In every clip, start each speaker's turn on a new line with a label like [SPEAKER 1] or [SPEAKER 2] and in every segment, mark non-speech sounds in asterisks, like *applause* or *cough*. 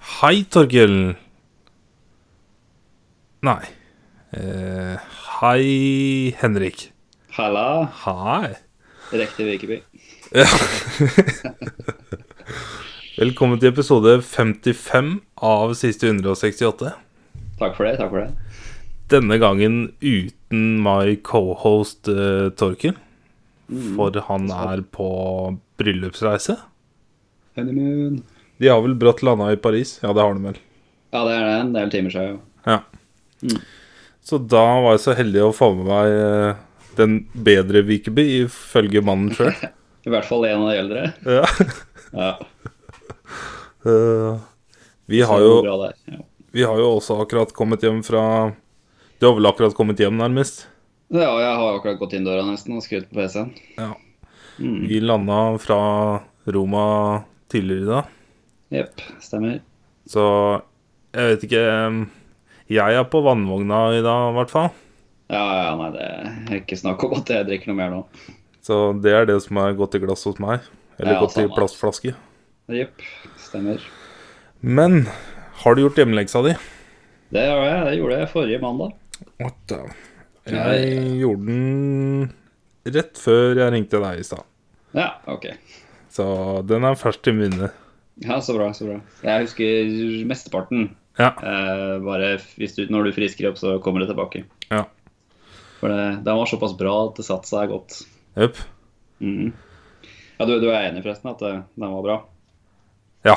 [SPEAKER 1] Hei, Torgill. Nei. Eh, hei, Henrik.
[SPEAKER 2] Halla,
[SPEAKER 1] Hei.
[SPEAKER 2] Rekte Vikeby.
[SPEAKER 1] Velkommen til episode 55 av siste 168.
[SPEAKER 2] Takk for det. takk for det
[SPEAKER 1] Denne gangen uten my cohost eh, Torkild. For han er på bryllupsreise.
[SPEAKER 2] Honeymoon.
[SPEAKER 1] De har vel brått landa i Paris? Ja, det har de vel.
[SPEAKER 2] Ja, det er det. En del timer siden. jo.
[SPEAKER 1] Ja.
[SPEAKER 2] Mm.
[SPEAKER 1] Så da var jeg så heldig å få med meg eh, den bedre Vikeby, ifølge mannen sjøl.
[SPEAKER 2] I hvert fall en av de eldre.
[SPEAKER 1] Ja.
[SPEAKER 2] Ja,
[SPEAKER 1] Eh, vi,
[SPEAKER 2] så
[SPEAKER 1] har
[SPEAKER 2] det går
[SPEAKER 1] jo,
[SPEAKER 2] bra der. Ja.
[SPEAKER 1] vi har jo også akkurat kommet hjem fra Du har vel akkurat kommet hjem, nærmest?
[SPEAKER 2] ja, jeg har akkurat gått inn døra nesten og skrudd på PC-en.
[SPEAKER 1] Ja.
[SPEAKER 2] Mm.
[SPEAKER 1] Vi landa fra Roma tidligere i dag,
[SPEAKER 2] Jepp, stemmer.
[SPEAKER 1] så jeg vet ikke eh, Jeg er på vannvogna i dag, i hvert fall.
[SPEAKER 2] Ja, ja, nei, det er ikke snakk om at jeg drikker noe mer nå.
[SPEAKER 1] Så det er det som er gått i glass hos meg. Eller
[SPEAKER 2] Ja,
[SPEAKER 1] gått i
[SPEAKER 2] samme.
[SPEAKER 1] plastflaske.
[SPEAKER 2] Jepp, stemmer.
[SPEAKER 1] Men har du gjort hjemmeleksa di?
[SPEAKER 2] Det, gjør jeg, det gjorde jeg forrige mandag.
[SPEAKER 1] What the Jeg
[SPEAKER 2] Nei.
[SPEAKER 1] gjorde den rett før jeg ringte deg i stad.
[SPEAKER 2] Ja, OK.
[SPEAKER 1] Så den er fersk i minnet.
[SPEAKER 2] Ja, Så bra, så bra. Jeg husker mesteparten.
[SPEAKER 1] Ja.
[SPEAKER 2] Eh, bare hvis du, når du frisker opp, så kommer det tilbake.
[SPEAKER 1] Ja.
[SPEAKER 2] For det, den var såpass bra at det satte seg godt.
[SPEAKER 1] Jepp.
[SPEAKER 2] Mhm. Ja, du, du er enig forresten at eh, den var bra?
[SPEAKER 1] Ja.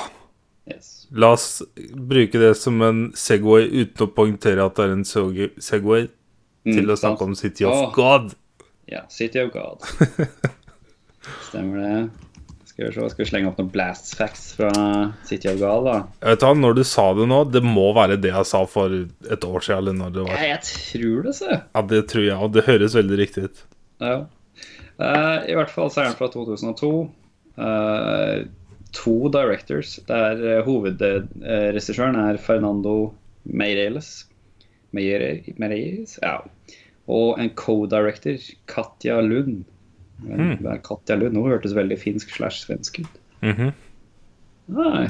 [SPEAKER 2] Yes.
[SPEAKER 1] La oss bruke det som en Segway uten å poengtere at det er en seg- Segway
[SPEAKER 2] Mm,
[SPEAKER 1] til å
[SPEAKER 2] sant.
[SPEAKER 1] snakke om City of
[SPEAKER 2] Åh.
[SPEAKER 1] God.
[SPEAKER 2] Ja, City of God. Stemmer det. Skal vi se, skal vi slenge opp noen blast facts fra City of God, da?
[SPEAKER 1] Jeg vet hva, Når du sa det nå, det må være det jeg sa for et år siden. Eller når det
[SPEAKER 2] Ja,
[SPEAKER 1] var.
[SPEAKER 2] jeg tror det, så.
[SPEAKER 1] Ja, det tror jeg, og det høres veldig riktig ut.
[SPEAKER 2] Ja. Eh, I hvert fall så er den fra 2002. Eh, to directors. Der hovedregissøren er Fernando Meireles. Meire- Meireles? Ja. Og en co-director, Katja Lund. Men, men Katja Lund hun hørtes veldig finsk slash svensk ut.
[SPEAKER 1] Mhm.
[SPEAKER 2] Nei.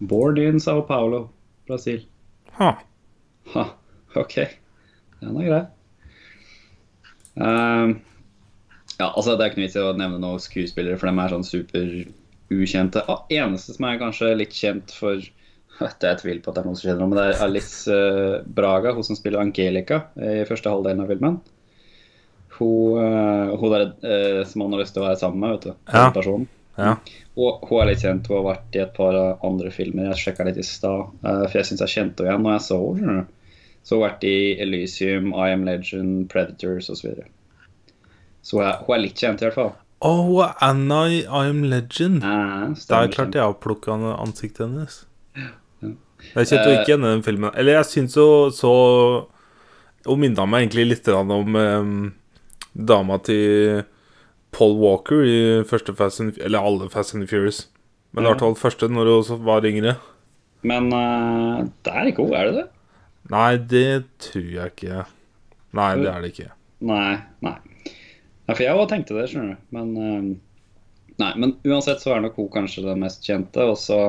[SPEAKER 2] Born in Sao Paulo, Brasil.
[SPEAKER 1] Ha.
[SPEAKER 2] Ha, ok. Den er grei. Ehm, ja, altså Det er ikke noe vits i å nevne noen skuespillere, for de er sånn superukjente. Ah, eneste som er kanskje litt kjent for *laughs* vet du, Jeg tviler på at det er noen som kjenner henne, men det er Alice eh, Braga, hun som spiller Angelica eh, i første halvdelen av filmen. Hun, eh, hun der, eh, som han har lyst til å være sammen med, vet du.
[SPEAKER 1] Ja.
[SPEAKER 2] den personen.
[SPEAKER 1] Ja.
[SPEAKER 2] Og hun er litt kjent. Hun har vært i et par andre filmer. Jeg sjekka litt i stad, eh, for jeg syns jeg kjente henne igjen når jeg så henne. skjønner du. Så hun har vært i Elysium, I Am Legend, Predators osv. Så, videre. så hun er, hun er litt kjent, i hvert fall.
[SPEAKER 1] Å, hun er Anna Oh, i I Am Legend.
[SPEAKER 2] Eh,
[SPEAKER 1] Det
[SPEAKER 2] stemmer
[SPEAKER 1] er klart
[SPEAKER 2] kjent.
[SPEAKER 1] jeg har plukka ansiktet hennes. Det er
[SPEAKER 2] Eh,
[SPEAKER 1] kjent å ikke gjenne den filmen. Eller jeg syns jo så Hun minna meg egentlig litt grann om eh, dama til Paul Walker i første Fast and, Eller alle Fast and Furious. Men i
[SPEAKER 2] Ja.
[SPEAKER 1] hvert fall første, når hun også var yngre.
[SPEAKER 2] Men eh, det er ikke hun, er det det?
[SPEAKER 1] Nei, det tror jeg ikke. Nei, det er det ikke.
[SPEAKER 2] Nei. nei. Ja, for jeg òg tenkte det, skjønner du. Men, eh, nei, men uansett så er nok hun kanskje den mest kjente. Og så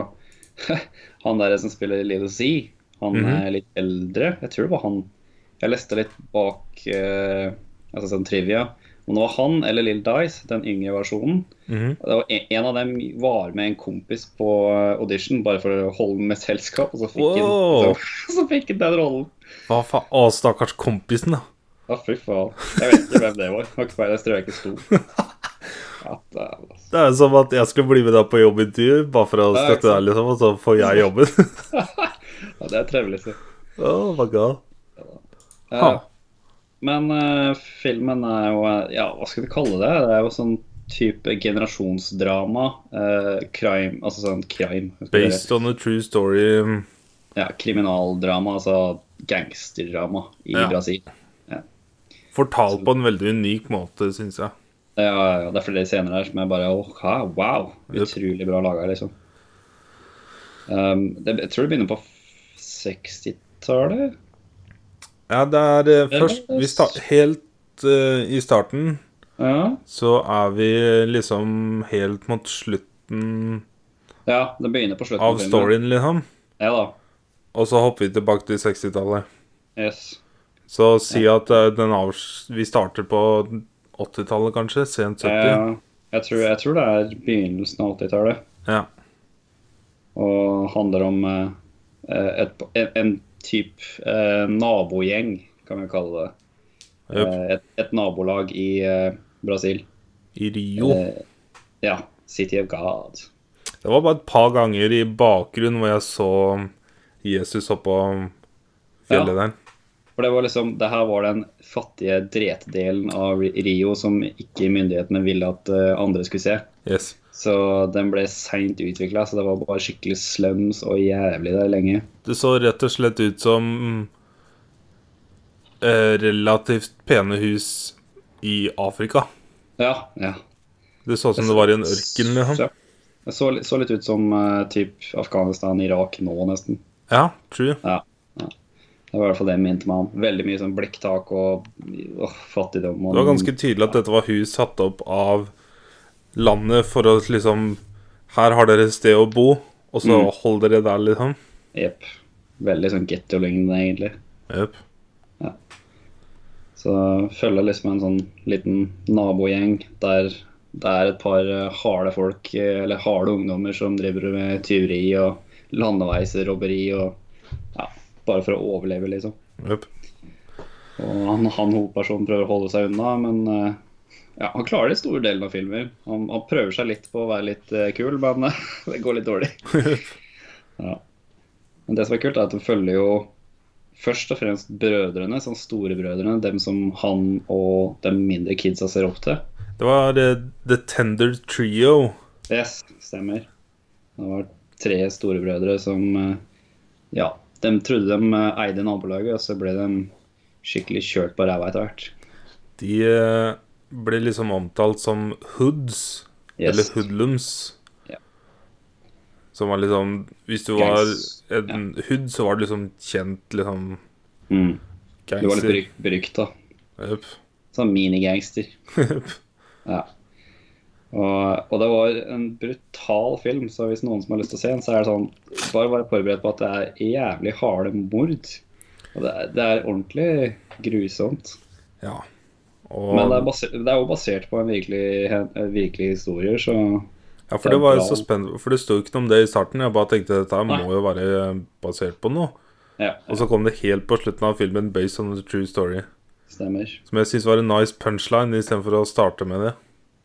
[SPEAKER 2] *laughs* han der som spiller Lilo Z, han
[SPEAKER 1] Mhm.
[SPEAKER 2] er litt eldre. Jeg tror det var han. Jeg leste litt bak eh, altså sånn trivia. Om det var han eller Lill Dice, den yngre versjonen.
[SPEAKER 1] Mhm.
[SPEAKER 2] Og det var en, en av dem var med en kompis på eh, audition bare for å holde med selskap, og så fikk han
[SPEAKER 1] Wow.
[SPEAKER 2] så, *laughs* så fikk han den rollen.
[SPEAKER 1] Hva faen? Å, stakkars kompisen, da.
[SPEAKER 2] Ja, fy faen. Jeg vet ikke hvem det var. Har ikke peiling, jeg tror jeg ikke sto.
[SPEAKER 1] *laughs*
[SPEAKER 2] Ja, dæven, altså.
[SPEAKER 1] Det er jo som at jeg skulle bli med deg på jobbintervju bare for å
[SPEAKER 2] Ja, ikke
[SPEAKER 1] støtte deg, liksom, og så får jeg jobben. *laughs*
[SPEAKER 2] ja, det er trevelig. Så.
[SPEAKER 1] oh my god.
[SPEAKER 2] Ja.
[SPEAKER 1] Ha.
[SPEAKER 2] Men eh, filmen er jo eh, Ja, hva skal vi kalle det? Det er jo sånn type generasjonsdrama. eh, crime Altså sånn crime. hva skal jeg si?
[SPEAKER 1] Based on a true story. um,
[SPEAKER 2] Ja, kriminaldrama, altså gangsterdrama i
[SPEAKER 1] Ja.
[SPEAKER 2] Brasil.
[SPEAKER 1] Fortalt på en veldig unik måte, syns jeg.
[SPEAKER 2] Ja, ja, ja, det er flere scener her som er bare åh, hæ, wow. Utrolig bra laga, liksom. Um, det, jeg tror det begynner på 60-tallet.
[SPEAKER 1] Ja, det er eh, først vi sta Helt eh, i starten
[SPEAKER 2] Ja.
[SPEAKER 1] så er vi eh, liksom helt mot slutten
[SPEAKER 2] ja, det begynner på slutten.
[SPEAKER 1] av
[SPEAKER 2] filmen.
[SPEAKER 1] storyen, liksom.
[SPEAKER 2] Ja da.
[SPEAKER 1] Og så hopper vi tilbake til 60-tallet.
[SPEAKER 2] Yes.
[SPEAKER 1] Så si at eh, den avs vi starter på 80-tallet, kanskje? Sent 70?
[SPEAKER 2] Eh, jeg, tror, jeg tror det er begynnelsen av 80-tallet.
[SPEAKER 1] Ja.
[SPEAKER 2] Og handler om eh, et, en, en type eh, nabogjeng, kan vi kalle det.
[SPEAKER 1] Jøp.
[SPEAKER 2] Eh, et, et nabolag i eh, Brasil.
[SPEAKER 1] I Rio.
[SPEAKER 2] Eh, ja. City of God.
[SPEAKER 1] Det var bare et par ganger i bakgrunnen hvor jeg så um, Jesus oppå um, fjellet der.
[SPEAKER 2] For det var liksom, det her var den fattige dretdelen av Rio som ikke myndighetene ville at eh, andre skulle se.
[SPEAKER 1] Yes.
[SPEAKER 2] Så den ble seint utvikla, så det var bare skikkelig slums og jævlig der lenge.
[SPEAKER 1] Det så rett og slett ut som eh, relativt pene hus i Afrika.
[SPEAKER 2] Ja, ja.
[SPEAKER 1] Det så ut som det var i en ørken, liksom.
[SPEAKER 2] Så, det så, litt- så litt ut som eh, typ Afghanistan, Irak nå, nesten.
[SPEAKER 1] Ja, true.
[SPEAKER 2] Det var i hvert fall det jeg minte meg om. Veldig mye sånn blikktak og åh, fattigdom. Og
[SPEAKER 1] Det var ganske tydelig at dette var hus satt opp av landet for å liksom Her har dere et sted å bo, og så
[SPEAKER 2] Mm.
[SPEAKER 1] hold dere der, liksom.
[SPEAKER 2] Jepp. Veldig sånn getto-lignende, egentlig.
[SPEAKER 1] Jøp.
[SPEAKER 2] Så følger liksom en sånn liten nabogjeng der det er et par eh, harde folk, eh, eller harde ungdommer, som driver med tyveri og landeveisrobberi og ja, bare for å overleve, liksom.
[SPEAKER 1] Jøp.
[SPEAKER 2] Og han, han hovedpersonen prøver å holde seg unna, men eh, ja, han klarer det i store delen av filmen. Han, han prøver seg litt på å være litt eh, kul, men eh, *laughs* det går litt dårlig. ja. Men det som er kult, er at de følger jo først og fremst brødrene, sånn storebrødrene. Dem som han og de mindre kidsa ser opp til.
[SPEAKER 1] Det var eh, The Tender Trio.
[SPEAKER 2] Yes, stemmer. Det var tre storebrødre som eh, ja, de trodde de eh, eide nabolaget, og så ble de skikkelig kjørt på ræva etter hvert.
[SPEAKER 1] De eh, ble liksom omtalt som hoods,
[SPEAKER 2] Yes.
[SPEAKER 1] eller hoodlums.
[SPEAKER 2] Ja.
[SPEAKER 1] Som var liksom Hvis du var
[SPEAKER 2] Gangs-
[SPEAKER 1] en hood, så var du liksom kjent liksom
[SPEAKER 2] Mm. Du var litt
[SPEAKER 1] gangster.
[SPEAKER 2] brykt, brykt da.
[SPEAKER 1] Jøp.
[SPEAKER 2] Sånn
[SPEAKER 1] *laughs*
[SPEAKER 2] minigangster. Ja. Og, og det var en brutal film, så hvis noen som har lyst til å se den, så er det sånn Bare vær forberedt på at det er jævlig harde mord. Og det er, det er ordentlig grusomt.
[SPEAKER 1] ja.
[SPEAKER 2] Men det er,
[SPEAKER 1] Og,
[SPEAKER 2] baser, det er jo basert på en virkelig, en virkelig historie, så
[SPEAKER 1] ja, for det var jo
[SPEAKER 2] bra.
[SPEAKER 1] så spennende, for det sto ikke noe om det i starten. Jeg bare tenkte dette her
[SPEAKER 2] Nei.
[SPEAKER 1] må jo være basert på noe.
[SPEAKER 2] ja,
[SPEAKER 1] Og så kom det helt på slutten av filmen 'Based on the True Story'.
[SPEAKER 2] stemmer.
[SPEAKER 1] Som jeg syns var en nice punchline, istedenfor å starte med det.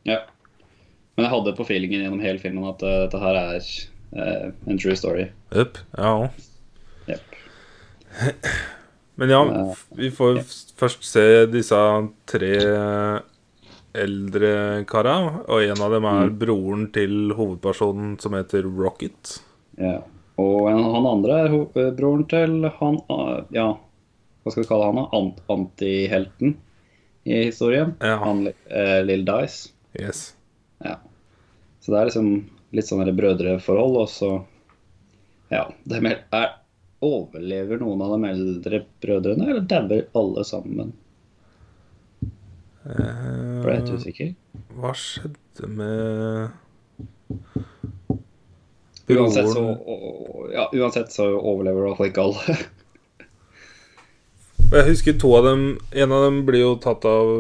[SPEAKER 2] Ja. Men jeg hadde på feelingen gjennom hele filmen at eh, dette her er eh, en true story.
[SPEAKER 1] Jøp, ja òg.
[SPEAKER 2] Jepp.
[SPEAKER 1] Men ja,
[SPEAKER 2] Eh, Ja.
[SPEAKER 1] f- vi får f- først se disse tre eldre kara, og en av dem er
[SPEAKER 2] Mm.
[SPEAKER 1] broren til hovedpersonen som heter Rocket.
[SPEAKER 2] Ja. Og en, han andre er ho- eh, broren til han eh, Ja, hva skal vi kalle han? da? Ant antihelten i historien.
[SPEAKER 1] Ja.
[SPEAKER 2] Han eh, Lill Dice.
[SPEAKER 1] Yes.
[SPEAKER 2] Ja. Så det er liksom litt sånn der brødreforhold, og så Ja. De er, er, overlever noen av de eldre brødrene, eller dauer alle sammen? Ble jeg litt
[SPEAKER 1] Eh,
[SPEAKER 2] usikker.
[SPEAKER 1] hva skjedde med
[SPEAKER 2] Uansett så,
[SPEAKER 1] broren?
[SPEAKER 2] og, og- ja, uansett så overlever i hvert fall ikke alle. *laughs*
[SPEAKER 1] Jeg husker to av dem En av dem blir jo tatt av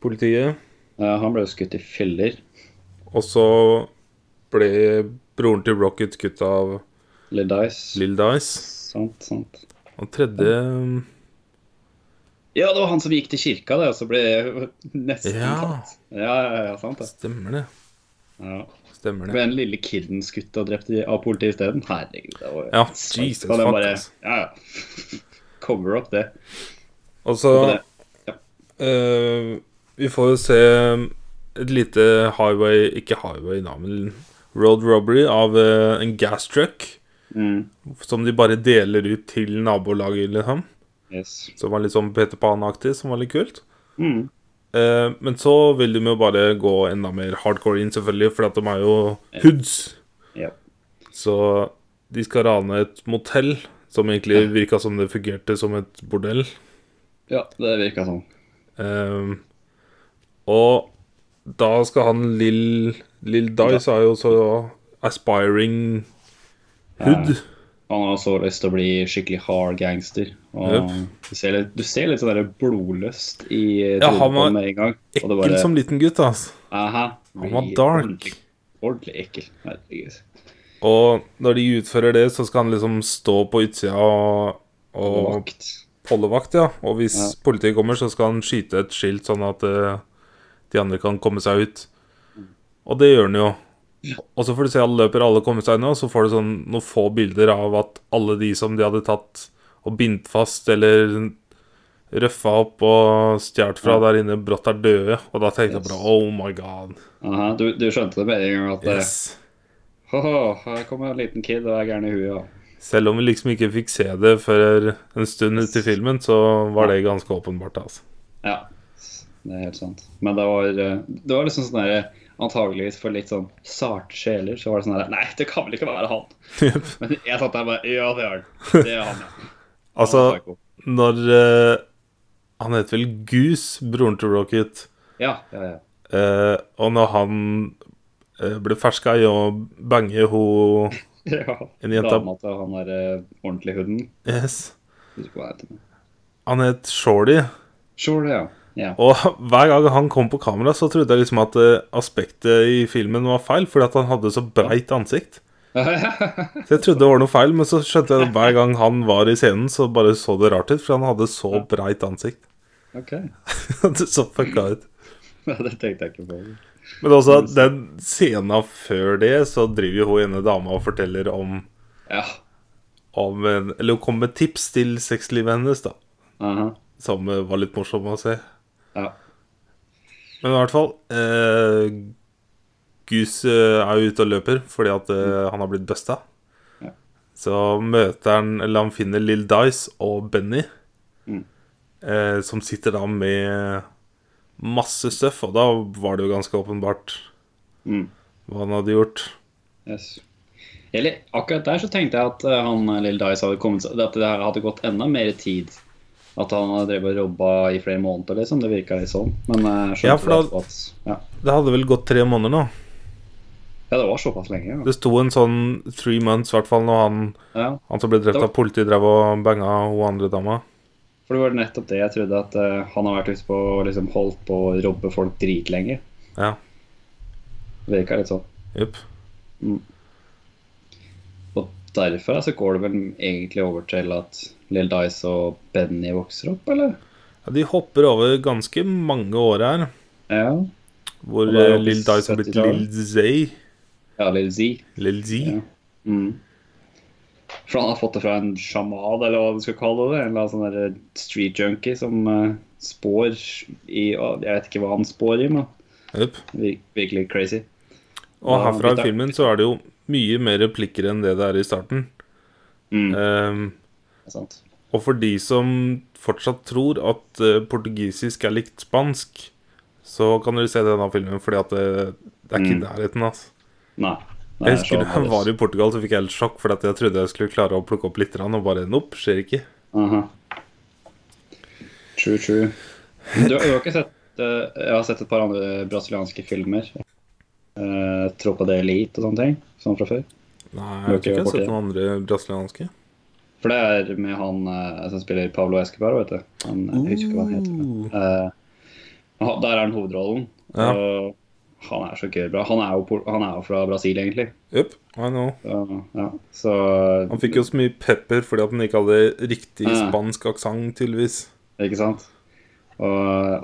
[SPEAKER 1] politiet,
[SPEAKER 2] Eh, han ble jo skutt i filler.
[SPEAKER 1] og så ble broren til Rocket skutt av
[SPEAKER 2] Lill Dice.
[SPEAKER 1] Lill Dice.
[SPEAKER 2] Sant, sant.
[SPEAKER 1] Og tredje
[SPEAKER 2] Ja, det var han som gikk til kirka, det, og så ble *laughs* jeg nesten
[SPEAKER 1] Ja.
[SPEAKER 2] tatt. Ja, ja, ja, sant det.
[SPEAKER 1] Stemmer det.
[SPEAKER 2] Ja.
[SPEAKER 1] Stemmer det.
[SPEAKER 2] Ble den lille kiden skutt og drept i- av politiet isteden? Herregud. det var jo
[SPEAKER 1] Ja,
[SPEAKER 2] sant.
[SPEAKER 1] Jesus,
[SPEAKER 2] Da den
[SPEAKER 1] fuck, altså.
[SPEAKER 2] bare,
[SPEAKER 1] ass.
[SPEAKER 2] Ja, *laughs* ja. Cover up det.
[SPEAKER 1] Og så
[SPEAKER 2] Og
[SPEAKER 1] eh, Vi får jo se et lite highway Ikke highway, da, men road robbery av eh, en gas truck.
[SPEAKER 2] Mm.
[SPEAKER 1] Som de bare deler ut til nabolaget, liksom.
[SPEAKER 2] Yes.
[SPEAKER 1] Som var litt sånn Peter Pan-aktig, som var litt kult.
[SPEAKER 2] Mm.
[SPEAKER 1] Eh, men så vil de jo bare gå enda mer hardcore inn, selvfølgelig, for at de er jo hoods.
[SPEAKER 2] Ja.
[SPEAKER 1] Så de skal rane et motell, som egentlig virka som det fungerte som et bordell.
[SPEAKER 2] ja, det virka sånn.
[SPEAKER 1] Ehm, og da skal han Lill Lill Dice er jo så aspiring hood.
[SPEAKER 2] Han har så lyst til å bli skikkelig hard gangster. Og du, ser litt, du ser litt sånn der blodlyst i
[SPEAKER 1] Ja,
[SPEAKER 2] trynet
[SPEAKER 1] han
[SPEAKER 2] på
[SPEAKER 1] var
[SPEAKER 2] ham med en gang. Og
[SPEAKER 1] Ekkel
[SPEAKER 2] det bare,
[SPEAKER 1] som liten gutt, altså.
[SPEAKER 2] aha,
[SPEAKER 1] Han var
[SPEAKER 2] blir
[SPEAKER 1] dark.
[SPEAKER 2] Ordentlig, ordentlig ekkel. Herregud.
[SPEAKER 1] Og når de utfører det, så skal han liksom stå på utsida og,
[SPEAKER 2] Og
[SPEAKER 1] og
[SPEAKER 2] vakt.
[SPEAKER 1] pollevakt, ja. Og hvis
[SPEAKER 2] Ja.
[SPEAKER 1] politiet kommer, så skal han skyte et skilt sånn at eh, de andre kan komme seg ut. Og det gjør han jo. Og så får du se alle løper, alle kommer seg unna, og så får du sånn noen få bilder av at alle de som de hadde tatt og bindt fast eller røffa opp og stjålet fra der inne, brått er døde. Og da tenkte jeg
[SPEAKER 2] Yes.
[SPEAKER 1] bare oh my god.
[SPEAKER 2] Aha, du, du skjønte det med en gang at eh,
[SPEAKER 1] Yes.
[SPEAKER 2] «Haha, her kommer en liten kid og er gæren i huet. Ja.
[SPEAKER 1] Selv om vi liksom ikke fikk se det før en stund ut i filmen, så var det ganske åpenbart, altså. *laughs*
[SPEAKER 2] ja, det er helt sant. Men det var, eh, det var liksom sånn der, antageligvis for litt sånn sarte sjeler, så var det sånn der Nei, det kan vel ikke være han?
[SPEAKER 1] Jep.
[SPEAKER 2] Men jeg satt der bare Ja, det er han. Det er han, ja.
[SPEAKER 1] *laughs* Altså,
[SPEAKER 2] Han er psycho.
[SPEAKER 1] Når eh, Han heter vel Goose, broren til Rocket.
[SPEAKER 2] Ja, ja, ja. *laughs*
[SPEAKER 1] eh, og når han eh, ble ferska i å bange ho
[SPEAKER 2] ja.
[SPEAKER 1] En jenta-
[SPEAKER 2] Dama til han der eh, ordentlig huden.
[SPEAKER 1] Yes.
[SPEAKER 2] Husker ikke hva han heter. nå.
[SPEAKER 1] Han het Shorty.
[SPEAKER 2] Sure, ja. ja.
[SPEAKER 1] Og *laughs* hver gang han kom på kamera, så trodde jeg liksom at eh, aspektet i filmen var feil, fordi at han hadde så breit ansikt. Så jeg trodde det var noe feil, men så skjønte jeg at hver gang han var i scenen, så bare så det rart ut, for han hadde så breit ansikt.
[SPEAKER 2] *laughs*
[SPEAKER 1] *laughs*
[SPEAKER 2] OK. *laughs*
[SPEAKER 1] Det så fucka ut.
[SPEAKER 2] det tenkte jeg ikke på.
[SPEAKER 1] Men også at den scenen før det, så driver jo hun ene dama og forteller om,
[SPEAKER 2] Ja.
[SPEAKER 1] om en, Eller hun kommer med tips til sexlivet hennes, da.
[SPEAKER 2] aha,
[SPEAKER 1] Som eh, var litt morsom å se.
[SPEAKER 2] ja.
[SPEAKER 1] Men i hvert fall eh, Gus eh, er jo ute og løper fordi at eh, han har blitt busta.
[SPEAKER 2] Mm. Ja.
[SPEAKER 1] Så møter han Eller han finner Lill Dice og Benny,
[SPEAKER 2] Mm.
[SPEAKER 1] eh, som sitter da med masse støff, og da var det jo ganske åpenbart
[SPEAKER 2] Mm.
[SPEAKER 1] hva han hadde gjort.
[SPEAKER 2] Yes. Eller akkurat der så tenkte jeg at eh, han eh, Lil Dice hadde kommet seg At det her hadde gått enda mer tid. At han hadde drevet og robba i flere måneder, liksom. Det virka litt sånn. Men eh, skjønte
[SPEAKER 1] Ja, for da-
[SPEAKER 2] det etterpå at ja.
[SPEAKER 1] Det hadde vel gått tre måneder nå.
[SPEAKER 2] ja, det var såpass lenge, ja.
[SPEAKER 1] Det sto en sånn three months, i hvert fall, når han,
[SPEAKER 2] ja.
[SPEAKER 1] han som ble drept
[SPEAKER 2] Det var-
[SPEAKER 1] av politiet, drev og banga hun andre dama.
[SPEAKER 2] For det var nettopp det jeg trodde, at eh, han har vært ute på og liksom holdt på å robbe folk dritlenge.
[SPEAKER 1] Ja.
[SPEAKER 2] Det virka litt sånn.
[SPEAKER 1] Jupp.
[SPEAKER 2] Og derfra så går det vel egentlig over til at Lil Dice og Benny vokser opp, eller?
[SPEAKER 1] Ja, de hopper over ganske mange år her,
[SPEAKER 2] Ja.
[SPEAKER 1] hvor
[SPEAKER 2] Og det er
[SPEAKER 1] eh,
[SPEAKER 2] jo
[SPEAKER 1] Lill Dice har blitt
[SPEAKER 2] 70-tallet.
[SPEAKER 1] Lill Zay.
[SPEAKER 2] Ja, Lil Z.
[SPEAKER 1] Lill Z.
[SPEAKER 2] Ja. Mm. For han har fått det fra en sjaman, eller hva du skal kalle det. En eller annen sånn der street junkie som eh, spår i ja, Jeg vet ikke hva han spår i, men
[SPEAKER 1] Jupp.
[SPEAKER 2] vir virkelig crazy.
[SPEAKER 1] Og
[SPEAKER 2] Ja,
[SPEAKER 1] herfra i
[SPEAKER 2] litt der.
[SPEAKER 1] filmen så er det jo mye mer replikker enn det det er i starten.
[SPEAKER 2] Mm.
[SPEAKER 1] Ehm,
[SPEAKER 2] det er sant.
[SPEAKER 1] og for de som fortsatt tror at eh, portugisisk er likt spansk, så kan dere se denne filmen, fordi at det, det er ikke i
[SPEAKER 2] Mm.
[SPEAKER 1] nærheten, altså.
[SPEAKER 2] Nei. nei,
[SPEAKER 1] Jeg husker
[SPEAKER 2] så
[SPEAKER 1] da jeg
[SPEAKER 2] annerledes.
[SPEAKER 1] var i Portugal, så fikk jeg helt sjokk, for at jeg trodde jeg skulle klare å plukke opp litt, grann, og bare nopp, skjer ikke.
[SPEAKER 2] Aha. True, true. Men Du, du har ikke sett eh, Jeg har sett et par andre brasilianske filmer. Uh, Tropa de Elite og sånne ting. Sånn fra før.
[SPEAKER 1] Nei,
[SPEAKER 2] Du har
[SPEAKER 1] jeg tror ikke jeg
[SPEAKER 2] ikke
[SPEAKER 1] har
[SPEAKER 2] vært
[SPEAKER 1] sett noen andre brasilianske.
[SPEAKER 2] For det er med han eh, som spiller Pablo Escobar, vet du. Han, jeg husker ikke hva han heter.
[SPEAKER 1] Uh.
[SPEAKER 2] Eh, han- der er han hovedrollen.
[SPEAKER 1] Ja.
[SPEAKER 2] Og han er så gøy bra. Han er jo, por- han er jo fra Brasil, egentlig.
[SPEAKER 1] Jupp, I know.
[SPEAKER 2] Så, ja. så
[SPEAKER 1] Han fikk jo så mye pepper fordi at han ikke hadde riktig
[SPEAKER 2] Ja.
[SPEAKER 1] spansk aksent, tydeligvis.
[SPEAKER 2] Ikke sant? Og,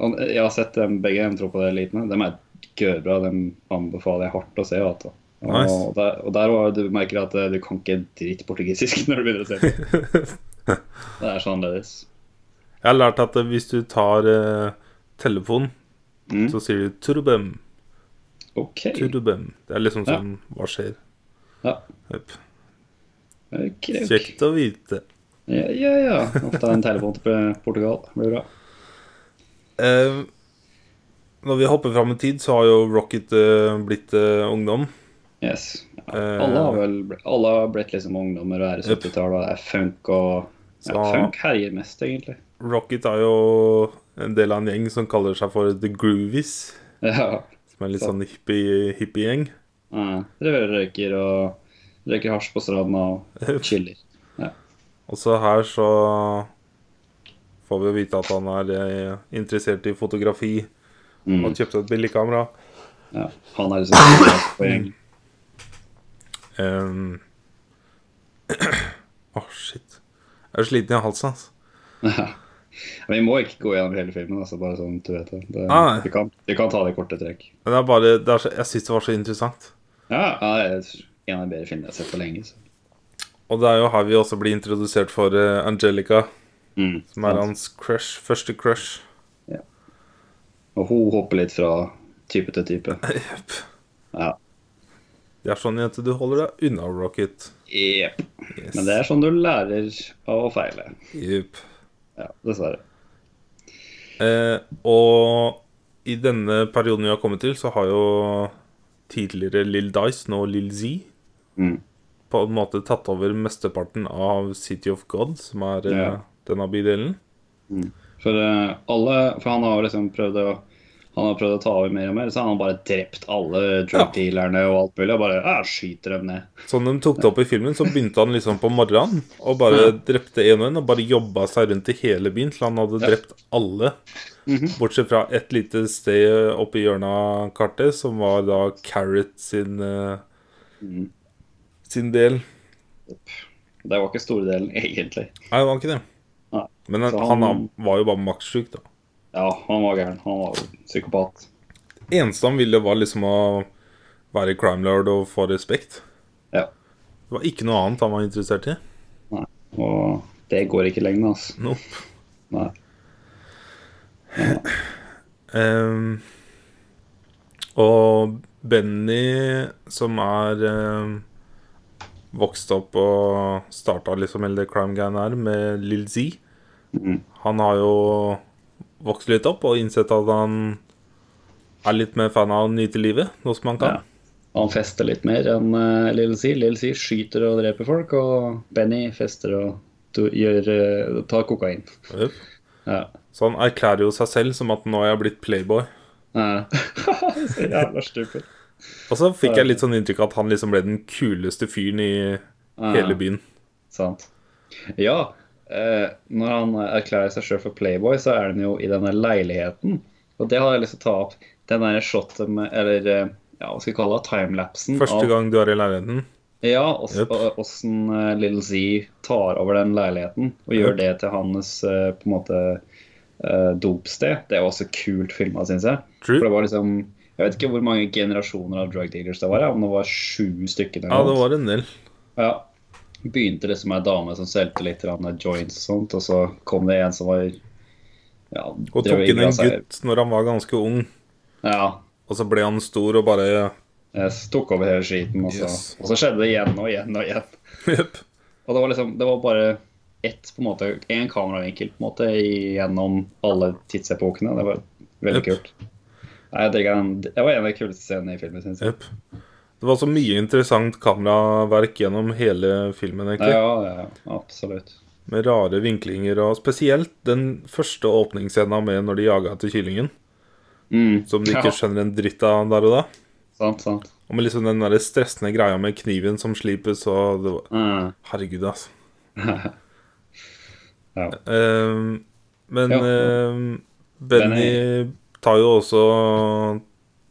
[SPEAKER 2] og jeg har sett dem begge, de tror på det elitene. De er gøybra. De anbefaler jeg hardt å se. Vet du. Og,
[SPEAKER 1] Nice.
[SPEAKER 2] der, og der var, du merker at eh, du kan ikke dritt portugisisk *laughs* når du begynner å se på.
[SPEAKER 1] *laughs*
[SPEAKER 2] Det er så annerledes.
[SPEAKER 1] Jeg har lært at eh, hvis du tar eh, telefonen,
[SPEAKER 2] Mm.
[SPEAKER 1] så sier du 'turbem',
[SPEAKER 2] OK.
[SPEAKER 1] 'turbem'. Det er liksom
[SPEAKER 2] Ja.
[SPEAKER 1] sånn Hva skjer?
[SPEAKER 2] Ja.
[SPEAKER 1] Jupp.
[SPEAKER 2] Ok, ok.
[SPEAKER 1] Kjekt å vite.
[SPEAKER 2] Ja, ja. ja. Ofte en telefon til Portugal. Det blir bra.
[SPEAKER 1] Eh, når vi hopper fram i tid, så har jo Rocket eh, blitt eh, ungdom.
[SPEAKER 2] Yes.
[SPEAKER 1] Eh,
[SPEAKER 2] Alle har vel alle har blitt liksom ungdommer og er i
[SPEAKER 1] Jep.
[SPEAKER 2] 70-tallet. og Det er funk og ja,
[SPEAKER 1] Så-
[SPEAKER 2] Funk herjer mest, egentlig. *laughs*
[SPEAKER 1] Rocket er jo en del av en gjeng som kaller seg for The Groovies.
[SPEAKER 2] Ja.
[SPEAKER 1] Som er litt sånn hippie- hippie-gjeng.
[SPEAKER 2] ja. Driver og røyker og røyker hasj på stranda og chiller. Ja.
[SPEAKER 1] Og så her så får vi vite at han er eh, interessert i fotografi.
[SPEAKER 2] Mm.
[SPEAKER 1] Og kjøpte et billigkamera.
[SPEAKER 2] Ja. Han er liksom på gjeng.
[SPEAKER 1] *clears throat* Um. Å, shit. Jeg er sliten i halsen, altså.
[SPEAKER 2] Ja. Men vi må ikke gå gjennom hele filmen, altså, bare sånn at du vet det. det
[SPEAKER 1] Ah, Nei.
[SPEAKER 2] vi, kan, vi kan ta det i korte trekk.
[SPEAKER 1] Men det er bare, det er så, jeg syns det var så interessant.
[SPEAKER 2] Ja, ja, det er en av de bedre filmene jeg har sett på lenge. Så.
[SPEAKER 1] Og det er jo her vi også blir introdusert for eh, Angelica,
[SPEAKER 2] Mm.
[SPEAKER 1] som er hans crush. Første crush. *laughs*
[SPEAKER 2] Og hun hopper litt fra type til type.
[SPEAKER 1] Jepp.
[SPEAKER 2] Ja.
[SPEAKER 1] Det er sånn, jente, du holder deg unna Rocket.
[SPEAKER 2] Jep.
[SPEAKER 1] Yes.
[SPEAKER 2] Men det er sånn du lærer av å feile.
[SPEAKER 1] Jepp.
[SPEAKER 2] Ja, dessverre.
[SPEAKER 1] Eh, og i denne perioden vi har kommet til, så har jo tidligere Lill Dice, nå Lill Z,
[SPEAKER 2] Mm.
[SPEAKER 1] på en måte tatt over mesteparten av City of God, som er eh,
[SPEAKER 2] Ja.
[SPEAKER 1] denne bydelen.
[SPEAKER 2] For, eh, alle, for han har liksom prøvd å han har prøvd å ta over mer og mer, så har han bare drept alle drug dealerne og alt mulig. Og bare ja, skyter dem ned.
[SPEAKER 1] Som de tok det opp i filmen, så begynte han liksom på morgenen og bare drepte en og en. Og bare jobba seg rundt i hele byen til han hadde
[SPEAKER 2] Ja. Mhm.
[SPEAKER 1] drept alle. Bortsett fra et lite sted oppe i hjørnet av kartet, som var da Carrot sin, eh,
[SPEAKER 2] Mhm.
[SPEAKER 1] sin del.
[SPEAKER 2] Det var ikke store delen, *laughs* egentlig.
[SPEAKER 1] Nei, det var ikke det.
[SPEAKER 2] Nei.
[SPEAKER 1] Men han,
[SPEAKER 2] Så
[SPEAKER 1] han,
[SPEAKER 2] han-
[SPEAKER 1] var jo bare makssjuk, da.
[SPEAKER 2] Ja, han var gæren. Han var jo psykopat.
[SPEAKER 1] Eneste han ville, var liksom å være crime lord og få respekt.
[SPEAKER 2] Ja.
[SPEAKER 1] Det var ikke noe annet han var interessert i.
[SPEAKER 2] Og det går ikke lenger, altså.
[SPEAKER 1] Nope.
[SPEAKER 2] Nei.
[SPEAKER 1] Ehm, og Benny, som er ehm, vokst opp og starta liksom hele det crime-greiene her med Lill Z,
[SPEAKER 2] Mhm.
[SPEAKER 1] han har jo vokst litt opp og innsett at han er litt mer fan av å nyte livet, noe som han kan.
[SPEAKER 2] Ja. Han fester litt mer enn uh, Lille Si. Lille Si skyter og dreper folk, og Benny fester og do, gjør, eh, tar kokain.
[SPEAKER 1] Jep.
[SPEAKER 2] Ja.
[SPEAKER 1] Så han erklærer jo seg selv som at nå er jeg blitt playboy.
[SPEAKER 2] Ja. Så *laughs* jævla stupid.
[SPEAKER 1] Og så fikk jeg litt sånn inntrykk av at han liksom ble den kuleste fyren i
[SPEAKER 2] Ja,
[SPEAKER 1] hele byen.
[SPEAKER 2] Sant. Ja, eh, når han erklærer seg sjøl for playboy, så er han jo i denne leiligheten. Og det har jeg lyst til å ta opp. Den der shotet med Eller eh, ja, hva skal vi kalle det? Timelapsen.
[SPEAKER 1] Første
[SPEAKER 2] av-
[SPEAKER 1] gang du er i leiligheten.
[SPEAKER 2] Ja, og
[SPEAKER 1] Yep.
[SPEAKER 2] åssen Little Z tar over den leiligheten og gjør
[SPEAKER 1] Yep.
[SPEAKER 2] det til hans eh, på en måte eh, dopsted. Det var også kult filma, syns jeg. For det
[SPEAKER 1] True.
[SPEAKER 2] var liksom Jeg vet ikke hvor mange generasjoner av drug dealers det var, ja, om det var sju stykker. eller
[SPEAKER 1] Ja, det
[SPEAKER 2] noe.
[SPEAKER 1] var en del.
[SPEAKER 2] Ja. Begynte liksom ei dame som solgte litt grann joints og sånt, og så kom det en som var ja,
[SPEAKER 1] Og
[SPEAKER 2] drev
[SPEAKER 1] tok inn
[SPEAKER 2] illa
[SPEAKER 1] en
[SPEAKER 2] seg.
[SPEAKER 1] gutt når han var ganske ung,
[SPEAKER 2] Ja.
[SPEAKER 1] og så ble han stor og bare
[SPEAKER 2] eh, så Tok over hele skiten, og så,
[SPEAKER 1] Yes.
[SPEAKER 2] og så skjedde det igjen og igjen og igjen.
[SPEAKER 1] Jepp.
[SPEAKER 2] Og det var liksom, det var bare ett, på en måte, en kameravinkel på en måte, gjennom alle tidsepokene. Det var
[SPEAKER 1] Yep.
[SPEAKER 2] veldig kult. Nei, jeg digger den. Det var en av de kuleste scenene i filmen, syns jeg.
[SPEAKER 1] Jepp. Det var så mye interessant kameraverk gjennom hele filmen,
[SPEAKER 2] Ja,
[SPEAKER 1] egentlig.
[SPEAKER 2] ja, ja, absolutt.
[SPEAKER 1] Med rare vinklinger, og spesielt den første åpningsscena med når de jaga etter kyllingen.
[SPEAKER 2] Mm,
[SPEAKER 1] Som de ikke
[SPEAKER 2] Ja.
[SPEAKER 1] skjønner en dritt av der og da.
[SPEAKER 2] sant, sant.
[SPEAKER 1] Og med liksom den der stressende greia med kniven som slipes og det var...
[SPEAKER 2] Mm.
[SPEAKER 1] Herregud, altså.
[SPEAKER 2] Ja.
[SPEAKER 1] Ehm, men
[SPEAKER 2] Ja.
[SPEAKER 1] ehm, Benny tar jo også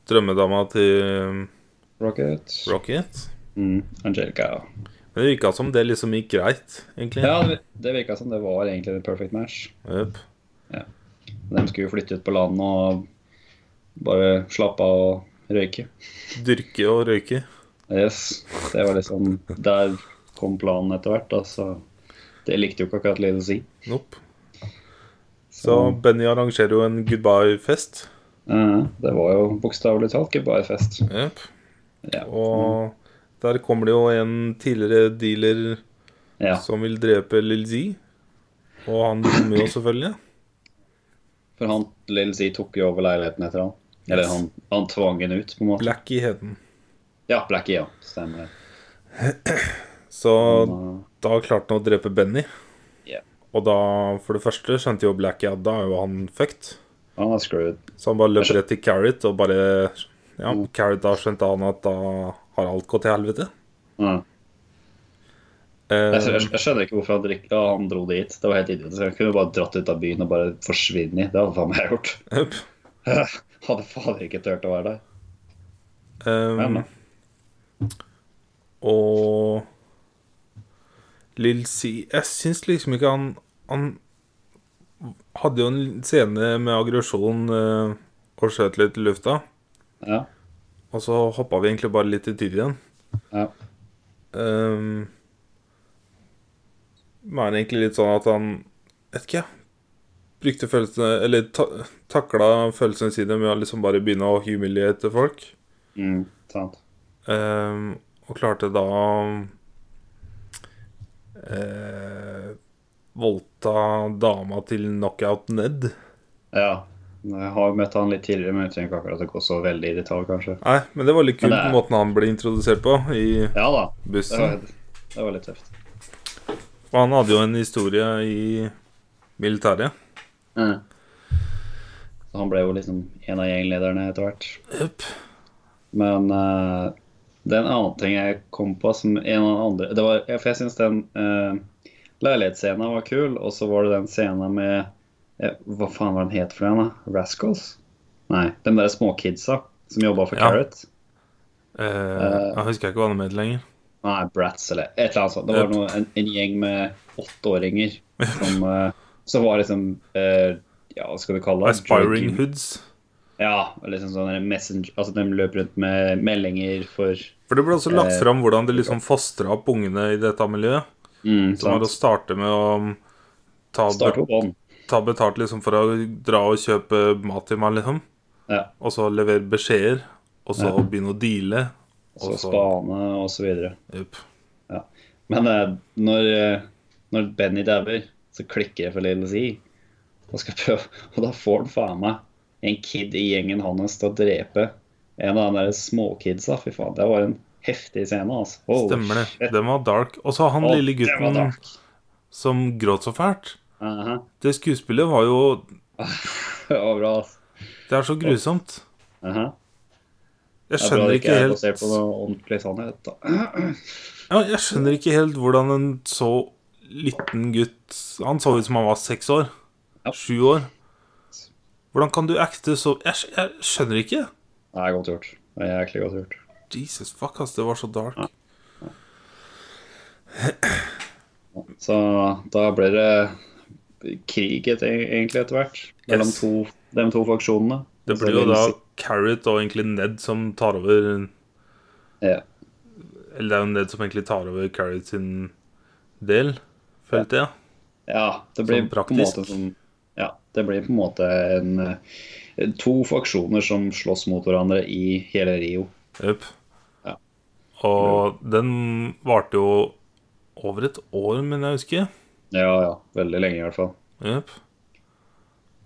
[SPEAKER 1] drømmedama til
[SPEAKER 2] Rocket.
[SPEAKER 1] Rocket.
[SPEAKER 2] Mm, Angelica. ja.
[SPEAKER 1] Men det virka som det liksom gikk greit, egentlig.
[SPEAKER 2] Ja, det- det virka som det var egentlig en perfect match.
[SPEAKER 1] Jep.
[SPEAKER 2] De skulle jo flytte ut på landet og bare slappe av og røyke.
[SPEAKER 1] Dyrke og røyke.
[SPEAKER 2] Yes, det var liksom Der kom planen etter hvert, da, så det likte jo ikke akkurat Little Z.
[SPEAKER 1] Nope. Så Benny arrangerer jo en goodbye-fest.
[SPEAKER 2] eh, det var jo bokstavelig talt goodbye-fest.
[SPEAKER 1] Jep.
[SPEAKER 2] Ja.
[SPEAKER 1] Og
[SPEAKER 2] Mm.
[SPEAKER 1] der kommer det jo en tidligere dealer
[SPEAKER 2] ja.
[SPEAKER 1] som vil drepe Lill Z. Og han bommer jo selvfølgelig.
[SPEAKER 2] For han Little Z tok jo over leiligheten etter han. Eller
[SPEAKER 1] Yes.
[SPEAKER 2] han, han tvang henne ut, på en måte.
[SPEAKER 1] Blackie het han.
[SPEAKER 2] Ja, Blackie, ja. Stemmer det.
[SPEAKER 1] Så
[SPEAKER 2] Han,
[SPEAKER 1] da klarte han å drepe Benny.
[SPEAKER 2] Ja.
[SPEAKER 1] Og da, for det første, skjønte jo Blackie at da er jo han fucked.
[SPEAKER 2] eh, han er screwed.
[SPEAKER 1] Så han bare løp rett til Carrot og bare Ja,
[SPEAKER 2] Mm.
[SPEAKER 1] Carrot da skjønte han at da har alt gått til helvete.
[SPEAKER 2] Ja. Jeg,
[SPEAKER 1] Eh,
[SPEAKER 2] skjønner- jeg skjønner ikke hvorfor han, drik- ja, han dro dit. Det var helt idiotisk. Han kunne bare dratt ut av byen og bare forsvinne. Det hadde faen meg jeg gjort. *laughs*
[SPEAKER 1] Jepp.
[SPEAKER 2] Hadde fader ikke turt å være der. Men,
[SPEAKER 1] Um, og Lill C Jeg syns liksom ikke han Han hadde jo en scene med aggresjon eh, og skjøt litt i lufta.
[SPEAKER 2] ja.
[SPEAKER 1] Og så hoppa vi egentlig bare litt i tid igjen.
[SPEAKER 2] Ja.
[SPEAKER 1] Um, men egentlig litt sånn at han Vet ikke, jeg. Brukte følelsene Eller ta, takla følelsene sine med å liksom bare begynne å humiliate folk.
[SPEAKER 2] Mm, sant.
[SPEAKER 1] Ehm, og klarte da eh, Voldta dama til knockout Ned.
[SPEAKER 2] Ja. Jeg har jo møtt han litt tidligere, men jeg trenger ikke akkurat å gå så veldig i detalj, kanskje.
[SPEAKER 1] Nei, men det var litt
[SPEAKER 2] Men
[SPEAKER 1] kult
[SPEAKER 2] det er-
[SPEAKER 1] måten han ble introdusert på i
[SPEAKER 2] Ja da. Det var,
[SPEAKER 1] bussen.
[SPEAKER 2] det var litt tøft.
[SPEAKER 1] Og han hadde jo en historie i militæret.
[SPEAKER 2] Ja. Så han ble jo liksom en av gjenglederne etter hvert.
[SPEAKER 1] Jepp.
[SPEAKER 2] Men eh, det er en annen ting jeg kom på som en av de andre det var, ja, For jeg syns den uh, leilighetsscenen var kul, og så var det den scenen med eh, Hva faen var den het for den, da? Rascals? Nei, de der småkidsa som jobba for
[SPEAKER 1] Ja.
[SPEAKER 2] Carrot.
[SPEAKER 1] Eh, jeg husker ikke hva han het lenger.
[SPEAKER 2] Nei, Brats eller et eller annet sånt. Det var
[SPEAKER 1] Yep.
[SPEAKER 2] noe, en, en gjeng med åtteåringer
[SPEAKER 1] *laughs*
[SPEAKER 2] som, eh, som var liksom eh, Ja, hva skal vi kalle det?
[SPEAKER 1] Aspiring
[SPEAKER 2] Drinking-
[SPEAKER 1] Hoods.
[SPEAKER 2] Ja, liksom sånne messenger Altså, de løp rundt med meldinger for
[SPEAKER 1] For det ble også lagt
[SPEAKER 2] Eh,
[SPEAKER 1] fram hvordan det liksom fostra opp ungene i dette miljøet.
[SPEAKER 2] mm,
[SPEAKER 1] Som var å
[SPEAKER 2] sant?
[SPEAKER 1] starte med å mm, ta
[SPEAKER 2] Starte på bånn.
[SPEAKER 1] ta betalt liksom for å dra og kjøpe mat til meg, liksom.
[SPEAKER 2] Ja.
[SPEAKER 1] Og så levere beskjeder, og så
[SPEAKER 2] Ja.
[SPEAKER 1] begynne å deale.
[SPEAKER 2] Så
[SPEAKER 1] Og så-
[SPEAKER 2] spane og så videre.
[SPEAKER 1] Jupp.
[SPEAKER 2] Men eh, når, eh, når Benny dauer, så klikker det for Little Z. Og, skal prøve, *laughs* og da får han faen meg en kid i gjengen hans til å drepe en av de der småkidsa. Fy faen, det var en heftig scene, altså. Holy
[SPEAKER 1] Stemmer det.
[SPEAKER 2] shit.
[SPEAKER 1] Den var dark. Og så han
[SPEAKER 2] Å,
[SPEAKER 1] lille
[SPEAKER 2] det var
[SPEAKER 1] gutten
[SPEAKER 2] dark.
[SPEAKER 1] som gråt så fælt.
[SPEAKER 2] Aha. *laughs*
[SPEAKER 1] Det skuespillet var jo
[SPEAKER 2] Det var bra, altså.
[SPEAKER 1] Det er så grusomt.
[SPEAKER 2] Aha.
[SPEAKER 1] Jeg
[SPEAKER 2] Det er bra
[SPEAKER 1] skjønner
[SPEAKER 2] det
[SPEAKER 1] ikke
[SPEAKER 2] ikke er
[SPEAKER 1] helt
[SPEAKER 2] basert på noe ordentlig sannhet. da. *clears throat*
[SPEAKER 1] ja, Jeg skjønner ikke helt hvordan en så liten gutt Han så ut som han var seks år.
[SPEAKER 2] Ja.
[SPEAKER 1] Sju år. Hvordan kan du acte så Jeg, skj- jeg skjønner ikke.
[SPEAKER 2] Det er godt gjort. Det er jæklig godt gjort.
[SPEAKER 1] Jesus fuck, ass. Det var så dark.
[SPEAKER 2] Så da ble det krig et- egentlig etter hvert mellom
[SPEAKER 1] Yes.
[SPEAKER 2] to, de to faksjonene.
[SPEAKER 1] Det
[SPEAKER 2] Så
[SPEAKER 1] blir jo
[SPEAKER 2] Little
[SPEAKER 1] da
[SPEAKER 2] Z-
[SPEAKER 1] Carrot og egentlig Ned som tar over
[SPEAKER 2] Ja.
[SPEAKER 1] Eller det er jo Ned som egentlig tar over Carrot sin del, følte jeg.
[SPEAKER 2] Ja, det blir
[SPEAKER 1] Sånn
[SPEAKER 2] på en
[SPEAKER 1] praktisk.
[SPEAKER 2] måte som Ja, det blir på en måte en eh, To faksjoner som slåss mot hverandre i hele Rio.
[SPEAKER 1] Jøp.
[SPEAKER 2] Ja.
[SPEAKER 1] Og den varte jo over et år, men jeg husker.
[SPEAKER 2] Ja, ja. Veldig lenge, i hvert fall.
[SPEAKER 1] Jøp.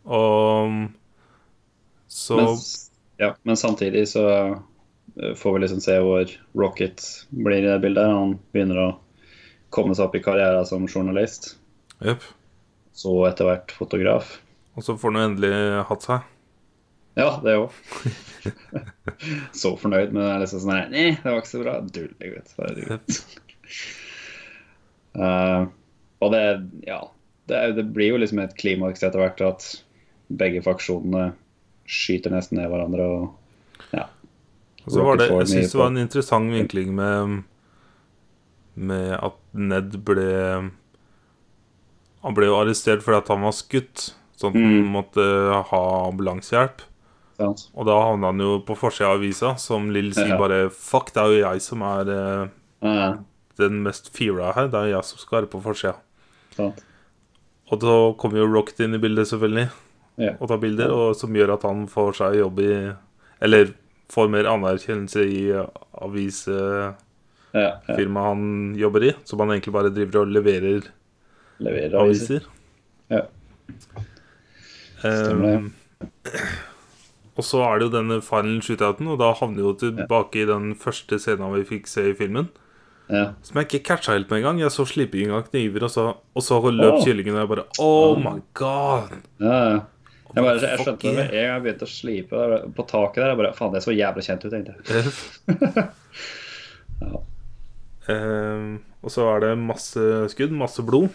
[SPEAKER 1] Og så
[SPEAKER 2] Men, s- ja, men samtidig så eh, får vi liksom se hvor Rocket blir i det bildet. her. Han begynner å komme seg opp i karrieren som journalist,
[SPEAKER 1] Jøp.
[SPEAKER 2] så etter hvert fotograf.
[SPEAKER 1] Og så får han jo endelig hatt seg.
[SPEAKER 2] Ja, det òg. *laughs* så fornøyd, men det er liksom sånn her Nei, det var ikke så bra. Dullig, vet du. Herregud.
[SPEAKER 1] Jøp.
[SPEAKER 2] Eh, og det, ja, det, er- det blir jo liksom et klimaks etter hvert at begge faksjonene skyter nesten ned hverandre. Og,
[SPEAKER 1] Og så var det,
[SPEAKER 2] Rocket
[SPEAKER 1] jeg
[SPEAKER 2] får mye
[SPEAKER 1] synes det var
[SPEAKER 2] på.
[SPEAKER 1] en interessant vinkling med, med at Ned ble Han ble jo arrestert fordi at han var skutt, sånn at han
[SPEAKER 2] Mm.
[SPEAKER 1] måtte ha ambulansehjelp.
[SPEAKER 2] sant?
[SPEAKER 1] Og da havna han jo på forsida av avisa, som Lill sier
[SPEAKER 2] Ja.
[SPEAKER 1] bare Fuck, det er jo jeg som er eh,
[SPEAKER 2] Eh,
[SPEAKER 1] den mest feara her. Det er jo jeg som skal være på forsida.
[SPEAKER 2] sant?
[SPEAKER 1] Og da kommer jo Rocket inn i bildet, selvfølgelig,
[SPEAKER 2] Ja.
[SPEAKER 1] og tar bilder, og som gjør at han får seg jobb i Eller får mer anerkjennelse i eh, avise
[SPEAKER 2] Ja, ja.
[SPEAKER 1] firmaet han jobber i, som han egentlig bare driver og leverer
[SPEAKER 2] Leverer aviser.
[SPEAKER 1] aviser.
[SPEAKER 2] Ja. Stemmer det, ja.
[SPEAKER 1] Ehm, og så er det jo denne final shootouten, og da havner vi jo tilbake i den første scenen vi fikk se i filmen.
[SPEAKER 2] Ja.
[SPEAKER 1] Som jeg ikke catcha helt med en gang. Jeg så slipingen av kniver, og så, og så løp
[SPEAKER 2] Åh.
[SPEAKER 1] kyllingen, og jeg bare Oh my god!
[SPEAKER 2] Ja, ja. Jeg, bare, jeg
[SPEAKER 1] Fuck
[SPEAKER 2] skjønte det med en gang jeg begynte å slipe der, på taket der. Jeg bare, Faen, det så jævlig kjent ut, tenkte jeg.
[SPEAKER 1] Eff. Eh, og så er det masse skudd, masse blod.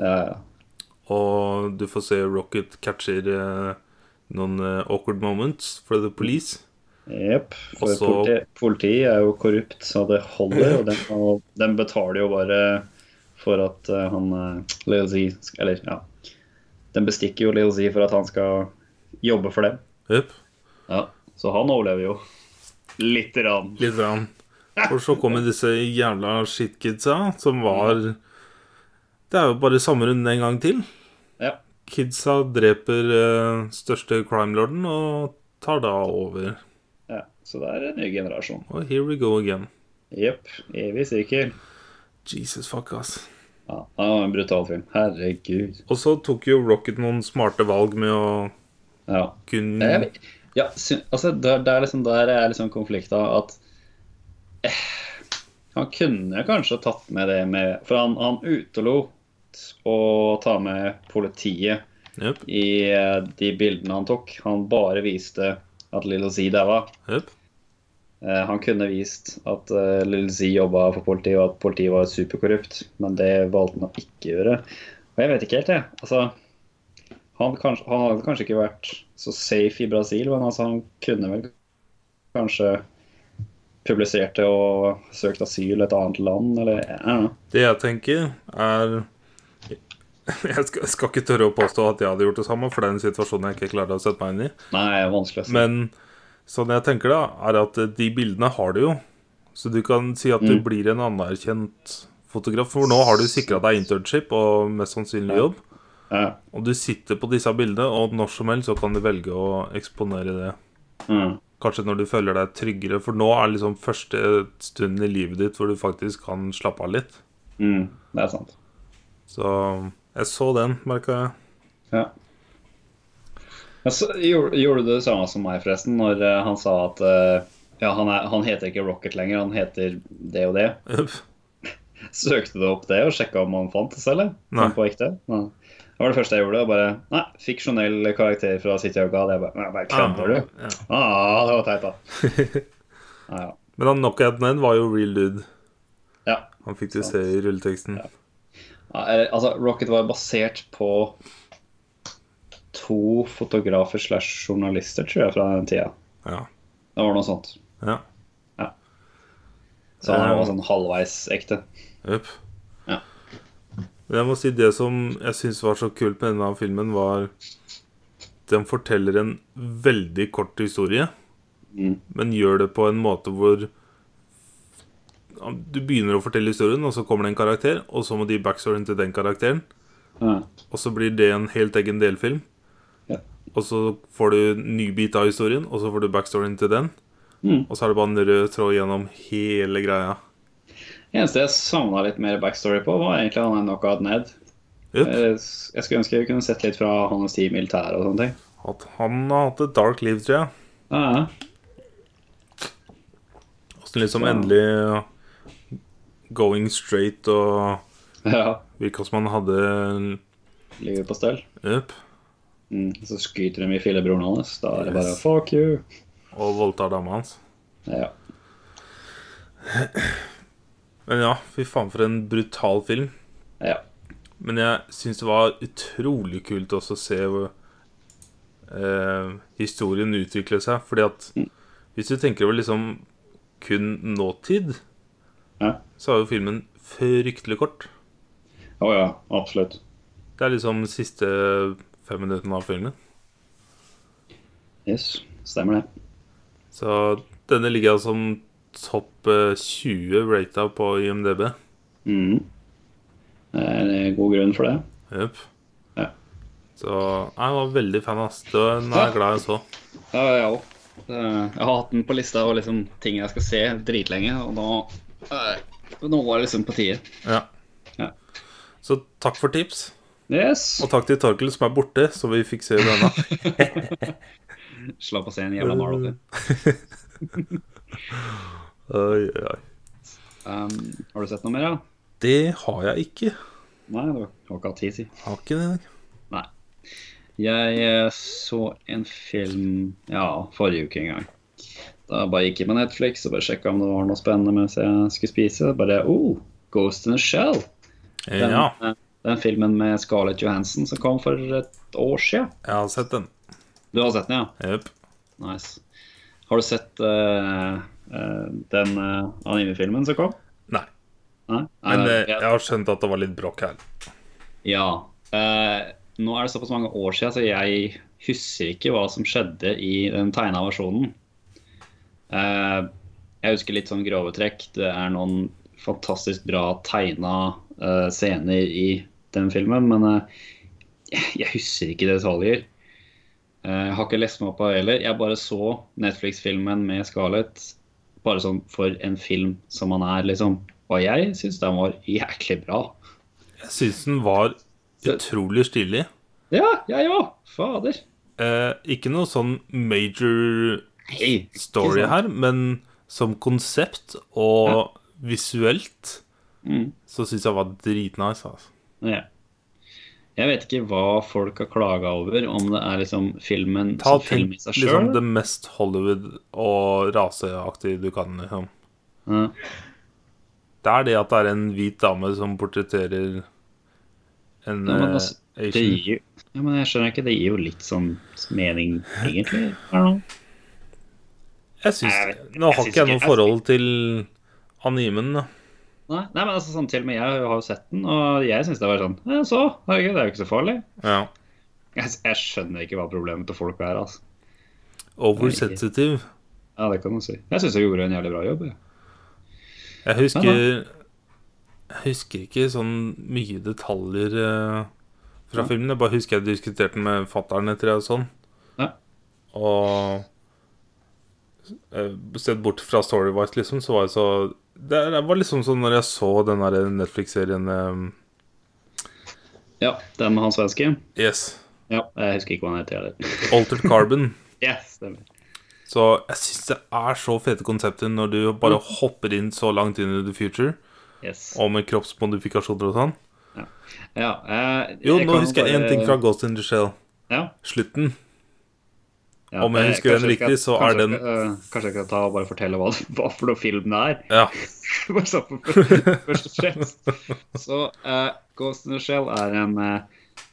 [SPEAKER 2] Ja, ja.
[SPEAKER 1] Og du får se Rocket catcher eh, noen eh, awkward moments for the police.
[SPEAKER 2] Jepp. For
[SPEAKER 1] Også-
[SPEAKER 2] politi, politiet er jo korrupt, så det holder. Og den, og den betaler jo bare for at eh, han eh, Lil Z sk- Eller, ja. Den bestikker jo Lil Z for at han skal jobbe for dem.
[SPEAKER 1] Jep,
[SPEAKER 2] Ja. Så han overlever jo. Lite grann.
[SPEAKER 1] litt rann. Og så kommer disse jævla shitkidsa, som var Det er jo bare samme runden en gang til.
[SPEAKER 2] Ja.
[SPEAKER 1] Kidsa dreper eh, største crimelorden og tar da over.
[SPEAKER 2] ja. Så det er en ny generasjon.
[SPEAKER 1] Og here we go again.
[SPEAKER 2] Jepp. Evig sirkel.
[SPEAKER 1] Jesus fuck, ass.
[SPEAKER 2] Ja, det var en brutal film. Herregud.
[SPEAKER 1] Og så tok jo Rocket noen smarte valg med å
[SPEAKER 2] Ja.
[SPEAKER 1] kunne
[SPEAKER 2] Jeg vet- Eh, Ja, syn- altså, det, er- det er liksom der er liksom konflikta at eh, Han kunne kanskje tatt med det med For han, han utelot å ta med politiet
[SPEAKER 1] Jep,
[SPEAKER 2] i eh, de bildene han tok. Han bare viste at Lille Z daua.
[SPEAKER 1] jep.
[SPEAKER 2] Eh, Han kunne vist at eh, Lil Z jobba for politiet, og at politiet var superkorrupt, men det valgte han å ikke gjøre. Og jeg vet ikke helt, jeg. Altså, han, kanskje, han hadde kanskje ikke vært så safe i Brasil, men altså, han kunne vel kanskje publisert det og søkt asyl i et annet land, eller jeg vet ikke.
[SPEAKER 1] Det jeg tenker, er *laughs* jeg skal, jeg skal ikke tørre å påstå at jeg hadde gjort det samme, for det er en situasjon jeg ikke klarte å sette meg inn i.
[SPEAKER 2] Nei, det er vanskelig å si.
[SPEAKER 1] Men sånn jeg tenker da, er at de bildene har du jo. Så du kan si at du
[SPEAKER 2] Mm.
[SPEAKER 1] blir en anerkjent fotograf. For nå har du sikra deg internship og mest sannsynlig jobb.
[SPEAKER 2] Ja,
[SPEAKER 1] Og du sitter på disse bildene, og når som helst så kan du velge å eksponere det.
[SPEAKER 2] mm,
[SPEAKER 1] Kanskje når du føler deg tryggere, for nå er liksom første stunden i livet ditt hvor du faktisk kan slappe av litt.
[SPEAKER 2] mm, det er sant.
[SPEAKER 1] Så jeg så den, merka jeg.
[SPEAKER 2] Ja. Ja, så gjorde, gjorde du det samme som meg, forresten, når eh, han sa at eh, ja, han, er, han heter ikke Rocket lenger, han heter det og det.
[SPEAKER 1] Uff.
[SPEAKER 2] Søkte du opp det og sjekka om han fantes, eller?
[SPEAKER 1] Nei.
[SPEAKER 2] Om På ekte? Nei. Det var det første jeg gjorde. og bare, Nei, fiksjonell karakter fra City of God. Jeg bare, nei, bare kødder du?
[SPEAKER 1] Ja.
[SPEAKER 2] Ah, det var teit, da. Ja, ja.
[SPEAKER 1] Men han knockouten den var jo real dude.
[SPEAKER 2] ja.
[SPEAKER 1] Han fikk du se i rulleteksten.
[SPEAKER 2] Ja, eller, altså, Rocket var basert på to fotografer slash journalister, tror jeg, fra den tida.
[SPEAKER 1] Ja.
[SPEAKER 2] Det var noe sånt.
[SPEAKER 1] ja.
[SPEAKER 2] Så han var sånn halvveis ekte.
[SPEAKER 1] Jepp.
[SPEAKER 2] Ja.
[SPEAKER 1] Men jeg må si det som jeg syns var så kult med denne filmen, var Den forteller en veldig kort historie,
[SPEAKER 2] Mm.
[SPEAKER 1] men gjør det på en måte hvor du begynner å fortelle historien, og så kommer det en karakter, og så må de backstoryen til den karakteren,
[SPEAKER 2] Ja.
[SPEAKER 1] og så blir det en helt egen delfilm.
[SPEAKER 2] Ja.
[SPEAKER 1] Og så får du en ny bit av historien, og så får du backstoryen til den.
[SPEAKER 2] Mm.
[SPEAKER 1] Og så er det bare en rød tråd gjennom hele greia.
[SPEAKER 2] Eneste jeg savna litt mer backstory på, var egentlig han er knockout ned.
[SPEAKER 1] Jepp.
[SPEAKER 2] Eh, s- Jeg skulle ønske jeg kunne sett litt fra hans tid i militæret og sånne ting.
[SPEAKER 1] At han har hatt et dark liv, tror jeg.
[SPEAKER 2] Ja, ja.
[SPEAKER 1] Åssen liksom
[SPEAKER 2] Ja.
[SPEAKER 1] endelig going straight og
[SPEAKER 2] ja.
[SPEAKER 1] virka som han hadde
[SPEAKER 2] Livet på stell.
[SPEAKER 1] up
[SPEAKER 2] Mm. Så skyter de i fillebroren hans. Da er det bare
[SPEAKER 1] Yes.
[SPEAKER 2] fuck you.
[SPEAKER 1] og voldtar dama hans.
[SPEAKER 2] Ja.
[SPEAKER 1] Men ja, fy faen for en brutal film.
[SPEAKER 2] ja.
[SPEAKER 1] Men jeg syns det var utrolig kult også å se eh, historien utvikle seg. Fordi at
[SPEAKER 2] Mm.
[SPEAKER 1] hvis du tenker over liksom kun nåtid,
[SPEAKER 2] Ja.
[SPEAKER 1] så er jo filmen fryktelig kort.
[SPEAKER 2] Å ja, absolutt.
[SPEAKER 1] Det er liksom siste fem minuttene av filmen.
[SPEAKER 2] Yes, stemmer det.
[SPEAKER 1] Så denne ligger altså som topp eh, 20 rata på IMDb.
[SPEAKER 2] Mm. Det er en god grunn for det.
[SPEAKER 1] Jøp.
[SPEAKER 2] Ja.
[SPEAKER 1] Så jeg var veldig fan, ass. Det var en jeg er glad jeg så.
[SPEAKER 2] Ja, jeg òg. Jeg har hatt den på lista og liksom ting jeg skal se dritlenge, og nå eh, Nå var det liksom på tide.
[SPEAKER 1] Ja.
[SPEAKER 2] Ja.
[SPEAKER 1] Så takk for tips.
[SPEAKER 2] Yes.
[SPEAKER 1] Og takk til Torkel som er borte, så vi fikk se
[SPEAKER 2] *laughs*
[SPEAKER 1] denne.
[SPEAKER 2] Slapp å se en jævla malåte.
[SPEAKER 1] Oi, oi, oi.
[SPEAKER 2] Um, har du sett noe mer, da?
[SPEAKER 1] Det har jeg ikke.
[SPEAKER 2] Nei, du har ikke hatt tid, si.
[SPEAKER 1] Jeg Har ikke det.
[SPEAKER 2] Nei. Jeg eh, så en film ja, forrige uke en gang. Da bare gikk jeg på Netflix og bare sjekka om det var noe spennende mens jeg skulle spise. Bare oh, Ghost in a Shell. Den,
[SPEAKER 1] ja,
[SPEAKER 2] eh, den filmen med Scarlett Johansen som kom for et år siden.
[SPEAKER 1] jeg har sett den.
[SPEAKER 2] Du har sett den, ja?
[SPEAKER 1] Jep.
[SPEAKER 2] Nice. Har du sett eh, eh, den eh, animefilmen som kom?
[SPEAKER 1] Nei.
[SPEAKER 2] Nei?
[SPEAKER 1] Men
[SPEAKER 2] Eh,
[SPEAKER 1] eh, jeg har skjønt at det var litt bråk her.
[SPEAKER 2] Ja. eh, nå er det såpass mange år siden, så jeg husker ikke hva som skjedde i den tegna versjonen. Eh, jeg husker litt sånn grove trekk. Det er noen fantastisk bra tegna eh, scener i den filmen, men eh, jeg husker ikke detaljer. Eh, jeg har ikke lest meg opp av det heller. Jeg bare så Netflix-filmen med Scarlett bare sånn for en film som han er, liksom. Og jeg syns den var jæklig bra.
[SPEAKER 1] Jeg syns den var utrolig stilig.
[SPEAKER 2] Ja, jeg òg. Fader.
[SPEAKER 1] Eh, ikke noe sånn major
[SPEAKER 2] Hei.
[SPEAKER 1] story
[SPEAKER 2] Ikke sant?
[SPEAKER 1] her, men som konsept og visuelt
[SPEAKER 2] Mm.
[SPEAKER 1] så syns jeg var dritnice. Altså.
[SPEAKER 2] Ja. Jeg vet ikke hva folk har klaga over, om det er liksom filmen
[SPEAKER 1] Ta
[SPEAKER 2] som
[SPEAKER 1] til
[SPEAKER 2] film i seg sjøl.
[SPEAKER 1] liksom det mest Hollywood og raseaktige du kan. Liksom.
[SPEAKER 2] Ja.
[SPEAKER 1] Det er det at det er en hvit dame som portretterer en
[SPEAKER 2] Ja, men
[SPEAKER 1] eh,
[SPEAKER 2] altså, Det
[SPEAKER 1] Asian.
[SPEAKER 2] gir jo ja, men jeg skjønner ikke, det gir jo litt sånn mening, egentlig. Er det
[SPEAKER 1] Jeg
[SPEAKER 2] Jeg
[SPEAKER 1] syns
[SPEAKER 2] vet-
[SPEAKER 1] Nå
[SPEAKER 2] jeg
[SPEAKER 1] har
[SPEAKER 2] syns
[SPEAKER 1] ikke jeg
[SPEAKER 2] ikke-
[SPEAKER 1] noe forhold til animen, da.
[SPEAKER 2] Nei, nei, men altså sånn til og med jeg har jo sett den, og jeg syns det var sånn Ja, så, herregud, det er jo ikke så farlig.
[SPEAKER 1] Ja.
[SPEAKER 2] Jeg, jeg skjønner ikke hva problemet til folk er, altså.
[SPEAKER 1] Oversensitive.
[SPEAKER 2] Ja, det kan du si. Jeg syns jeg gjorde en jævlig bra jobb, jeg.
[SPEAKER 1] Jeg husker Jeg husker ikke sånn mye detaljer eh, fra
[SPEAKER 2] Ja.
[SPEAKER 1] filmen. Jeg bare husker jeg diskuterte den med fattern etter det og sånn.
[SPEAKER 2] Ja.
[SPEAKER 1] Og eh, sett bort fra Storywise, liksom, så var jeg så Det er- det var liksom sånn når jeg så den der Netflix-serien
[SPEAKER 2] Ja, den med han svensken.
[SPEAKER 1] eh, Yes,
[SPEAKER 2] Ja, jeg husker ikke hva han heter heller.
[SPEAKER 1] Altered Carbon.
[SPEAKER 2] *laughs* Yes, stemmer.
[SPEAKER 1] Så jeg syns det er så fete konsepter når du bare
[SPEAKER 2] Mm.
[SPEAKER 1] hopper inn så langt inn i the future,
[SPEAKER 2] Yes.
[SPEAKER 1] og med kroppsmodifikasjoner og sånn.
[SPEAKER 2] Ja, eh,
[SPEAKER 1] Jo, nå
[SPEAKER 2] kan
[SPEAKER 1] husker jeg
[SPEAKER 2] bare-
[SPEAKER 1] én ting fra Ghost in the Shell.
[SPEAKER 2] ja,
[SPEAKER 1] Slutten.
[SPEAKER 2] ja,
[SPEAKER 1] Om jeg
[SPEAKER 2] eh,
[SPEAKER 1] husker den
[SPEAKER 2] kanskje jeg
[SPEAKER 1] riktig,
[SPEAKER 2] skal-
[SPEAKER 1] så er
[SPEAKER 2] kanskje
[SPEAKER 1] den-
[SPEAKER 2] jeg skal- eh, Kanskje jeg skal ta og bare fortelle hva, *laughs* hva for noe film det er. *laughs*
[SPEAKER 1] Ja.
[SPEAKER 2] Bare sånn for- Først og fremst. Så eh, Ghost in the Shell er en eh,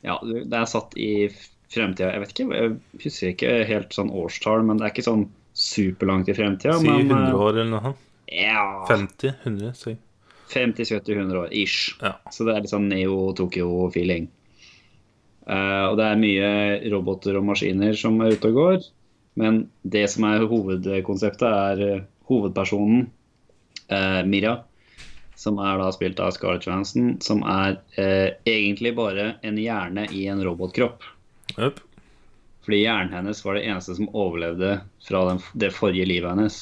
[SPEAKER 2] Ja, du- det er satt i fremtida. Jeg vet ikke, jeg husker ikke helt sånn årstall, men det er ikke sånn superlangt i fremtida.
[SPEAKER 1] Si
[SPEAKER 2] men, eh,
[SPEAKER 1] 100 år eller noe. sånt.
[SPEAKER 2] Ja,
[SPEAKER 1] 50? 100? Si.
[SPEAKER 2] 50-70-100 år ish.
[SPEAKER 1] Ja.
[SPEAKER 2] Så det er litt sånn neo-Tokyo-feeling. Eh, og det er mye roboter og maskiner som er ute og går. Men det som er hovedkonseptet, er eh, hovedpersonen, eh, Mira, som er da spilt av Scarlett Johansson, som er eh, egentlig bare en hjerne i en robotkropp.
[SPEAKER 1] Jøp.
[SPEAKER 2] Fordi hjernen hennes var det eneste som overlevde fra den, det forrige livet hennes.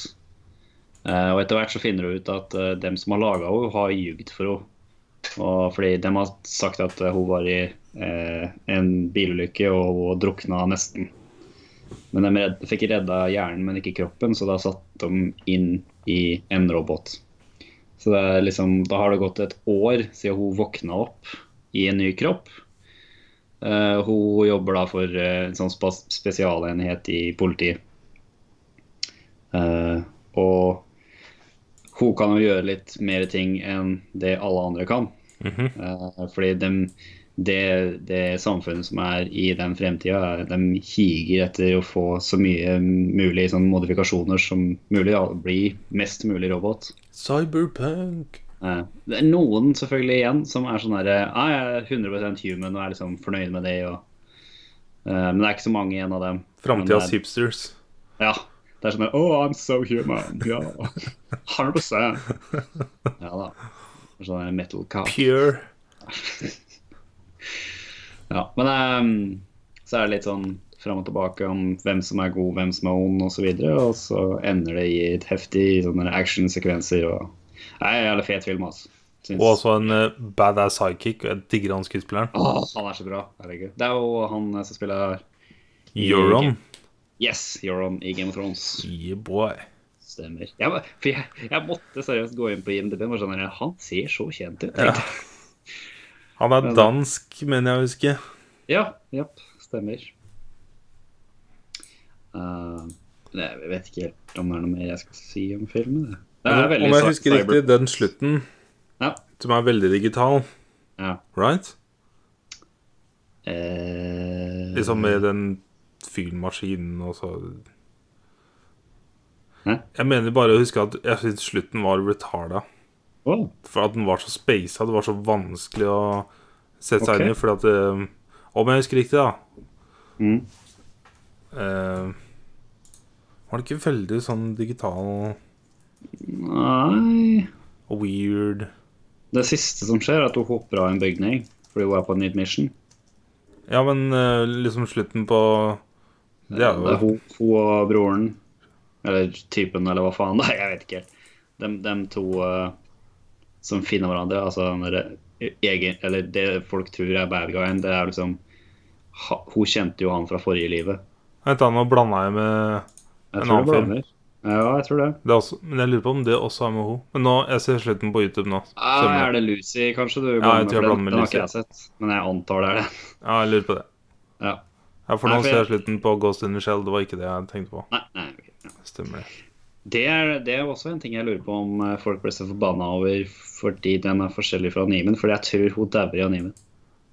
[SPEAKER 2] Eh, og etter hvert så finner hun ut at eh, dem som har laga henne, har ljugd for henne. Og fordi de har sagt at eh, hun var i eh, en bilulykke og hun drukna nesten. Men de redd, fikk redda hjernen, men ikke kroppen, så da satt de inn i en robot. Så det er liksom, da har det gått et år siden hun våkna opp i en ny kropp. Eh, hun jobber da for eh, en sånn spas- spesialenhet i politiet. Eh, og hun kan jo gjøre litt mer ting enn det alle andre kan.
[SPEAKER 1] Mhm.
[SPEAKER 2] Eh, fordi dem- det, det samfunnet som er i den fremtida, de higer etter å få så mye mulig sånn modifikasjoner som mulig. Da, bli mest mulig robot.
[SPEAKER 1] Cyberpunk.
[SPEAKER 2] Eh, Det er noen selvfølgelig igjen som er sånn derre ah, Jeg er 100 human og er liksom fornøyd med det. Og, eh, men det er ikke så mange igjen av dem.
[SPEAKER 1] Framtidas
[SPEAKER 2] Men det
[SPEAKER 1] hipsters.
[SPEAKER 2] er- Ja. Det er sånn der, Oh, I'm so human. Ja. 100 Ja da. Det er Sånn der metal cow.
[SPEAKER 1] Pure.
[SPEAKER 2] Ja, men ehm, så er det litt sånn fram og tilbake om hvem som er god, hvem som er ond osv. Og så ender det i et heftig sånn sånne actionsekvenser og Nei, jævlig fet film, altså. Syns-
[SPEAKER 1] Og også en eh, badass sidekick. og Jeg digger han skuespilleren.
[SPEAKER 2] Åh, han er så bra. Herregud. Det er jo han som spiller
[SPEAKER 1] Euron.
[SPEAKER 2] Yes, Euron i Game of Thrones.
[SPEAKER 1] Yeah, boy.
[SPEAKER 2] Stemmer. Jeg, var- for jeg, jeg måtte seriøst gå inn på IMDb og bare sånn Han ser så kjent ut.
[SPEAKER 1] Ja.
[SPEAKER 2] tenkte jeg.
[SPEAKER 1] Han er dansk, mener jeg å huske.
[SPEAKER 2] Ja, japp, stemmer. Eh, nei, jeg vet ikke helt vet om det er noe mer jeg skal si om filmen. Det, det er
[SPEAKER 1] Om
[SPEAKER 2] veldig
[SPEAKER 1] jeg
[SPEAKER 2] cy-
[SPEAKER 1] husker
[SPEAKER 2] cyber-
[SPEAKER 1] riktig, den slutten
[SPEAKER 2] Ja.
[SPEAKER 1] som er veldig digital,
[SPEAKER 2] ja.
[SPEAKER 1] right?
[SPEAKER 2] Eh,
[SPEAKER 1] Liksom med den fylmaskinen og så
[SPEAKER 2] Hæ?
[SPEAKER 1] Jeg mener bare å huske at jeg syns slutten var retarda.
[SPEAKER 2] åh,
[SPEAKER 1] For at den var så spasa, det var så vanskelig å sette seg
[SPEAKER 2] Ok.
[SPEAKER 1] inn i. Fordi at eh, Om jeg husker riktig, da
[SPEAKER 2] Mm.
[SPEAKER 1] eh, Var det ikke veldig sånn digital
[SPEAKER 2] Nei
[SPEAKER 1] og weird
[SPEAKER 2] Det siste som skjer, er at hun hopper av en bygning fordi hun er på en nytt mission.
[SPEAKER 1] Ja, men eh, liksom slutten på Det er
[SPEAKER 2] Det er
[SPEAKER 1] jo
[SPEAKER 2] hun, hun og broren, eller typen, eller hva faen *laughs* det er, jeg vet ikke helt. Dem, dem to eh, som finner hverandre, altså den derre egen, eller det folk tror er bad guyen, det er liksom ha, Hun kjente jo han fra forrige livet.
[SPEAKER 1] Vent, da, nå blanda jeg med
[SPEAKER 2] Jeg
[SPEAKER 1] En
[SPEAKER 2] tror det
[SPEAKER 1] annen
[SPEAKER 2] blander. Ja, jeg tror det.
[SPEAKER 1] det er også, Men jeg lurer på om det også er med ho. Men nå, jeg ser slutten på YouTube nå.
[SPEAKER 2] Ah,
[SPEAKER 1] Stemmer.
[SPEAKER 2] er det Lucy, kanskje? du
[SPEAKER 1] jeg
[SPEAKER 2] blander,
[SPEAKER 1] tror jeg
[SPEAKER 2] for
[SPEAKER 1] blander med
[SPEAKER 2] den, den har ikke jeg sett, men jeg antar det *laughs* er den.
[SPEAKER 1] Ja, jeg lurer på det.
[SPEAKER 2] Ja.
[SPEAKER 1] Ja, For
[SPEAKER 2] Nei,
[SPEAKER 1] nå
[SPEAKER 2] for
[SPEAKER 1] ser jeg
[SPEAKER 2] jeg-
[SPEAKER 1] slutten på Ghost in the Shell. Det var ikke det jeg tenkte på.
[SPEAKER 2] Nei, nei, ok. ja.
[SPEAKER 1] Stemmer det.
[SPEAKER 2] Det er, det er også en ting jeg lurer på om eh, folk ble så forbanna over fordi den er forskjellig fra Nimen. Fordi jeg tror hun dauer i Nimen.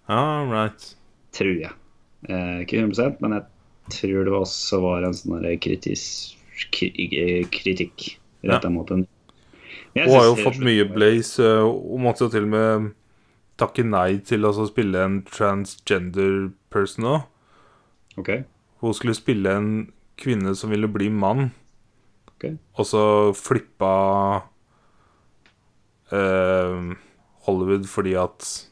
[SPEAKER 1] Ja, right.
[SPEAKER 2] Tror jeg. Eh, ikke 100 men jeg tror det også var en sånn der kritis, kri, eh, kritikk
[SPEAKER 1] Ja.
[SPEAKER 2] retta mot den. Men jeg
[SPEAKER 1] Hun har jo
[SPEAKER 2] synes det-
[SPEAKER 1] fått mye blaze. øh, Hun måtte jo til og med takke nei til å spille en transgender person òg.
[SPEAKER 2] Ok,
[SPEAKER 1] Hun skulle spille en kvinne som ville bli mann,
[SPEAKER 2] ok.
[SPEAKER 1] og så flippa øh, Hollywood fordi at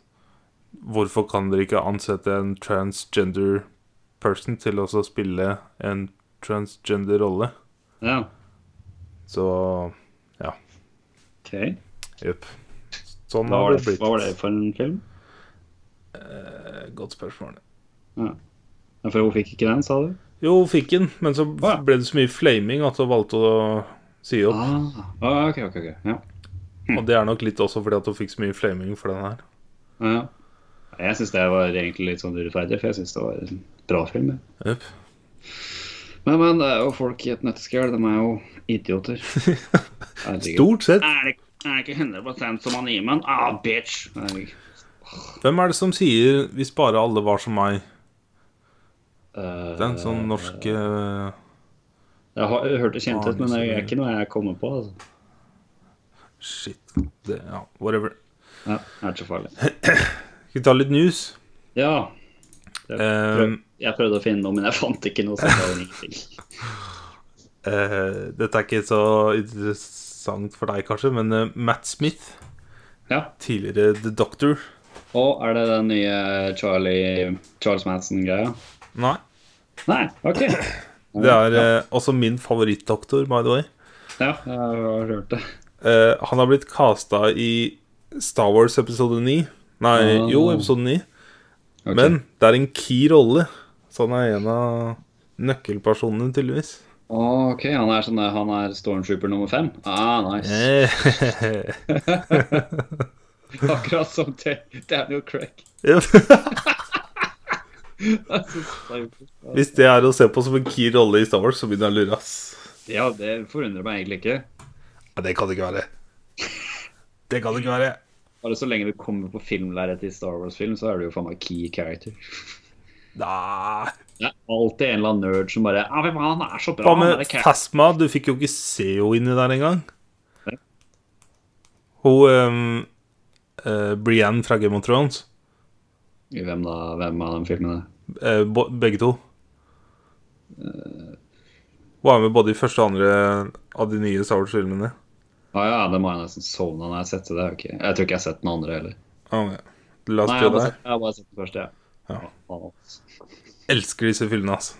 [SPEAKER 1] Hvorfor kan dere ikke ansette en transgender person til å så spille en transgender rolle?
[SPEAKER 2] Ja,
[SPEAKER 1] Så
[SPEAKER 2] ok.
[SPEAKER 1] jepp. Sånn
[SPEAKER 2] Hva
[SPEAKER 1] har
[SPEAKER 2] var,
[SPEAKER 1] det
[SPEAKER 2] det,
[SPEAKER 1] blitt.
[SPEAKER 2] hva var det for en film?
[SPEAKER 1] Eh, Godt spørsmål.
[SPEAKER 2] Ja, For hun fikk ikke den, sa du?
[SPEAKER 1] Jo, hun fikk den, men så
[SPEAKER 2] ja.
[SPEAKER 1] ble det så mye flaming at hun valgte å si opp.
[SPEAKER 2] Ah, ah, ok, ok, ok. Ja.
[SPEAKER 1] Og det er nok litt også fordi at hun fikk så mye flaming for den her.
[SPEAKER 2] Ja. Jeg syns det var egentlig litt sånn urettferdig, for jeg syns det var en bra film. jeg.
[SPEAKER 1] Jep.
[SPEAKER 2] Men, men det er jo folk i et nøtteskall. De er jo
[SPEAKER 1] *laughs*
[SPEAKER 2] idioter. Herregud.
[SPEAKER 1] Stort sett.
[SPEAKER 2] Er det, er det ikke 100 som han gir meg en? Ah, bitch! Herregud.
[SPEAKER 1] Hvem er det som sier 'hvis bare alle var som meg'?
[SPEAKER 2] Eh,
[SPEAKER 1] Det er en sånn norsk eh,
[SPEAKER 2] Jeg har jeg hørte kjent ut, men det er ikke noe jeg kommer på. Altså.
[SPEAKER 1] Shit. Det, ja, whatever.
[SPEAKER 2] Ja, det er ikke så farlig.
[SPEAKER 1] Skal vi ta litt news?
[SPEAKER 2] Ja.
[SPEAKER 1] Eh,
[SPEAKER 2] Jeg prøvde å finne noe, men jeg fant ikke noe. Så jeg har ingenting.
[SPEAKER 1] eh, dette er ikke så interessant for deg, kanskje, men eh, Matt Smith,
[SPEAKER 2] Ja.
[SPEAKER 1] tidligere The Doctor
[SPEAKER 2] Og er det den nye Charlie, Charles Manson-greia?
[SPEAKER 1] Nei.
[SPEAKER 2] Nei, OK.
[SPEAKER 1] Det er eh, også min favorittdoktor, by the way.
[SPEAKER 2] Ja, jeg har hørt det.
[SPEAKER 1] Eh, han har blitt casta i Star Wars episode 9. Nei,
[SPEAKER 2] Ah.
[SPEAKER 1] jo, episode 9.
[SPEAKER 2] Ok.
[SPEAKER 1] Men det er en key rolle, så han er en av nøkkelpersonene, tydeligvis.
[SPEAKER 2] Å, Ok, han er, sånn, der- han er stormtrooper nummer fem? Ah, nice.
[SPEAKER 1] Eh, *laughs*
[SPEAKER 2] *laughs* Akkurat som til Daniel Craig.
[SPEAKER 1] ja.
[SPEAKER 2] Jeg synes det er jo-
[SPEAKER 1] Hvis det er å se på som en key rolle i Star Wars, så begynner jeg å lure, ass.
[SPEAKER 2] Ja, det forundrer meg egentlig ikke.
[SPEAKER 1] Ja, det kan det ikke være. Det kan det ikke være.
[SPEAKER 2] Bare så lenge du kommer på filmlerret i Star Wars-film, så er du jo faen meg key character.
[SPEAKER 1] Nei
[SPEAKER 2] Det er alltid en eller annen nerd som bare Ja, men han er så bra,
[SPEAKER 1] Hva
[SPEAKER 2] han er
[SPEAKER 1] med
[SPEAKER 2] det character.
[SPEAKER 1] Phasma? Du fikk jo ikke se henne inni der engang. Hun ehm, eh, Brienne fra Game of Thrones.
[SPEAKER 2] Hvem da? Hvem av de filmene?
[SPEAKER 1] Eh, bo- begge to. Hun er med både i første og andre av de nye Star Wars-filmene.
[SPEAKER 2] Å ja, det må jeg nesten sovne når jeg setter det. ok. Jeg tror ikke jeg har sett den andre heller.
[SPEAKER 1] Ah, ja. The Last
[SPEAKER 2] Nei, jeg
[SPEAKER 1] Jedi.
[SPEAKER 2] har bare sett, jeg har bare sett den første, ja.
[SPEAKER 1] Ja.
[SPEAKER 2] Faen, altså. ass.
[SPEAKER 1] Elsker disse filmene, altså.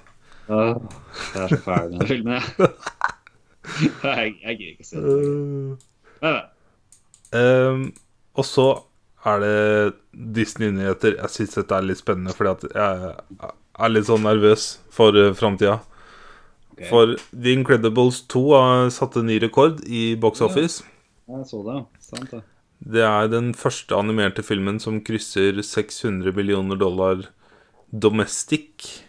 [SPEAKER 2] Åh, Jeg er så ferdig med den filmen, jeg. Jeg, jeg gir ikke se den.
[SPEAKER 1] Eh.
[SPEAKER 2] Nei, nei.
[SPEAKER 1] Ehm, og så er det Disney-nyheter. Jeg syns dette er litt spennende, fordi at jeg er litt sånn nervøs for uh, framtida.
[SPEAKER 2] Ok.
[SPEAKER 1] For The Incredibles 2 har satt en ny rekord i box office.
[SPEAKER 2] Jeg så det, ja. Sant det.
[SPEAKER 1] Det er den første animerte filmen som krysser 600 millioner dollar domestic,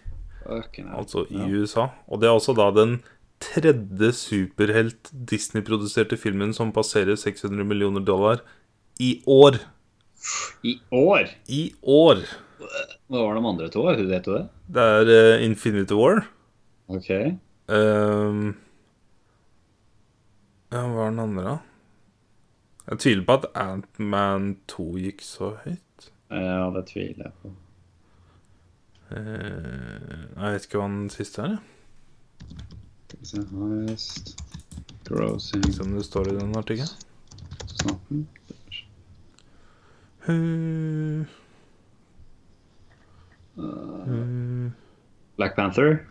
[SPEAKER 2] Fucking hell.
[SPEAKER 1] altså i
[SPEAKER 2] Ja.
[SPEAKER 1] USA. Og det er også da den tredje superhelt Disney-produserte filmen som passerer 600 millioner dollar i år.
[SPEAKER 2] I år?
[SPEAKER 1] I år.
[SPEAKER 2] Hva var de andre to? Vet du det?
[SPEAKER 1] Det er eh, Infinity War.
[SPEAKER 2] Ok.
[SPEAKER 1] Ehm, ja, hva er den andre, da? Jeg tviler på at Ant-Man 2 gikk så høyt.
[SPEAKER 2] Ja, det tviler jeg på.
[SPEAKER 1] Eh, jeg vet ikke hva den siste er. jeg.
[SPEAKER 2] Skal vi se, Highest grossing
[SPEAKER 1] Ikke om det står i den artikkelen.
[SPEAKER 2] 2018.
[SPEAKER 1] Hmm. Hmm.
[SPEAKER 2] Black Panther,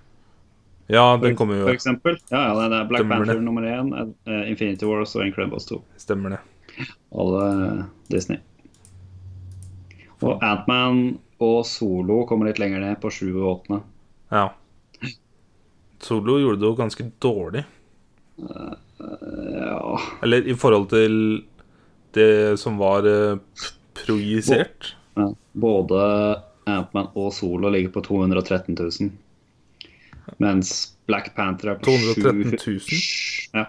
[SPEAKER 1] Ja, den kommer
[SPEAKER 2] for
[SPEAKER 1] jo.
[SPEAKER 2] eksempel. Ja, ja, det er Black
[SPEAKER 1] Stemmer det.
[SPEAKER 2] Panther nummer én, eh, Infinity War og så Incredibles 2.
[SPEAKER 1] Stemmer det.
[SPEAKER 2] Alle eh, Disney. Og Ant-Man og Solo kommer litt lenger ned, på 7 og 8.
[SPEAKER 1] Ja. Solo gjorde det jo ganske dårlig.
[SPEAKER 2] Ja,
[SPEAKER 1] Eller i forhold til det som var eh, p- projisert.
[SPEAKER 2] ja. Både Ant-Man og Solo ligger på 213 000. Mens Black Panther er på
[SPEAKER 1] 213
[SPEAKER 2] 7
[SPEAKER 1] 000.
[SPEAKER 2] Ja.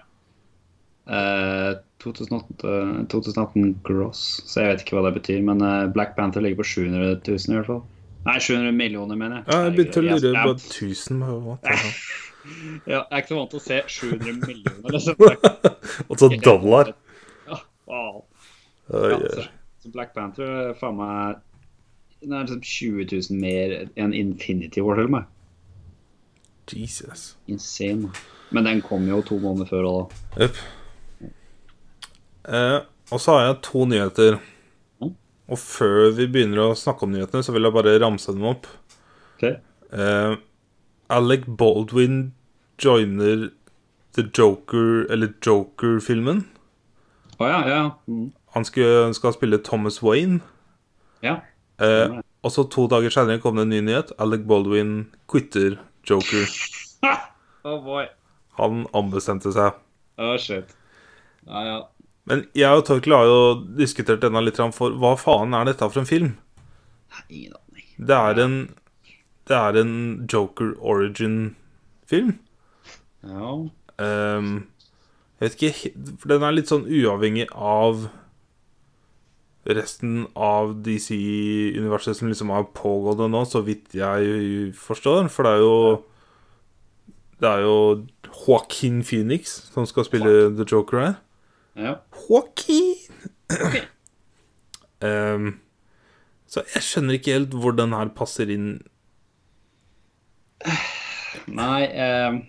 [SPEAKER 2] Eh, 2008, 2018 gross, så jeg vet ikke hva det betyr. Men eh, Black Panther ligger på 700 000 i hvert fall. Nei, 700 millioner, mener jeg.
[SPEAKER 1] Ja, jeg begynte å
[SPEAKER 2] Herregud,
[SPEAKER 1] lure
[SPEAKER 2] jeg-
[SPEAKER 1] på 1000 hva var *laughs* det?
[SPEAKER 2] Ja, jeg er ikke så vant til å se 700
[SPEAKER 1] *laughs*
[SPEAKER 2] millioner, liksom. Det er ikke-
[SPEAKER 1] Og så Altså, dollar.
[SPEAKER 2] Ja, wow.
[SPEAKER 1] Oi,
[SPEAKER 2] Ja,
[SPEAKER 1] oi.
[SPEAKER 2] så, så Black Panther er faen meg den er liksom 20 000 mer enn Infinity War, til og med.
[SPEAKER 1] Jesus.
[SPEAKER 2] Insane. Men den kom jo to måneder før òg, da.
[SPEAKER 1] Jepp. Eh, og så har jeg to nyheter.
[SPEAKER 2] Mm.
[SPEAKER 1] Og før vi begynner å snakke om nyhetene, så vil jeg bare ramse dem opp.
[SPEAKER 2] Ok.
[SPEAKER 1] Eh, Alec Baldwin joiner The Joker, eller Joker-filmen.
[SPEAKER 2] Å ja, ja. Mm.
[SPEAKER 1] Han skal, skal spille Thomas Wayne.
[SPEAKER 2] ja.
[SPEAKER 1] Eh,
[SPEAKER 2] Stemmer det.
[SPEAKER 1] og så to dager senere kom det en ny nyhet. Alec Baldwin quitter Joker.
[SPEAKER 2] Oh boy.
[SPEAKER 1] Han ombestemte seg.
[SPEAKER 2] Oh shit. Ja, ja.
[SPEAKER 1] Men jeg og Torkel har jo diskutert denne litt, grann, for hva faen er dette for en film?
[SPEAKER 2] Nei, Ingen aning.
[SPEAKER 1] Det er en, det er en Joker origin-film.
[SPEAKER 2] Ja.
[SPEAKER 1] Ehm, jeg vet ikke he- For den er litt sånn uavhengig av resten av DC-universet som liksom har pågående nå, så vidt jeg forstår. For det er jo Det er jo Joaquin Phoenix som skal spille The Joker her.
[SPEAKER 2] ja.
[SPEAKER 1] Joaquin! Ehm, så jeg skjønner ikke helt hvor den her passer inn.
[SPEAKER 2] Nei, eh,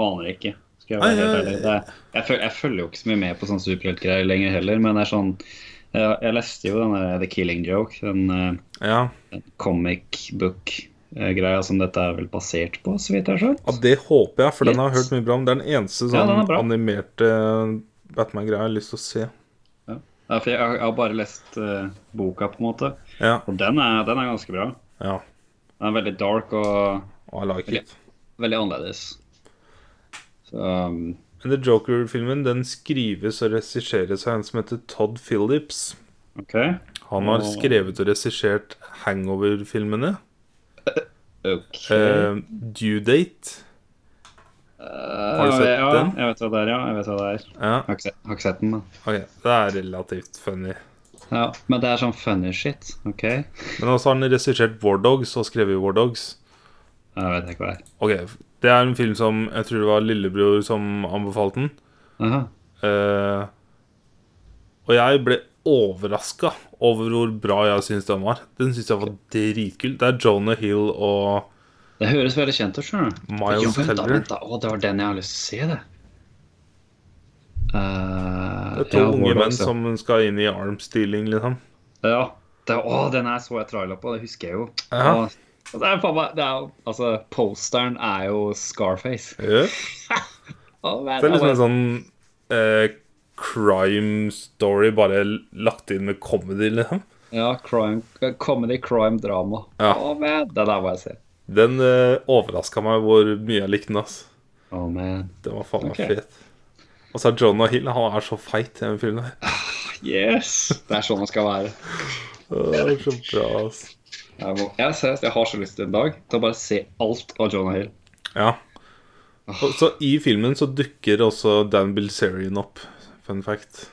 [SPEAKER 2] aner ikke. Skal jeg
[SPEAKER 1] Nei,
[SPEAKER 2] være helt
[SPEAKER 1] jeg-
[SPEAKER 2] ærlig. Det, er- jeg, føl, jeg følger jo ikke så mye med på sånne superheltgreier lenger heller, men det er sånn jeg, jeg leste jo den der The Killing Joke, den eh,
[SPEAKER 1] Ja,
[SPEAKER 2] den comic book-greia som dette er vel basert på, så vidt jeg har skjønt.
[SPEAKER 1] Ja, det håper jeg, for den har jeg hørt mye bra om. Det er den eneste
[SPEAKER 2] Ja,
[SPEAKER 1] sånn
[SPEAKER 2] den er bra.
[SPEAKER 1] animerte Batman-greia jeg har lyst til å se.
[SPEAKER 2] Ja, for jeg, jeg har bare lest eh, boka, på en måte,
[SPEAKER 1] Ja.
[SPEAKER 2] og den er, den er ganske bra.
[SPEAKER 1] ja.
[SPEAKER 2] Den er veldig dark og
[SPEAKER 1] I like it.
[SPEAKER 2] veldig annerledes. Så um,
[SPEAKER 1] Men The Joker-filmen den skrives og regisseres av en som heter Todd Phillips.
[SPEAKER 2] OK.
[SPEAKER 1] Han har
[SPEAKER 2] Åh.
[SPEAKER 1] skrevet og regissert Hangover-filmene.
[SPEAKER 2] ok.
[SPEAKER 1] Eh, Due Date. har du
[SPEAKER 2] Eh,
[SPEAKER 1] sett
[SPEAKER 2] ja,
[SPEAKER 1] den?
[SPEAKER 2] Jeg vet hva det er, ja. Jeg vet hva det er.
[SPEAKER 1] Ja,
[SPEAKER 2] Jeg har ikke sett, har ikke sett den, men.
[SPEAKER 1] ok. Det er relativt funny.
[SPEAKER 2] Ja, men det er sånn funny shit, OK? Jeg
[SPEAKER 1] Men også har han regissert War Dogs og skrevet War Dogs.
[SPEAKER 2] vet ikke hva det er.
[SPEAKER 1] Ok, Det er en film som jeg tror det var lillebror som anbefalte den.
[SPEAKER 2] Aha.
[SPEAKER 1] Eh, og jeg ble overraska over hvor bra jeg syns den var. Den syns jeg var dritkul. Det er Jonah Hill og
[SPEAKER 2] Det høres veldig kjent ut, skjønner du.
[SPEAKER 1] Miles
[SPEAKER 2] jo, vent da,
[SPEAKER 1] Teller.
[SPEAKER 2] vent da. Å, det var den jeg har lyst til å se, det. Eh,
[SPEAKER 1] Det er to
[SPEAKER 2] ja,
[SPEAKER 1] unge
[SPEAKER 2] Warlock,
[SPEAKER 1] menn
[SPEAKER 2] så.
[SPEAKER 1] som skal inn i armstealing, liksom.
[SPEAKER 2] Ja. Det, å, den her så jeg trailer på, det husker jeg jo.
[SPEAKER 1] Ja.
[SPEAKER 2] Og- og det er faen meg det er, jo- Altså, posteren er jo Scarface.
[SPEAKER 1] Ja.
[SPEAKER 2] Å, men,
[SPEAKER 1] Det er liksom en sånn eh, crime story bare lagt inn med comedy, liksom.
[SPEAKER 2] Ja, crime, comedy, crime, drama.
[SPEAKER 1] Ja.
[SPEAKER 2] Å, men, det der må jeg se.
[SPEAKER 1] Den eh, overraska meg hvor mye jeg likte den, ass.
[SPEAKER 2] Å, man.
[SPEAKER 1] Den var faen meg
[SPEAKER 2] Ok.
[SPEAKER 1] fet. Og så er Jonah Hill Han er så feit i den filmen. her.
[SPEAKER 2] Yes! Det er sånn det skal være.
[SPEAKER 1] Åh, det er så bra, ass.
[SPEAKER 2] Jeg, må, jeg, seriøst, jeg har så lyst til en dag til å bare se alt av Jonah Hill.
[SPEAKER 1] Ja. Og så I filmen så dukker også Dan Bilzerian opp. Fun fact.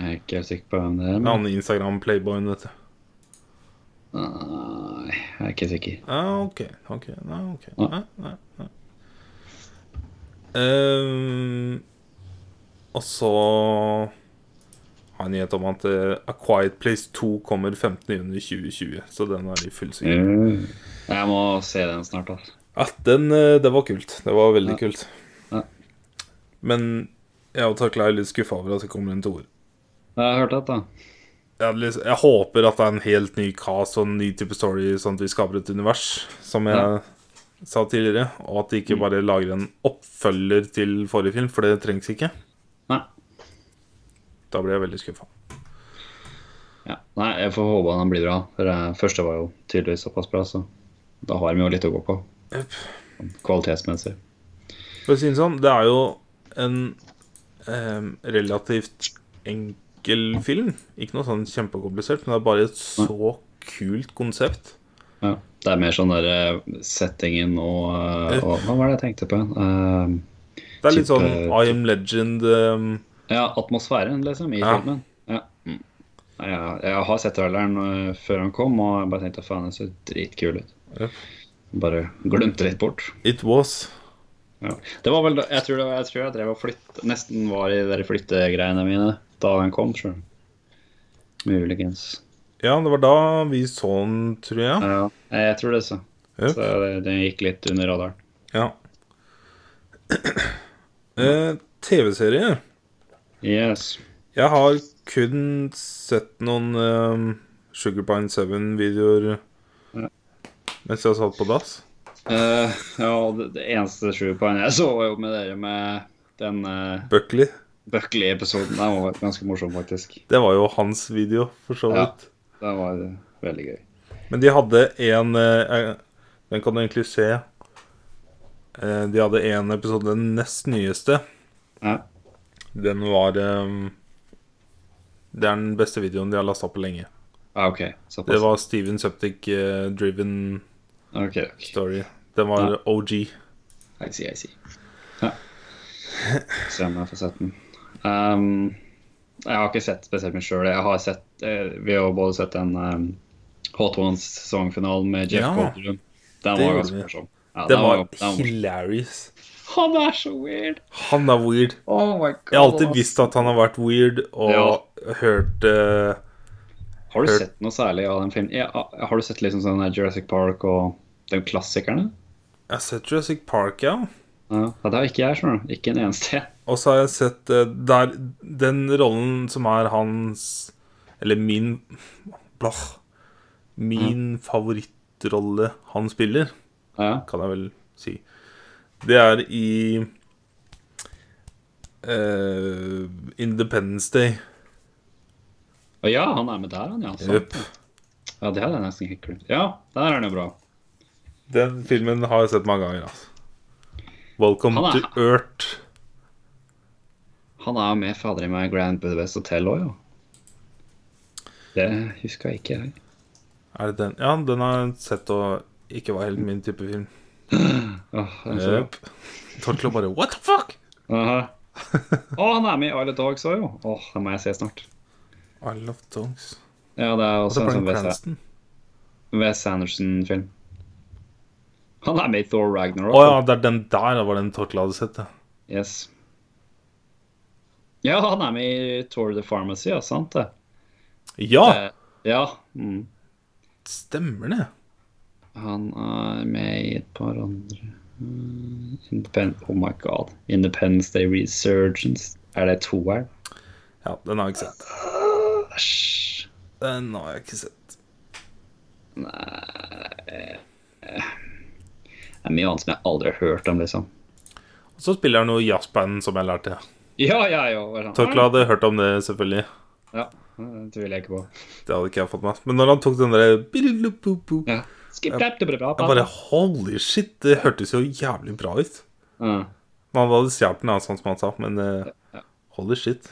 [SPEAKER 2] Jeg er ikke helt sikker på hvem det er.
[SPEAKER 1] Den
[SPEAKER 2] Men...
[SPEAKER 1] andre Instagram-playboyen, vet du.
[SPEAKER 2] Nei, jeg er ikke sikker.
[SPEAKER 1] Ja, ok. ok, Nei, ok.
[SPEAKER 2] Ja.
[SPEAKER 1] Nei, nei, nei. Ehm, og så har jeg nyhet om at eh, A Quiet Place 2 kommer 15.6.2020. Så den er i full sving.
[SPEAKER 2] Eh, Jeg må se den snart, altså.
[SPEAKER 1] Ja, den, eh, det var kult. Det var veldig kult.
[SPEAKER 2] Ja.
[SPEAKER 1] Men jeg og Takla er litt skuffa over at det kommer en toer.
[SPEAKER 2] Jeg har hørt at da.
[SPEAKER 1] jeg, hadde lyst- jeg håper at det er en helt ny cast og en ny type story, sånn at vi skaper et univers, som jeg
[SPEAKER 2] Ja.
[SPEAKER 1] sa tidligere. Og at de ikke bare lager en oppfølger til forrige film, for det trengs ikke.
[SPEAKER 2] Nei.
[SPEAKER 1] Da blir jeg veldig skuffa.
[SPEAKER 2] Ja. Nei, jeg får håpe den blir bra. For det første var jo tydeligvis såpass bra, så da har vi jo litt å gå på.
[SPEAKER 1] Jepp.
[SPEAKER 2] Kvalitetsmessig.
[SPEAKER 1] For å si det sånn, det er jo en em, relativt enkel film. Ikke noe sånn kjempekomplisert, men det er bare et så kult konsept.
[SPEAKER 2] Ja. Det er mer sånn der eh, settingen og, eh, og Hva var det jeg tenkte på? igjen?
[SPEAKER 1] Det er litt sånn
[SPEAKER 2] Type-
[SPEAKER 1] I am legend ehm, em,
[SPEAKER 2] Eh, ja, atmosfæren, liksom, i
[SPEAKER 1] Ja.
[SPEAKER 2] filmen. Ja. Mm. Nei, jeg- jeg har sett traileren eh, før han kom, og jeg bare tenkte faen, den ser dritkul ut.
[SPEAKER 1] Ja.
[SPEAKER 2] Bare glemte litt bort.
[SPEAKER 1] It was.
[SPEAKER 2] Ja. Det var vel da, jeg, tror det, var- jeg tror jeg drev og flytt, nesten var i de der flyttegreiene mine da den kom. Selv. Muligens.
[SPEAKER 1] Ja, det var da vi så den, tror jeg.
[SPEAKER 2] Ja, jeg tror det, så.
[SPEAKER 1] Ja.
[SPEAKER 2] Så det, det gikk litt under radaren.
[SPEAKER 1] Ja. eh, TV-serie.
[SPEAKER 2] Yes.
[SPEAKER 1] Jeg har kun sett noen eh, Sugar Pine 7-videoer
[SPEAKER 2] Ja.
[SPEAKER 1] mens jeg satt på dass.
[SPEAKER 2] Eh, ja, det, det eneste sjupoeng jeg så, var jo med dere med den uh,
[SPEAKER 1] Buckley.
[SPEAKER 2] Buckley-episoden. Den var ganske morsom, faktisk.
[SPEAKER 1] Det var jo hans video, for så
[SPEAKER 2] Ja.
[SPEAKER 1] vidt.
[SPEAKER 2] Den var veldig gøy.
[SPEAKER 1] Men de hadde en eh, eh, Den kan du egentlig se. Eh, de hadde en episode, den nest nyeste.
[SPEAKER 2] Ja.
[SPEAKER 1] Den var eh, Det er den beste videoen de har lasta på lenge.
[SPEAKER 2] Ah, OK.
[SPEAKER 1] Det
[SPEAKER 2] Såpass.
[SPEAKER 1] var Steven eh, Septic-driven
[SPEAKER 2] OK. ok.
[SPEAKER 1] story. Den var
[SPEAKER 2] Ja.
[SPEAKER 1] OG.
[SPEAKER 2] I see, I see. Ja. *laughs* Se om jeg får sett den. Ehm, jeg har ikke sett spesielt mye sjøl. Jeg har sett, eh, vi har både sett den um, Hot Ones sesongfinalen med Jeff
[SPEAKER 1] Ja,
[SPEAKER 2] Goldblum. Den
[SPEAKER 1] det
[SPEAKER 2] var
[SPEAKER 1] gjorde
[SPEAKER 2] ganske
[SPEAKER 1] vi.
[SPEAKER 2] morsom. Ja,
[SPEAKER 1] Det
[SPEAKER 2] den
[SPEAKER 1] var
[SPEAKER 2] den morsom.
[SPEAKER 1] hilarious.
[SPEAKER 2] Han er så weird!
[SPEAKER 1] Han er weird.
[SPEAKER 2] Oh my god.
[SPEAKER 1] Jeg har alltid visst at han har vært weird, og hørt eh,
[SPEAKER 2] Har du sett noe særlig av den filmen? Ja, har du sett liksom sånn der Jurassic Park og de klassikerne?
[SPEAKER 1] Jeg har sett Jurassic Park, ja.
[SPEAKER 2] Ja, ja, det har ikke jeg, skjønner du. Ikke en eneste.
[SPEAKER 1] Og så har jeg sett eh, der, den rollen som er hans Eller min Blah. Min
[SPEAKER 2] Mm.
[SPEAKER 1] favorittrolle han spiller,
[SPEAKER 2] Ja,
[SPEAKER 1] kan jeg vel si. Det er i eh, Independence Day.
[SPEAKER 2] Og ja han er med der, han, ja. sant.
[SPEAKER 1] Yep.
[SPEAKER 2] Ja, det hadde jeg nesten ikke glemt. Ja, der er han jo bra.
[SPEAKER 1] Den filmen har jeg sett mange ganger. Altså. Welcome
[SPEAKER 2] Han er-
[SPEAKER 1] to Earth.
[SPEAKER 2] Han er jo med fader i meg i Grand Budapest Hotel òg, jo. Det huska jeg ikke. jeg.
[SPEAKER 1] Er det den? Ja, den har jeg sett og ikke var helt min type film.
[SPEAKER 2] Åh, den er så bra.
[SPEAKER 1] Yep. Torklo bare What the fuck?
[SPEAKER 2] Aha. Å, han er med i Isle of Dogs òg, jo. Åh, den må jeg se snart.
[SPEAKER 1] I love dogs.
[SPEAKER 2] Ja, det er
[SPEAKER 1] Og så
[SPEAKER 2] også en
[SPEAKER 1] Bryan
[SPEAKER 2] sånn Wes-
[SPEAKER 1] Cranston.
[SPEAKER 2] Wes Anderson-film. Han er med i Thor Ragnarok.
[SPEAKER 1] Å ja, det er den der var den Torklo hadde sett. ja.
[SPEAKER 2] Yes. Ja, han er med i Tour de Pharmacy, ja, sant det.
[SPEAKER 1] Ja,
[SPEAKER 2] Eh, Ja. Mm.
[SPEAKER 1] stemmer det.
[SPEAKER 2] Han er med i et par andre Mm, Independ Oh my god. Independence Day Resurgence. Er det toeren?
[SPEAKER 1] Ja, den har jeg ikke sett.
[SPEAKER 2] Æsj.
[SPEAKER 1] Den har jeg ikke sett.
[SPEAKER 2] Det er mye annet som jeg aldri har hørt om, liksom.
[SPEAKER 1] Og så spiller han noe jazzband som jeg lærte.
[SPEAKER 2] Ja, ja, ja. bare sånn.
[SPEAKER 1] Torklo hadde hørt om det, selvfølgelig.
[SPEAKER 2] Ja, det tviler jeg ikke på.
[SPEAKER 1] Det hadde ikke jeg fått med meg. Men når han tok den derre
[SPEAKER 2] Ja. Skip, dap, dap, dap, dap.
[SPEAKER 1] Jeg bare Holy shit, det hørtes jo jævlig bra ut.
[SPEAKER 2] Ja.
[SPEAKER 1] Man hadde stjålet den, ja, sånn som han sa, men eh, holy shit.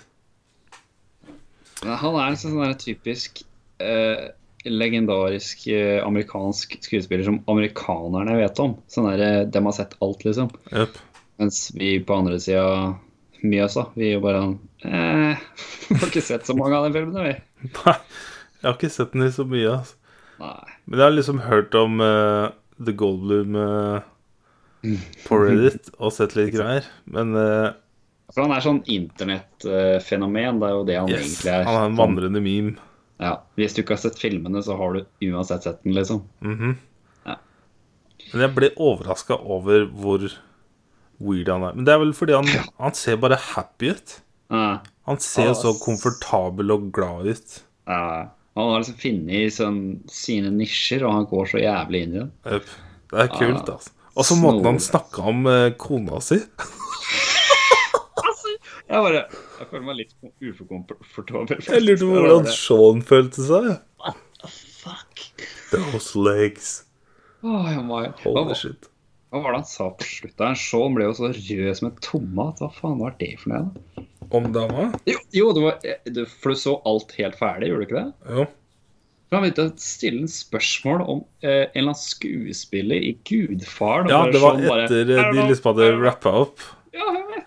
[SPEAKER 2] Men Han er en sånn der typisk eh, legendarisk eh, amerikansk skuespiller som amerikanerne vet om. Sånn der, eh, Dem har sett alt, liksom.
[SPEAKER 1] Jøp. *laughs*
[SPEAKER 2] Mens vi på andre sida Mjøsa, vi er jo bare eh, *laughs* Får ikke sett så mange av de filmene, vi.
[SPEAKER 1] Nei, jeg har ikke sett den i så mye. Altså.
[SPEAKER 2] Nei.
[SPEAKER 1] Men jeg har liksom hørt om eh, The Goldblum
[SPEAKER 2] *laughs*
[SPEAKER 1] eh, på Reddit og sett litt greier. Men eh,
[SPEAKER 2] For han er sånn internettfenomen. Det er jo det han
[SPEAKER 1] yes,
[SPEAKER 2] egentlig er. Sånn,
[SPEAKER 1] han er en vandrende meme.
[SPEAKER 2] ja. Hvis du ikke har sett filmene, så har du uansett sett den, liksom.
[SPEAKER 1] Mhm.
[SPEAKER 2] Ja.
[SPEAKER 1] Men jeg ble overraska over hvor weird han er. Men det er vel fordi han, han ser bare happy ut.
[SPEAKER 2] Ja.
[SPEAKER 1] Han ser
[SPEAKER 2] Ja,
[SPEAKER 1] så
[SPEAKER 2] s-
[SPEAKER 1] komfortabel og glad ut.
[SPEAKER 2] Ja. Han har liksom funnet sånn, sine nisjer, og han går så jævlig inn i dem.
[SPEAKER 1] Øpp. Det er kult,
[SPEAKER 2] Ja.
[SPEAKER 1] altså. Og så måten han
[SPEAKER 2] Snor.
[SPEAKER 1] snakka om eh, kona si.
[SPEAKER 2] Jeg bare, jeg føler meg litt uforkomfortabel.
[SPEAKER 1] Jeg lurte på hvordan Sean følte seg.
[SPEAKER 2] Fuck.
[SPEAKER 1] Those legs.
[SPEAKER 2] Åh, jeg må- hva,
[SPEAKER 1] Holy
[SPEAKER 2] hva
[SPEAKER 1] shit.
[SPEAKER 2] var det han sa på slutt? der? Sean ble jo så rød som en tomat. Hva faen var det for noe? da?
[SPEAKER 1] Om dama?
[SPEAKER 2] Jo, jo det var, eh, du- for du så alt helt ferdig, gjorde du ikke det?
[SPEAKER 1] Jo.
[SPEAKER 2] For Han begynte å stille en spørsmål om eh, en eller annen skuespiller i Gudfaren. og
[SPEAKER 1] Ja,
[SPEAKER 2] bare
[SPEAKER 1] det var
[SPEAKER 2] Sean bare,
[SPEAKER 1] etter
[SPEAKER 2] "I
[SPEAKER 1] eh, de
[SPEAKER 2] don't know,
[SPEAKER 1] liksom
[SPEAKER 2] I
[SPEAKER 1] hadde
[SPEAKER 2] don't know."
[SPEAKER 1] rappa opp.
[SPEAKER 2] Ja, jeg vet.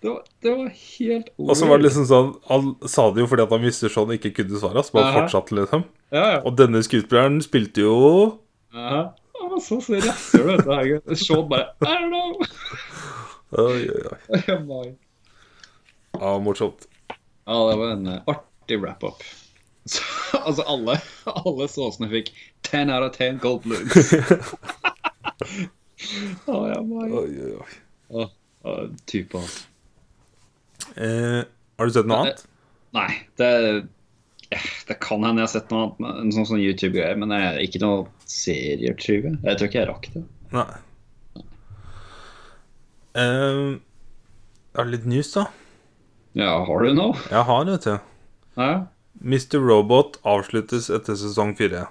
[SPEAKER 2] det, var, det var helt
[SPEAKER 1] Og så var det liksom sånn Han sa det jo fordi at han visste Sean ikke kunne svare, så bare
[SPEAKER 2] Aha.
[SPEAKER 1] fortsatte, liksom.
[SPEAKER 2] Ja, ja.
[SPEAKER 1] Og denne skuespilleren spilte jo
[SPEAKER 2] Ja. Han var så så rasshøl, vet du. herregud. Sean bare I don't know. *laughs*
[SPEAKER 1] Oi, oi, oi.
[SPEAKER 2] Ja, my.
[SPEAKER 1] Ja, morsomt.
[SPEAKER 2] Ja, det var en eh, artig wrap-up. *laughs* Så, altså, alle, alle såsene fikk 10 out of 10 gold blooms. Å, ja, my.
[SPEAKER 1] Oi, oi, oi.
[SPEAKER 2] Å, å, Type, altså.
[SPEAKER 1] Eh, har du sett noe annet?
[SPEAKER 2] Nei, det, eh, det kan hende jeg har sett noe annet, men- en sånn, sånn YouTube-greie, men det er ikke noe serier, tror jeg. Jeg tror ikke jeg rakk det.
[SPEAKER 1] Nei. Eh, er det litt news, da?
[SPEAKER 2] Ja, har du noe?
[SPEAKER 1] Jeg har, vet du.
[SPEAKER 2] Ja,
[SPEAKER 1] Mr. Robot avsluttes etter sesong fire.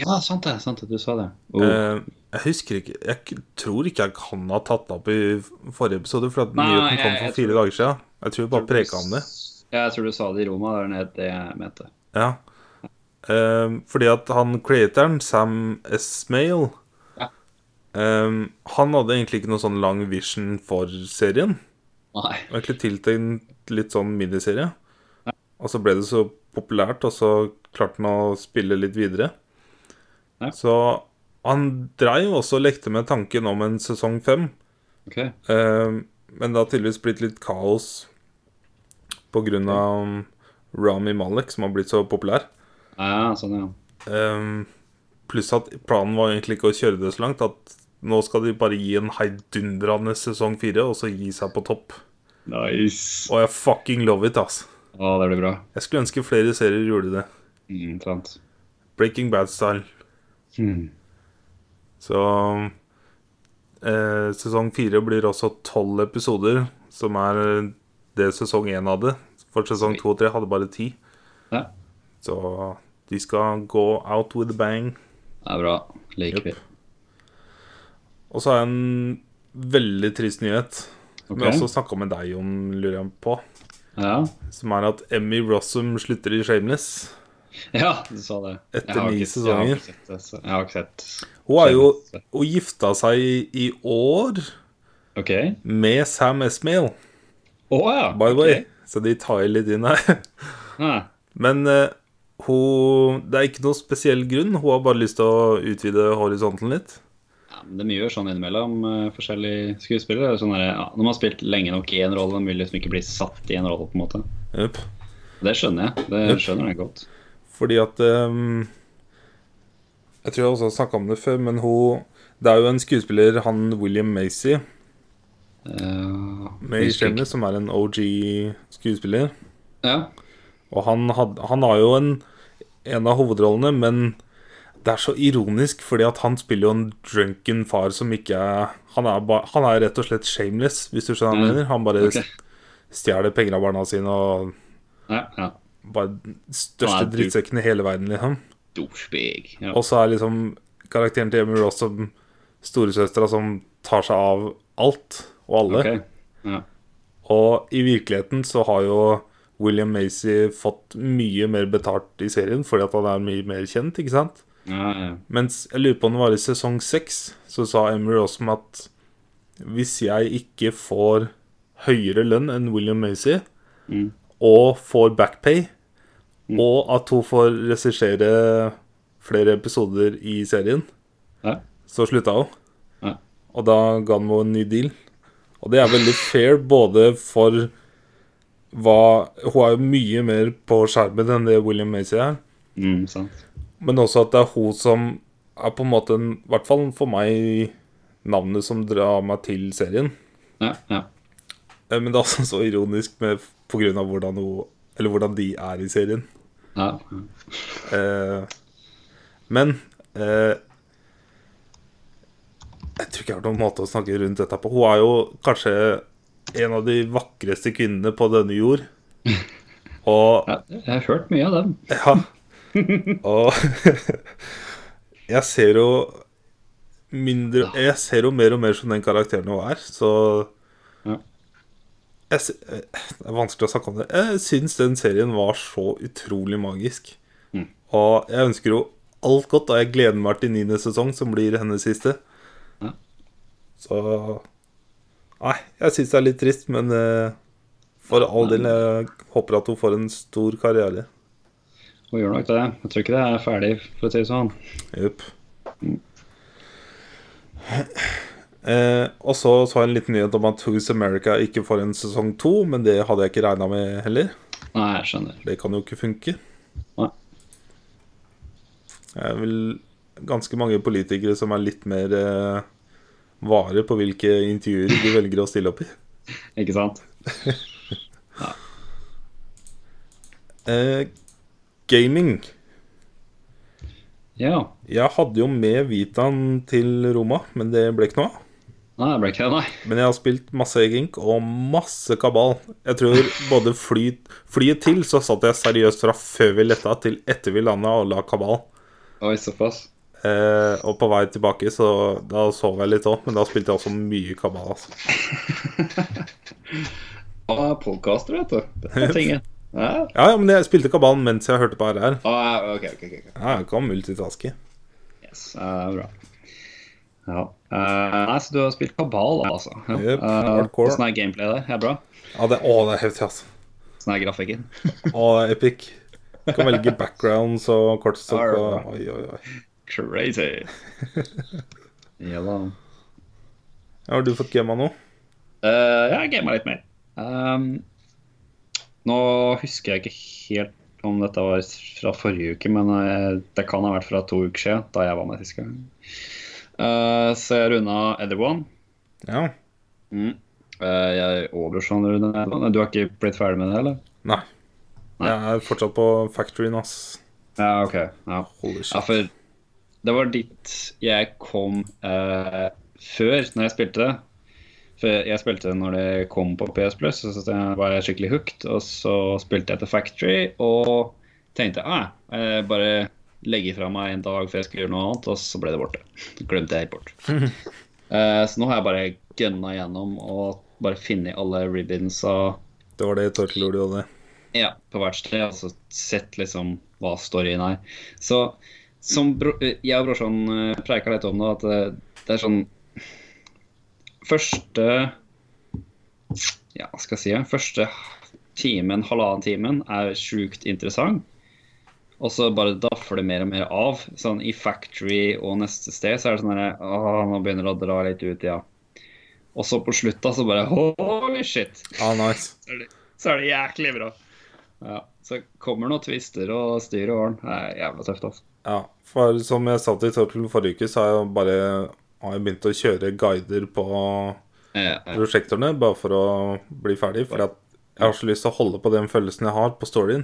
[SPEAKER 2] ja sant det, sant det, du sa det. Oh.
[SPEAKER 1] Eh, jeg husker ikke Jeg k- tror ikke jeg kan ha tatt det opp i f- forrige episode, for at
[SPEAKER 2] Nei,
[SPEAKER 1] nyheten
[SPEAKER 2] jeg-
[SPEAKER 1] kom
[SPEAKER 2] jeg
[SPEAKER 1] for fire dager siden. Jeg tror jeg bare preka om det.
[SPEAKER 2] Oh. Ja, jeg tror du sa det i Roma, det er det jeg mente.
[SPEAKER 1] Ja. Eh, fordi at han creatoren, Sam Esmail
[SPEAKER 2] Ja.
[SPEAKER 1] eh, Han hadde egentlig ikke noe sånn lang vision for serien.
[SPEAKER 2] Nei,
[SPEAKER 1] Det var egentlig tiltenkt litt sånn miniserie. Og så ble det så populært, og så klarte han å spille litt videre.
[SPEAKER 2] Ja.
[SPEAKER 1] Så han dreiv også og lekte med tanken om en sesong fem.
[SPEAKER 2] ok.
[SPEAKER 1] Eh, men det har tydeligvis blitt litt kaos på grunn av Rami Malek, som har blitt så populær.
[SPEAKER 2] Ja, sånn ja.
[SPEAKER 1] Eh, pluss at planen var egentlig ikke å kjøre det så langt. At nå skal de bare gi en heidundrende sesong fire, og så gi seg på topp.
[SPEAKER 2] Nice.
[SPEAKER 1] Og jeg fucking love it, ass.
[SPEAKER 2] Å, det blir bra.
[SPEAKER 1] Jeg skulle ønske flere serier gjorde det.
[SPEAKER 2] Mm, sant.
[SPEAKER 1] Breaking Bad-style.
[SPEAKER 2] Hmm.
[SPEAKER 1] Så eh, Sesong fire blir også tolv episoder, som er det sesong én hadde. For sesong to og tre hadde bare ti.
[SPEAKER 2] Ja,
[SPEAKER 1] Så de skal gå out with a bang.
[SPEAKER 2] det er bra. Liker vi.
[SPEAKER 1] Yep. Og så har jeg en veldig trist nyhet, som jeg
[SPEAKER 2] Ok.
[SPEAKER 1] også snakka med deg om, lurer jeg på.
[SPEAKER 2] Ja. *laughs*
[SPEAKER 1] Som er at Emmy Rossum slutter i Shameless.
[SPEAKER 2] ja, du sa det. Jeg
[SPEAKER 1] Etter
[SPEAKER 2] har
[SPEAKER 1] ni
[SPEAKER 2] ikke-
[SPEAKER 1] sesonger.
[SPEAKER 2] Jeg har ikke sett det, så- jeg har ikke sett.
[SPEAKER 1] Hun er jo Hun gifta seg i- i år
[SPEAKER 2] Ok.
[SPEAKER 1] med Sam Esmail,
[SPEAKER 2] Å ja.
[SPEAKER 1] by the way.
[SPEAKER 2] ok.
[SPEAKER 1] Så de tar litt inn her. *laughs*
[SPEAKER 2] Ja.
[SPEAKER 1] Men eh, hun Det er ikke noe spesiell grunn. Hun har bare lyst til å utvide horisonten litt.
[SPEAKER 2] Ja, men De gjør sånn innimellom, eh, forskjellige skuespillere. Det er Sånn der, ja, når man har spilt lenge nok i en rolle, det er mulig liksom ikke blir satt i en rolle. på en måte.
[SPEAKER 1] Jupp.
[SPEAKER 2] Det skjønner jeg. Det skjønner jeg godt.
[SPEAKER 1] Fordi at ehm, Jeg tror jeg også har snakka om det før, men hun Det er jo en skuespiller, han William Macy,
[SPEAKER 2] Eh,
[SPEAKER 1] med i
[SPEAKER 2] husker ikke.
[SPEAKER 1] Shameless, som er en OG-skuespiller.
[SPEAKER 2] Ja.
[SPEAKER 1] Og han, had, han har jo en, en av hovedrollene, men det er så ironisk, fordi at han spiller jo en drunken far som ikke er Han er, ba, han er rett og slett shameless, hvis du skjønner hva jeg
[SPEAKER 2] Mm.
[SPEAKER 1] mener. Han bare
[SPEAKER 2] Ok.
[SPEAKER 1] stjeler penger av barna sine og
[SPEAKER 2] Ja, ja.
[SPEAKER 1] bare den
[SPEAKER 2] Han
[SPEAKER 1] største
[SPEAKER 2] er du-
[SPEAKER 1] drittsekken i hele verden, liksom.
[SPEAKER 2] Douchebag. Ja.
[SPEAKER 1] Og så er liksom karakteren til Emmy Ross som storesøstera som tar seg av alt og alle.
[SPEAKER 2] Ok. Ja.
[SPEAKER 1] Og i virkeligheten så har jo William Macy fått mye mer betalt i serien fordi at han er mye mer kjent, ikke sant?
[SPEAKER 2] Ja, ja.
[SPEAKER 1] Mens jeg lurer på om det var i sesong seks, så sa Emmy Rossum at Hvis jeg ikke får høyere lønn enn William Macy, og får backpay, og at hun får regissere flere episoder i serien,
[SPEAKER 2] Ja.
[SPEAKER 1] så slutta hun.
[SPEAKER 2] Ja.
[SPEAKER 1] Og da ga han henne en ny deal. Og det er veldig fair både for hva Hun er jo mye mer på skjermen enn det William Macy er.
[SPEAKER 2] Mm, sant.
[SPEAKER 1] Men også at det er hun som er på en måte, en- i hvert fall for meg, navnet som drar meg til serien.
[SPEAKER 2] Ja, ja.
[SPEAKER 1] Eh, Men det er også så ironisk med, på grunn av hvordan, hun, eller hvordan de er i serien.
[SPEAKER 2] ja.
[SPEAKER 1] Eh, men eh, Jeg tror ikke jeg har noen måte å snakke rundt dette på. Hun er jo kanskje en av de vakreste kvinnene på denne jord. Og
[SPEAKER 2] Ja, Jeg har hørt mye av dem.
[SPEAKER 1] ja. Og *laughs* jeg ser jo mindre Jeg ser jo mer og mer som den karakteren hun er, så
[SPEAKER 2] Ja.
[SPEAKER 1] jeg, sy- eh, Det er vanskelig å snakke om det. Jeg syns den serien var så utrolig magisk.
[SPEAKER 2] Mm.
[SPEAKER 1] Og jeg ønsker jo alt godt, og jeg gleder meg til niende sesong, som blir hennes siste.
[SPEAKER 2] Ja.
[SPEAKER 1] Så Nei, jeg syns det er litt trist, men eh, for all del, jeg håper at hun får en stor karriere.
[SPEAKER 2] Hun gjør nok det. Jeg tror ikke det er ferdig, for å si det sånn.
[SPEAKER 1] Jupp. Eh, og så så jeg en liten nyhet om at Who's America ikke får en sesong to, men det hadde jeg ikke regna med heller.
[SPEAKER 2] Nei, jeg skjønner.
[SPEAKER 1] Det kan jo ikke funke.
[SPEAKER 2] Nei.
[SPEAKER 1] Det er vel ganske mange politikere som er litt mer eh, vare på hvilke intervjuer de velger å stille opp i.
[SPEAKER 2] Ikke sant?
[SPEAKER 1] Eh, gaming.
[SPEAKER 2] Ja.
[SPEAKER 1] Jeg hadde jo med Vitaen til Roma, men det ble ikke noe av.
[SPEAKER 2] Nei, det ble ikke det, nei.
[SPEAKER 1] Men jeg har spilt masse Egink og masse Kabal. Jeg tror både fly, flyet til så satt jeg seriøst fra før vi letta til etter vi landa og la Kabal.
[SPEAKER 2] Oi, såpass.
[SPEAKER 1] Eh, og på vei tilbake, så da sov jeg litt òg, men da spilte jeg også mye Kabal. Altså.
[SPEAKER 2] Ah, podcaster, vet du. Dette er tingen. Ja.
[SPEAKER 1] Ja, ja, men jeg spilte Kabal mens jeg hørte på RR.
[SPEAKER 2] Ah, ok, ok, ok. ok.
[SPEAKER 1] Ja, jeg kan multitaske.
[SPEAKER 2] Yes, eh, bra. Ja. Eh, nei, så du har spilt kabal, altså? Ja.
[SPEAKER 1] Jep,
[SPEAKER 2] Eh,
[SPEAKER 1] hardcore.
[SPEAKER 2] Hvordan er gameplay der? Er det bra?
[SPEAKER 1] Ja, det, å, det er heftig, altså.
[SPEAKER 2] Hvordan er grafikken?
[SPEAKER 1] *laughs* Å, det er epic. Du kan velge backgrounds og kortstokk og Oi, oi, oi.
[SPEAKER 2] Crazy! ja da.
[SPEAKER 1] Ja, har du fått gama nå?
[SPEAKER 2] Eh, jeg har gama litt mer. Ehm, nå husker jeg ikke helt om dette var fra forrige uke, men eh, det kan ha vært fra to uker siden, da jeg var med sist gang. Eh, så jeg runda Etherone.
[SPEAKER 1] Ja.
[SPEAKER 2] Mm. Eh, jeg oversjanrunda Etherone. Du har ikke blitt ferdig med det, eller?
[SPEAKER 1] Nei. Jeg er fortsatt på factoryen, ass.
[SPEAKER 2] Ja, OK. Ja.
[SPEAKER 1] Holy
[SPEAKER 2] Ja,
[SPEAKER 1] shit.
[SPEAKER 2] for det var dit jeg kom eh, før, når jeg spilte det. For jeg spilte det når det kom på PS Plus, så satt jeg- var jeg skikkelig hooked. Og så spilte jeg til Factory og tenkte ah, eh, bare legge fra meg en dag for jeg skulle gjøre noe annet, og så ble det borte. Glemte jeg helt bort. Eh, så nå har jeg bare gønna gjennom og bare funnet alle ribbonsa
[SPEAKER 1] Det var det Torkelord gjorde.
[SPEAKER 2] ja, på hvert sted, altså sett liksom hva storyen er. Så som bro, eh, jeg og brorsan eh, preika litt om det, at det, det er sånn Første Ja, hva skal jeg si? ja, Første timen, halvannen timen, er sjukt interessant. Og så bare daffer det mer og mer av. Sånn I Factory og neste sted så er det sånn derre Å, nå begynner det å dra litt ut, ja. Og så på slutta så bare Holy shit!
[SPEAKER 1] Ah, nice.
[SPEAKER 2] så er det, så er det jæklig bra. Ja, så kommer noen twister og styr og ordn. Det er jævla tøft, altså.
[SPEAKER 1] Ja, for som jeg sa til Torkel forrige uke, så har jeg bare har jeg begynt å kjøre guider på
[SPEAKER 2] Eh, eh,
[SPEAKER 1] prosjektorene, bare for å bli ferdig. For at jeg har så lyst til å holde på den følelsen jeg har på storyen.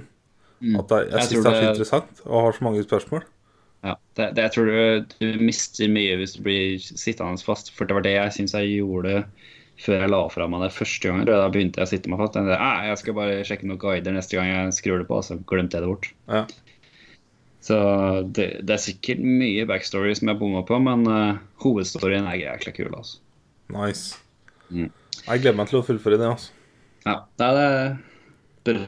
[SPEAKER 2] Mm.
[SPEAKER 1] At jeg, jeg,
[SPEAKER 2] Jeg
[SPEAKER 1] synes
[SPEAKER 2] tror
[SPEAKER 1] det er så
[SPEAKER 2] det-
[SPEAKER 1] interessant og har så mange spørsmål.
[SPEAKER 2] Ja, det, det, jeg tror du, du mister mye hvis du blir sittende fast, for det var det jeg syns jeg gjorde før jeg la fra meg det første gangen. Da begynte jeg å sitte meg fast. Jeg, tenkte, "Eh, jeg skal bare sjekke noen guider neste gang jeg skrur det på, og så glemte jeg det bort.
[SPEAKER 1] Ja.
[SPEAKER 2] Så det, det er sikkert mye backstory som jeg bomma på, men eh, hovedstoryen er jækla kul, altså.
[SPEAKER 1] Nice.
[SPEAKER 2] Mm.
[SPEAKER 1] Jeg gleder meg til å fullføre det. altså.
[SPEAKER 2] Ja, det er det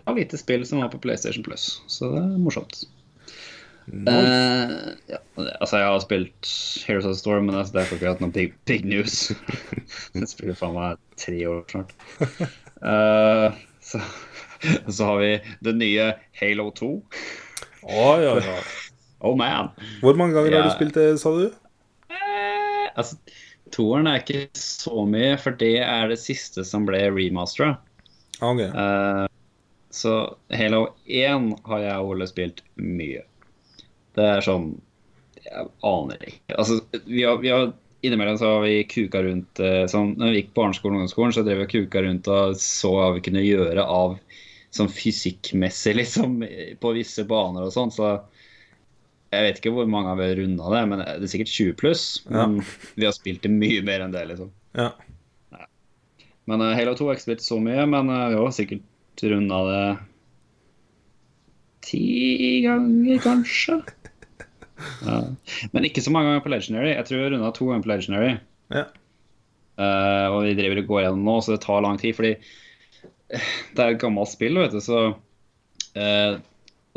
[SPEAKER 2] bra lite spill som var på PlayStation Plus, så det er morsomt. Eh, ja, altså, jeg har spilt Heroes of the Storm, men altså, det er derfor ikke jeg har hatt noen big, big news. jeg spiller faen meg tre år snart. Eh, så, så har vi det nye Halo 2.
[SPEAKER 1] Å, ja, ja.
[SPEAKER 2] Oh man!
[SPEAKER 1] Hvor mange ganger har du
[SPEAKER 2] Ja.
[SPEAKER 1] spilt det, sa du?
[SPEAKER 2] Eh, altså, toeren er ikke så mye, for det er det siste som ble remastera.
[SPEAKER 1] Ah, ok.
[SPEAKER 2] Eh, Så Halo 1 har jeg og Ole spilt mye. Det er sånn Jeg aner ikke. Altså, vi har, vi har Innimellom så har vi kuka rundt eh, sånn, Når vi gikk barneskolen og ungdomsskolen, så drev vi og kuka rundt og så hva vi kunne gjøre av sånn fysikkmessig, *laughs* liksom, på visse baner og sånn. Så jeg vet ikke hvor mange av vi har runda det, men det er sikkert 20 pluss.
[SPEAKER 1] Ja.
[SPEAKER 2] Men vi har spilt det mye mer enn det, liksom.
[SPEAKER 1] Ja.
[SPEAKER 2] Men eh, Halo 2 har ikke spilt så mye, men eh, vi har sikkert runda det ti ganger, kanskje. Ja. Men ikke så mange ganger på Legendary. Jeg tror vi har runda to ganger på Legendary.
[SPEAKER 1] Ja.
[SPEAKER 2] Eh, og vi driver og går gjennom nå, så det tar lang tid, fordi eh, det er et gammelt spill, vet du, så eh,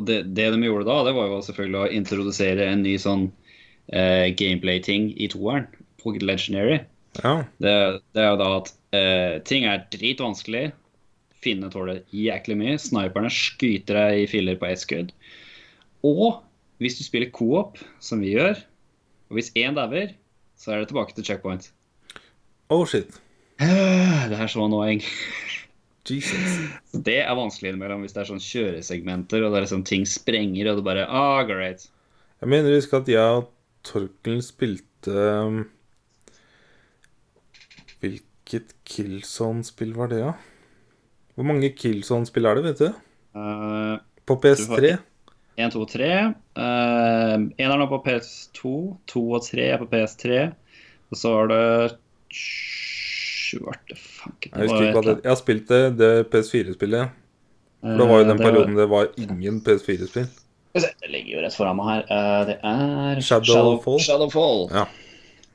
[SPEAKER 2] og det, det de gjorde da, det var jo selvfølgelig å introdusere en ny sånn eh, gameplay-ting i toeren på Legendary.
[SPEAKER 1] ja.
[SPEAKER 2] Det, det er jo da at eh, ting er dritvanskelig. Finnene tåler jæklig mye. Sniperne skyter deg i filler på ett skudd. Og hvis du spiller co-op, som vi gjør, og hvis én dauer, så er det tilbake til checkpoint.
[SPEAKER 1] Oh shit.
[SPEAKER 2] Øh, Det er så annoying.
[SPEAKER 1] Jesus.
[SPEAKER 2] Så Det er vanskelig innimellom hvis det er sånn kjøresegmenter og det er liksom ting sprenger og du bare ah, great.
[SPEAKER 1] Jeg mener jeg husker at jeg og Torkel spilte um, Hvilket Killzone-spill var det, da? Hvor mange Killzone-spill er det, vet du?
[SPEAKER 2] Uh,
[SPEAKER 1] På PS3?
[SPEAKER 2] 1, 2, 3. Uh, eneren er på PS2, 2 og 3 er på PS3. Og så har det Svarte fanken
[SPEAKER 1] Jeg husker ikke at det, jeg har spilt det, det PS4-spillet. For Mm, det var
[SPEAKER 2] Eh,
[SPEAKER 1] jo den perioden det var ingen PS4-spill.
[SPEAKER 2] Det ligger jo rett foran meg her. Eh, det er
[SPEAKER 1] Shadow Fall.
[SPEAKER 2] Shadowfall.
[SPEAKER 1] Ja.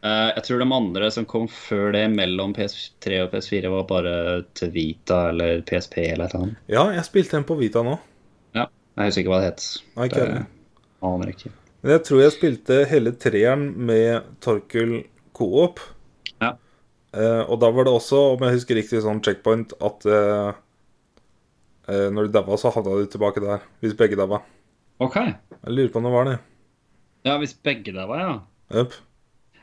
[SPEAKER 2] Eh, jeg tror de andre som kom før det, mellom PS3 og PS4, var bare til Vita eller PSP eller et eller annet.
[SPEAKER 1] Ja, jeg spilte en på Vita nå.
[SPEAKER 2] Ja, jeg husker ikke hva det het.
[SPEAKER 1] Nei, ikke heller.
[SPEAKER 2] Det Aner ikke.
[SPEAKER 1] Men jeg tror jeg spilte hele treeren med Torkul Coop.
[SPEAKER 2] Ja.
[SPEAKER 1] Eh, og da var det også, om jeg husker riktig, sånn checkpoint at eh, eh, når du daua, så havna du tilbake der. Hvis begge daua.
[SPEAKER 2] OK.
[SPEAKER 1] Jeg lurer på om det var det.
[SPEAKER 2] Ja, hvis begge der var, ja.
[SPEAKER 1] Jøp.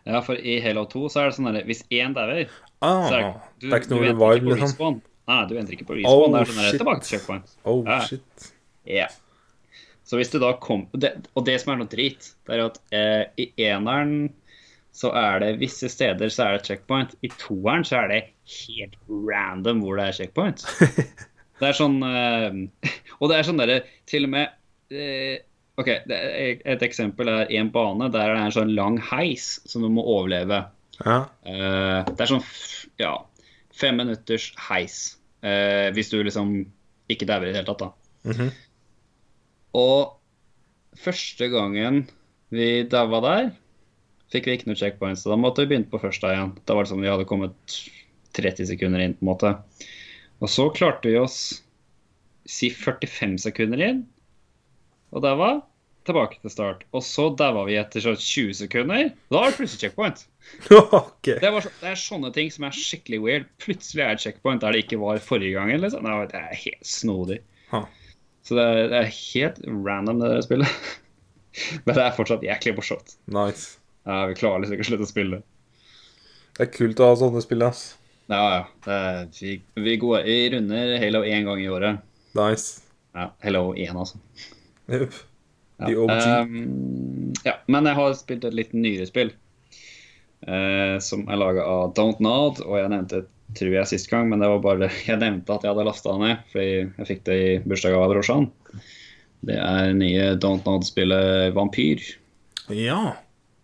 [SPEAKER 2] Ja, for i Halo 2 så er det sånn derre Hvis én dauer,
[SPEAKER 1] Ah,
[SPEAKER 2] så er det
[SPEAKER 1] det er ikke noe
[SPEAKER 2] venter
[SPEAKER 1] revive,
[SPEAKER 2] på
[SPEAKER 1] liksom.
[SPEAKER 2] respawn. Nei, du venter ikke på respawn. det
[SPEAKER 1] Oh,
[SPEAKER 2] er sånn derre
[SPEAKER 1] shit.
[SPEAKER 2] tilbake til checkpoint.
[SPEAKER 1] Oh,
[SPEAKER 2] Ja.
[SPEAKER 1] shit.
[SPEAKER 2] Ja. Så hvis du da kom det, Og det som er noe drit, det er at eh, i eneren så er det visse steder så er det checkpoint. I toeren så er det helt random hvor det er
[SPEAKER 1] *laughs*
[SPEAKER 2] checkpoint. Det er sånn eh, *laughs* Og det er sånn derre Til og med eh, OK, det er, et eksempel er en bane der det er en sånn lang heis som du må overleve.
[SPEAKER 1] Ja.
[SPEAKER 2] Eh, det er sånn f- ja, fem minutters heis. eh, hvis du liksom ikke dauer i det hele tatt, da.
[SPEAKER 1] Mhm. *laughs*
[SPEAKER 2] Og første gangen vi daua der, fikk vi ikke noe checkpoints. Så da måtte vi begynne på første igjen. Da var det som om vi hadde kommet 30 sekunder inn, på en måte. Og så klarte vi oss si 45 sekunder inn, og daua. Tilbake til start. Og så daua vi etter sånn 20 sekunder. Da var det plutselig checkpoint.
[SPEAKER 1] ok.
[SPEAKER 2] Det, var så, det er sånne ting som er skikkelig weird. Plutselig er det checkpoint der det ikke var forrige gangen. Liksom. Nei, Det er helt snodig.
[SPEAKER 1] Ha.
[SPEAKER 2] Så det er, det er helt random, det der spillet. *laughs* Men det er fortsatt jæklig morsomt.
[SPEAKER 1] Nice.
[SPEAKER 2] Ja, vi klarer liksom ikke å slutte å spille.
[SPEAKER 1] Det er kult å ha sånne spill, ass.
[SPEAKER 2] Ja, ja. Det er, vi, vi, går, vi runder Halo én gang i året.
[SPEAKER 1] Nice.
[SPEAKER 2] Ja, Halo 1, altså.
[SPEAKER 1] Jøp.
[SPEAKER 2] Ja.
[SPEAKER 1] The OG.
[SPEAKER 2] Ehm, ja, men jeg har spilt et litt nyere spill. eh, som er laga av Don't Nod, og jeg nevnte det tror jeg sist gang, men det var bare *laughs* det jeg nevnte at jeg hadde lasta det ned, fordi jeg fikk det i bursdagsgave av brorsan. Det er nye Don't Nod-spillet Vampyr.
[SPEAKER 1] Ja.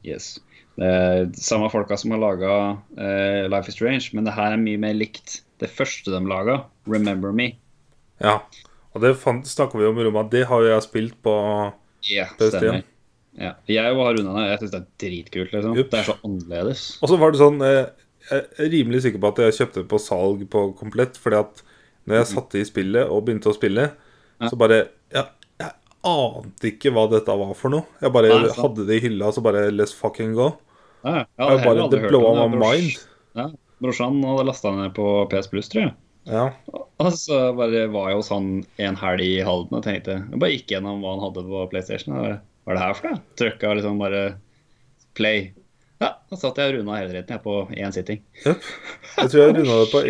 [SPEAKER 2] Yes. Det er de samme folka som har laga Life is Strange, men det her er mye mer likt det første de laga, Remember Me.
[SPEAKER 1] Ja. Og det fant- snakket vi om i rommet. Det har jo jeg spilt på
[SPEAKER 2] Ja,
[SPEAKER 1] PS3.
[SPEAKER 2] stemmer. Ja. Jeg har runda det. Jeg syns det er dritkult. liksom.
[SPEAKER 1] Jupp.
[SPEAKER 2] Det er så annerledes.
[SPEAKER 1] Og så var det sånn eh, Jeg er rimelig sikker på at jeg kjøpte den på salg på komplett, fordi at når jeg satte i spillet og begynte å spille, så bare Ja, jeg ante ikke hva dette var for noe. Jeg bare
[SPEAKER 2] Nei, sant.
[SPEAKER 1] hadde det i hylla, så bare let's fucking go.
[SPEAKER 2] Ja, ja, jeg
[SPEAKER 1] Jeg
[SPEAKER 2] hadde
[SPEAKER 1] bare,
[SPEAKER 2] aldri
[SPEAKER 1] det
[SPEAKER 2] hørt
[SPEAKER 1] blowa
[SPEAKER 2] om
[SPEAKER 1] my
[SPEAKER 2] det. Brors-
[SPEAKER 1] mind.
[SPEAKER 2] Ja, brorsan hadde lasta ned på PS Plus, tror jeg.
[SPEAKER 1] Ja.
[SPEAKER 2] Og så bare var jeg hos han en helg i Halden og tenkte Jeg bare gikk gjennom hva han hadde på PlayStation. Og bare, Hva er det her for noe? Trykka liksom bare play. Ja, Da satt jeg og runda hele retten jeg på én sitting.
[SPEAKER 1] Jøp. Jeg tror jeg runda det på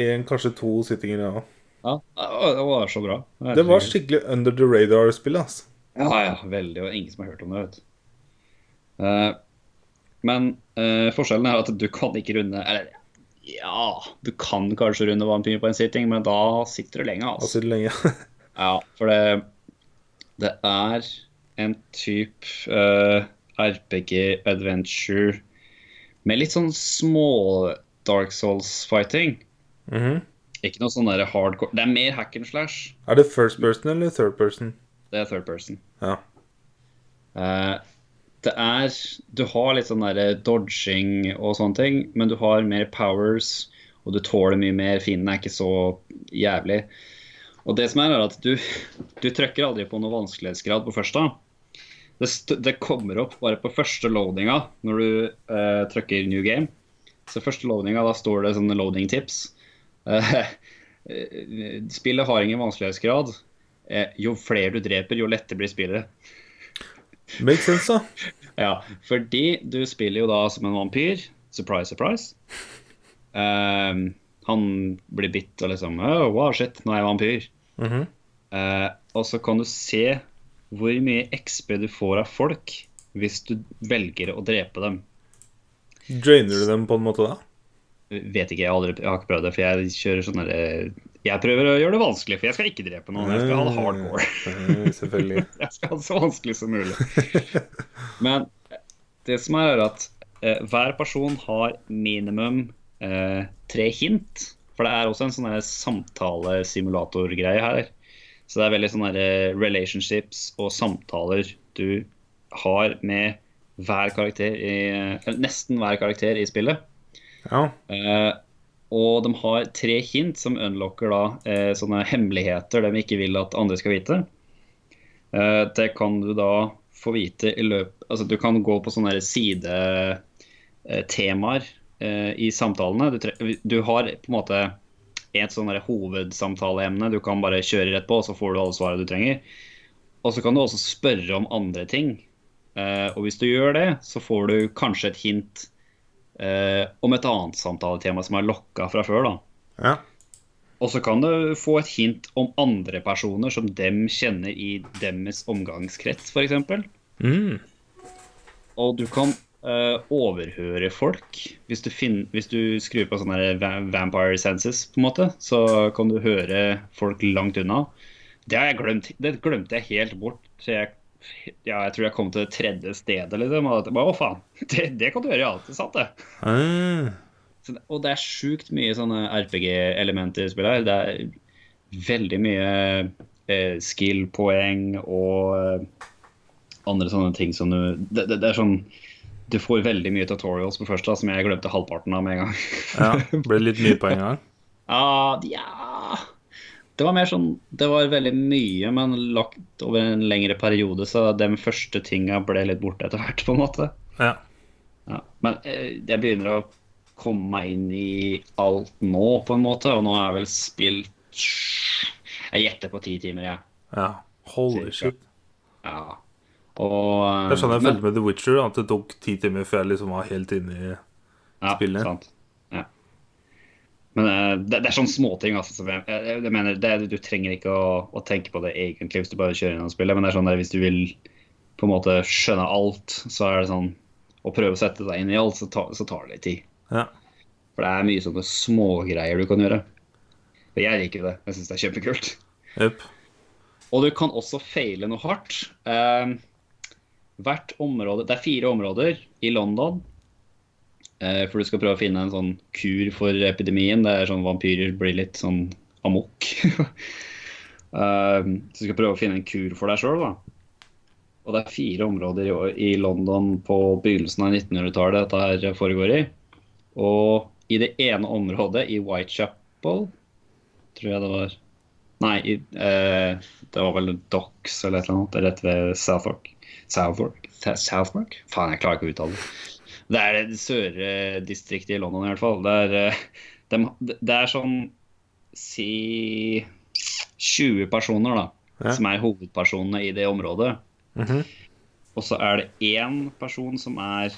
[SPEAKER 1] én, kanskje to sittinger. Ja.
[SPEAKER 2] Ja, og Det var så bra.
[SPEAKER 1] Det var skikkelig under the radar-spill. ass
[SPEAKER 2] Ja, ja, veldig. Og ingen som har hørt om det, vet du. Eh, men eh, forskjellen er at du kan ikke runde Eller ja, du kan kanskje runde vampyr på en sitting, men da sitter du lenge, altså.
[SPEAKER 1] Altså lenge. *laughs*
[SPEAKER 2] Ja, for det, det er en type eh, RPG adventure med litt sånn små Dark Souls-fighting.
[SPEAKER 1] Mhm.
[SPEAKER 2] Ikke noe sånn der hardcore Det er mer hack and slash.
[SPEAKER 1] Er det first person eller third person?
[SPEAKER 2] Det er third person.
[SPEAKER 1] Ja.
[SPEAKER 2] Eh, det er Du har litt sånn derre dodging og sånne ting, men du har mer powers, og du tåler mye mer. Fienden er ikke så jævlig. Og det som er, er at du, du trykker aldri på noen vanskelighetsgrad på første. Det, st det kommer opp bare på første loadinga når du eh, trykker new game. Så første loadinga, da står det sånne loading tips. Eh, *laughs* eh, spillet har ingen vanskelighetsgrad. Eh, jo flere du dreper, jo lettere blir spillet.
[SPEAKER 1] Makes sense, da.
[SPEAKER 2] Ja, fordi du spiller jo da som en vampyr. Surprise,
[SPEAKER 1] *laughs*
[SPEAKER 2] surprise. Ehm, han blir bitt og liksom oh, Wow, shit, nå er jeg vampyr.
[SPEAKER 1] Mhm.
[SPEAKER 2] Eh, og så kan du se hvor mye XP du får av folk hvis du velger å drepe dem.
[SPEAKER 1] Drainer du dem på en måte da?
[SPEAKER 2] Vet ikke, jeg, har aldri, jeg har ikke prøvd det, for jeg kjører sånn derre- Jeg prøver å gjøre det vanskelig, for jeg skal ikke drepe noen. Jeg skal ha det hardcore.
[SPEAKER 1] Eh, *laughs* selvfølgelig.
[SPEAKER 2] *laughs* Jeg skal ha det så vanskelig som mulig. Men det som er, er at eh, hver person har minimum eh, tre hint. For det er også en sånn her samtalesimulatorgreie her. Så det er veldig sånn her eh, relationships og samtaler du har med hver karakter i, eller nesten hver karakter i spillet.
[SPEAKER 1] Ja.
[SPEAKER 2] Eh, og de har tre hint som unlocker da eh, sånne hemmeligheter de ikke vil at andre skal vite. Eh, det kan du da få vite i løpet Altså du kan gå på sånne sidetemaer eh, temaer, eh, i samtalene. Du, tre du har på en måte et sånn der hovedsamtaleemne. Du kan bare kjøre rett på, og så får du alle svarene du trenger. Og så kan du også spørre om andre ting. Eh, og hvis du gjør det, så får du kanskje et hint eh, om et annet samtaletema som er lokka fra før. da.
[SPEAKER 1] ja.
[SPEAKER 2] Og så kan du få et hint om andre personer som dem kjenner i deres omgangskrets, f.eks.
[SPEAKER 1] Mm.
[SPEAKER 2] Og du kan eh, overhøre folk. Hvis du, finner, hvis du skrur på sånne her va- vampire senses, på en måte, så kan du høre folk langt unna. Det har jeg glemt. Det glemte jeg helt bort. Så jeg, ja, jeg tror jeg kom til det tredje stedet. Liksom, og at- bare, Å, faen. *laughs* Det, det kan du gjøre, ja. Det er sant, det.
[SPEAKER 1] Eh,
[SPEAKER 2] Så, det- og det er sjukt mye sånne RPG-elementer i spillet her. Det er veldig mye eh, skill-poeng og eh, andre sånne ting som du det, det, det er sånn Du får veldig mye tutorials på første, da, som jeg glemte halvparten av med en gang. *laughs*
[SPEAKER 1] ja. Ble litt mye på en gang.
[SPEAKER 2] Ja, ja Det var mer sånn Det var veldig mye, men lagt over en lengre periode, så de første tinga ble litt borte etter hvert, på en måte.
[SPEAKER 1] Ja.
[SPEAKER 2] Ja, men eh, jeg begynner å komme meg inn i alt nå, på en måte. Og nå har jeg vel spilt Jeg gjetter på ti timer, jeg.
[SPEAKER 1] ja. Holy
[SPEAKER 2] Cirka.
[SPEAKER 1] shit.
[SPEAKER 2] Ja. Og, eh,
[SPEAKER 1] Det er sånn jeg
[SPEAKER 2] men-
[SPEAKER 1] følte med The Witcher, at det tok ti timer før jeg liksom var helt inne i
[SPEAKER 2] ja,
[SPEAKER 1] spillet.
[SPEAKER 2] Sant. Ja. Men eh, det, det er sånne småting. Altså, som jeg, jeg, jeg mener, det, du trenger ikke å, å tenke på det egentlig hvis du bare kjører gjennom spillet, men det er sånn der, hvis du vil på en måte skjønne alt, så er det sånn Å prøve å sette deg inn i alt, så, ta, så tar det litt tid.
[SPEAKER 1] Ja.
[SPEAKER 2] For det er mye sånne smågreier du kan gjøre. Og jeg liker jo det. Jeg syns det er kjempekult.
[SPEAKER 1] Jøp.
[SPEAKER 2] Og du kan også feile noe hardt. Eh, hvert område Det er fire områder i London. eh, for du skal prøve å finne en sånn kur for epidemien. Det er sånn vampyrer blir litt sånn amok. *laughs* Eh, så du skal prøve å finne en kur for deg sjøl, da. Og det er fire områder i, i London på begynnelsen av 1900-tallet dette her foregår i. Og i det ene området, i Whitechapel, tror jeg det var Nei, i, eh, det var vel Docks eller et eller annet rett ved Southwark. Southwark? Sa- Southwark? Faen, jeg klarer ikke å uttale det. Det er det søre distriktet i London i hvert fall. Det er, eh, dem- det er sånn si 20 personer da,
[SPEAKER 1] Ja.
[SPEAKER 2] som er hovedpersonene i det området.
[SPEAKER 1] Mhm.
[SPEAKER 2] Og så er det én person som er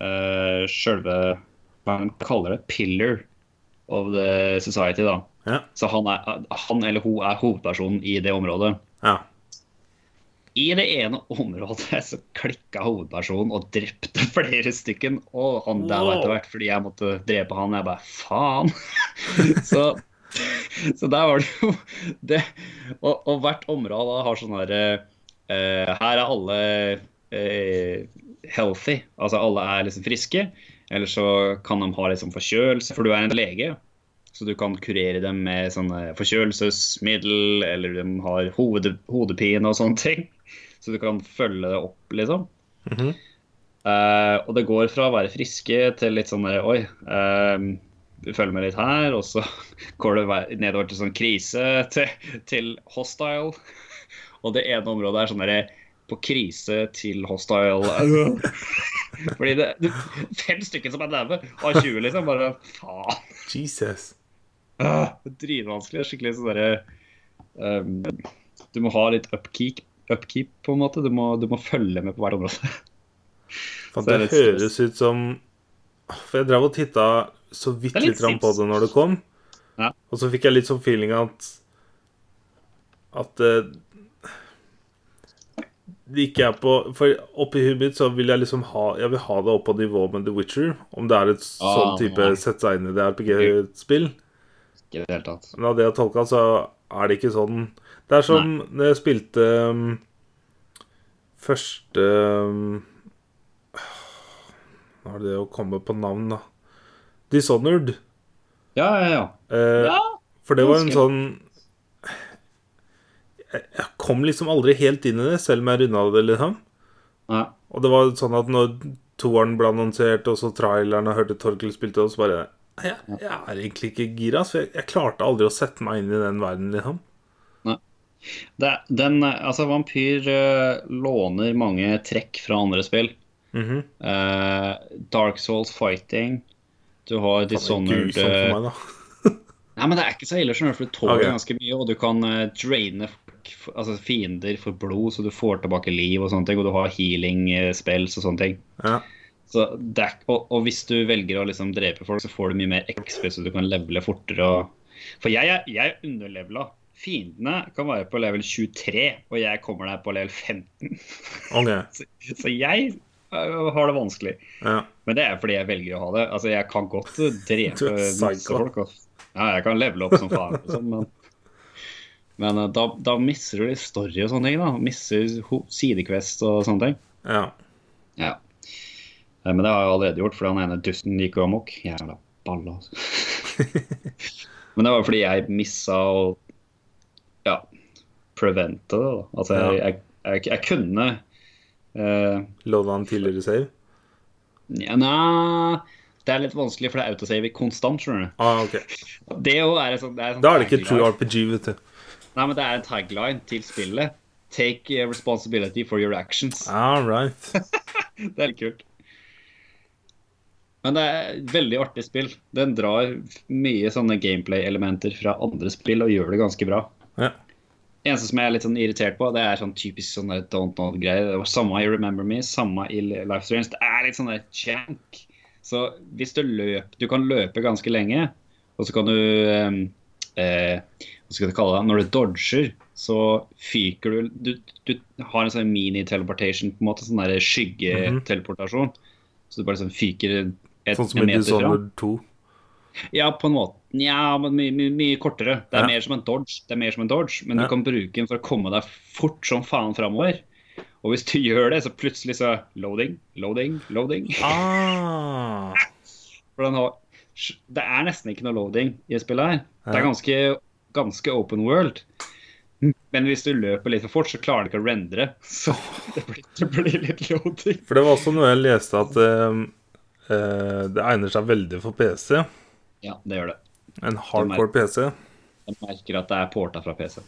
[SPEAKER 2] uh, sjølve Hva er det de kaller det? Pillar of the society, da.
[SPEAKER 1] Ja.
[SPEAKER 2] Så han, er, han eller hun er hovedpersonen i det området.
[SPEAKER 1] ja.
[SPEAKER 2] I det ene området *laughs* så klikka hovedpersonen og drepte *laughs* flere stykken. Og han daua
[SPEAKER 1] Wow.
[SPEAKER 2] etter hvert fordi jeg måtte drepe han. Jeg bare faen. *laughs* så, så der var det jo *laughs* det. Og, og hvert område har sånn herre Her er alle eh, healthy. Altså alle er liksom friske. Eller så kan de ha liksom forkjølelse, for du er en lege. Så du kan kurere dem med sånne forkjølelsesmiddel, eller de har hode, hodepine og sånne ting. Så du kan følge det opp, liksom.
[SPEAKER 1] Mhm.
[SPEAKER 2] Eh, og det går fra å være friske til litt sånn der, Oi, eh, vi følger med litt her. Og så *laughs* går det vei- nedover til sånn krise, *laughs* til, til hostile. *laughs* Og det ene området er sånn derre på krise til hostile. *laughs* Fordi det, det Fem stykker som er daue av 20, liksom. Bare faen.
[SPEAKER 1] Jesus.
[SPEAKER 2] Ah, det er Dritvanskelig. Skikkelig sånn derre um, Du må ha litt upkeep, upkeep på en måte. Du må, du må følge med på hvert område. *laughs*
[SPEAKER 1] Fan,
[SPEAKER 2] Så er
[SPEAKER 1] det
[SPEAKER 2] det litt
[SPEAKER 1] høres ut som For jeg drev og titta så vidt
[SPEAKER 2] Det er
[SPEAKER 1] litt
[SPEAKER 2] litt
[SPEAKER 1] grann på
[SPEAKER 2] Sims.
[SPEAKER 1] det når det kom,
[SPEAKER 2] Ja.
[SPEAKER 1] og så fikk jeg litt sånn feeling at At eh, det ikke er på For oppi huet mitt så vil jeg liksom ha Jeg vil ha det opp på nivå med The Witcher, om det er et sånn
[SPEAKER 2] Ah,
[SPEAKER 1] type
[SPEAKER 2] nei.
[SPEAKER 1] sette seg inn i det RPG-spill.
[SPEAKER 2] Ikke i det hele tatt.
[SPEAKER 1] Men av det jeg tolka, så er det ikke sånn. Det er som når jeg spilte um, første um, Nå er det det å komme på navn, da. Dishonored.
[SPEAKER 2] Ja, ja, ja.
[SPEAKER 1] Eh,
[SPEAKER 2] ja.
[SPEAKER 1] for det var en
[SPEAKER 2] ganske.
[SPEAKER 1] sånn Jeg jeg kom liksom aldri helt inn i det, selv om jeg runda det, liksom.
[SPEAKER 2] Nei.
[SPEAKER 1] Og det var sånn at når toeren ble annonsert, og så traileren og hørte Torkel spilte, og så bare jeg, jeg er egentlig ikke gira, så jeg, jeg klarte aldri å sette meg inn i den verden, liksom.
[SPEAKER 2] Det, den, eh, altså, Vampyr eh, låner mange trekk fra andre spill.
[SPEAKER 1] Mhm
[SPEAKER 2] Eh, Dark Souls Fighting. Du har
[SPEAKER 1] Faen, det Sånn er
[SPEAKER 2] Dishonored
[SPEAKER 1] grusomt
[SPEAKER 2] eh,
[SPEAKER 1] for meg, da.
[SPEAKER 2] Nei, men det er ikke så ille, skjønner du, for du tåler
[SPEAKER 1] Ok.
[SPEAKER 2] ganske mye, og du kan eh, draine folk, for- altså fiender for blod, så du får tilbake liv og sånne ting, og du har healing eh, spells og sånne ting.
[SPEAKER 1] Ja.
[SPEAKER 2] Så det er, ikke- og, og hvis du velger å liksom drepe folk, så får du mye mer XP, så du kan levele fortere. Og, for jeg, er- jeg er underlevela. Fiendene kan være på level 23, og jeg kommer der på level 15.
[SPEAKER 1] Ok.
[SPEAKER 2] *laughs* Så jeg eh, har det vanskelig.
[SPEAKER 1] Ja.
[SPEAKER 2] Men det er fordi jeg velger å ha det. Altså, Jeg kan
[SPEAKER 1] *laughs*
[SPEAKER 2] godt
[SPEAKER 1] Du
[SPEAKER 2] drepe
[SPEAKER 1] er
[SPEAKER 2] masse
[SPEAKER 1] psycho.
[SPEAKER 2] folk. ass. Ja, jeg kan levele opp som faen, liksom, men, men eh, da, da mister du litt story og sånne ting. da. Mister ho- sidequest og sånne ting.
[SPEAKER 1] ja.
[SPEAKER 2] Ja. Eh, Men det har jeg allerede gjort, fordi han ene dusten gikk jo amok. Jævla balla, altså.
[SPEAKER 1] *laughs*
[SPEAKER 2] Men det var fordi jeg missa å ja, prevente det. da. Altså, jeg, jeg, jeg, jeg kunne eh,
[SPEAKER 1] Lodda en tidligere save?
[SPEAKER 2] ja, Nei, det er litt vanskelig, for det er autosave konstant, skjønner du.
[SPEAKER 1] Ah, ok.
[SPEAKER 2] Det er jo er et sånt, det er et sånt
[SPEAKER 1] Da er det ikke true
[SPEAKER 2] tagline.
[SPEAKER 1] RPG, vet du.
[SPEAKER 2] Nei, men det er en tagline til spillet. Take eh, responsibility for your actions.
[SPEAKER 1] All right.
[SPEAKER 2] *laughs* Det er litt kult. Men det er et veldig artig spill. Den drar mye sånne gameplay-elementer fra andre spill og gjør det ganske bra.
[SPEAKER 1] Ja.
[SPEAKER 2] eneste som jeg er litt sånn irritert på, det er sånn typisk sånn der don't know-greier. Det var Samme i Remember Me, samme i Life Strange. Det er litt sånn der jank. Så hvis du løp Du kan løpe ganske lenge, og så kan du eh, eh, Hva skal jeg kalle det? Når du dodger, så fyker du Du, du har en sånn mini-teleportation, på en måte. Sånn der
[SPEAKER 1] Mhm.
[SPEAKER 2] skyggeteleportasjon. Så du bare sånn fyker et,
[SPEAKER 1] Sånn som
[SPEAKER 2] en
[SPEAKER 1] i
[SPEAKER 2] meter fram.
[SPEAKER 1] Dishonored 2.
[SPEAKER 2] Ja, på en måte. Ja, men mye, mye, mye kortere. Det er
[SPEAKER 1] Ja.
[SPEAKER 2] mer som en dodge, det er mer som en dodge, men
[SPEAKER 1] Ja.
[SPEAKER 2] du kan bruke den for å komme deg fort som faen framover. Og hvis du *laughs* gjør det, så plutselig så Loading, loading, loading.
[SPEAKER 1] Ah.
[SPEAKER 2] For den har, det er nesten ikke noe loading i spillet her. Det
[SPEAKER 1] Ja.
[SPEAKER 2] er ganske, ganske open world. Men hvis du løper litt for fort, så klarer du ikke å rendre. *laughs* Så det blir, det blir litt loading.
[SPEAKER 1] For det var også noe jeg leste at eh, eh, det egner seg veldig for PC.
[SPEAKER 2] Ja, det gjør det.
[SPEAKER 1] En hardcore PC.
[SPEAKER 2] Jeg merker at det er porta fra PC.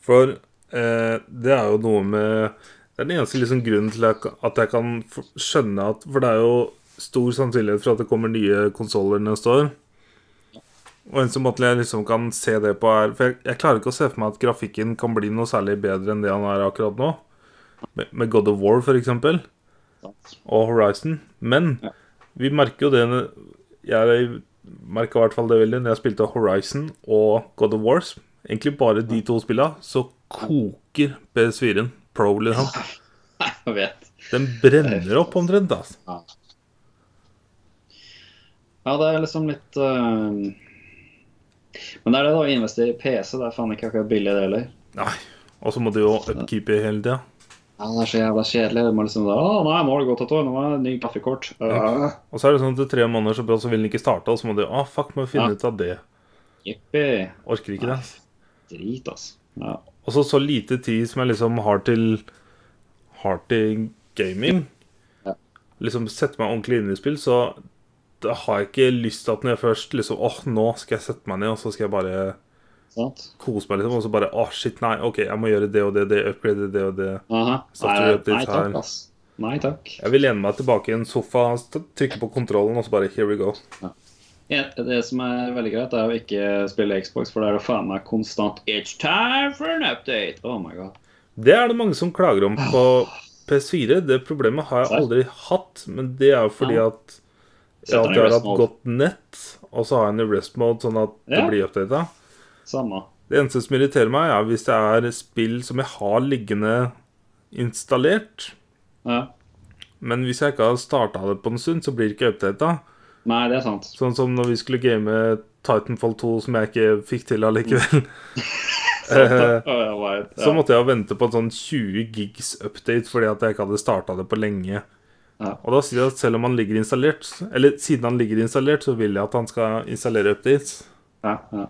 [SPEAKER 1] For eh, det er jo noe med Det er den eneste liksom grunnen til at at jeg kan f- skjønne at For det er jo stor sannsynlighet for at det kommer nye konsoller neste år. Og en som måte jeg liksom kan se det på er For jeg, jeg klarer ikke å se for meg at grafikken kan bli noe særlig bedre enn det han er akkurat nå. Med, med God of War, for eksempel
[SPEAKER 2] Sant?
[SPEAKER 1] og Horizon. Men
[SPEAKER 2] Ja.
[SPEAKER 1] vi merker jo det Jeg merka i hvert fall det veldig når jeg spilte Horizon og God of Wars. Egentlig bare de to spilla, så koker PS4-en. Pro, liksom.
[SPEAKER 2] Jeg vet.
[SPEAKER 1] Den brenner opp omtrent. Altså.
[SPEAKER 2] Ja. ja, det er liksom litt eh, Men det er det, da. Å investere i PC, det er faen ikke akkurat billig, det heller.
[SPEAKER 1] Nei. Og så må du jo upkeepe hele tida.
[SPEAKER 2] Ja, det er så jævla kjedelig. Du må liksom da, Å, nei, nå har det gått et år. Nå må jeg ha ny grafikkort. Uh,
[SPEAKER 1] Og så er det sånn at etter tre måneder så, bra, så vil den ikke starte, og så må du ah, fuck, må vi finne
[SPEAKER 2] Ja.
[SPEAKER 1] ut av det.
[SPEAKER 2] Jippi.
[SPEAKER 1] Orker ikke det. ass.
[SPEAKER 2] Drit, altså. Ja.
[SPEAKER 1] Og så så lite tid som jeg liksom har til Har til gaming.
[SPEAKER 2] Ja.
[SPEAKER 1] Liksom sette meg ordentlig inn i spill, så da har jeg ikke lyst til at når jeg først liksom åh, nå skal jeg sette meg ned, og så skal jeg bare
[SPEAKER 2] Sant?
[SPEAKER 1] kose meg, liksom. Og så bare åh, shit, nei, OK, jeg må gjøre det og det, det, upgrade det og det.
[SPEAKER 2] Aha.
[SPEAKER 1] Software
[SPEAKER 2] Nei,
[SPEAKER 1] updates
[SPEAKER 2] nei takk,
[SPEAKER 1] her.
[SPEAKER 2] ass. Nei takk.
[SPEAKER 1] Jeg vil lene meg tilbake i en sofa, st- trykke på kontrollen, og så bare here we go.
[SPEAKER 2] Ja, Det som er veldig greit, er å ikke spille Xbox, for det er å faen meg konstant It's time for an update! Oh my god.
[SPEAKER 1] Det er det mange som klager om på PS4. Det problemet har jeg aldri hatt, men det er jo fordi
[SPEAKER 2] Ja.
[SPEAKER 1] at jeg
[SPEAKER 2] Setter den i
[SPEAKER 1] alltid har
[SPEAKER 2] rest
[SPEAKER 1] hatt
[SPEAKER 2] mode.
[SPEAKER 1] godt nett, og så har jeg den i rest mode, sånn at det
[SPEAKER 2] Ja.
[SPEAKER 1] blir oppdata.
[SPEAKER 2] Samme.
[SPEAKER 1] Det eneste som irriterer meg, er hvis det er spill som jeg har liggende installert,
[SPEAKER 2] Ja.
[SPEAKER 1] men hvis jeg ikke har starta det på en stund, så blir det ikke oppdata.
[SPEAKER 2] Nei, det er sant.
[SPEAKER 1] Sånn som når vi skulle game Titanfall 2, som jeg ikke fikk til allikevel.
[SPEAKER 2] *laughs* sant Mm. det.
[SPEAKER 1] Eh,
[SPEAKER 2] Å, jeg vet, ja.
[SPEAKER 1] Så måtte jeg vente på en sånn 20 gigs update fordi at jeg ikke hadde starta det på lenge.
[SPEAKER 2] Ja.
[SPEAKER 1] Og da sier jeg at selv om han ligger installert, eller siden han ligger installert, så vil jeg at han skal installere updates.
[SPEAKER 2] ja, ja.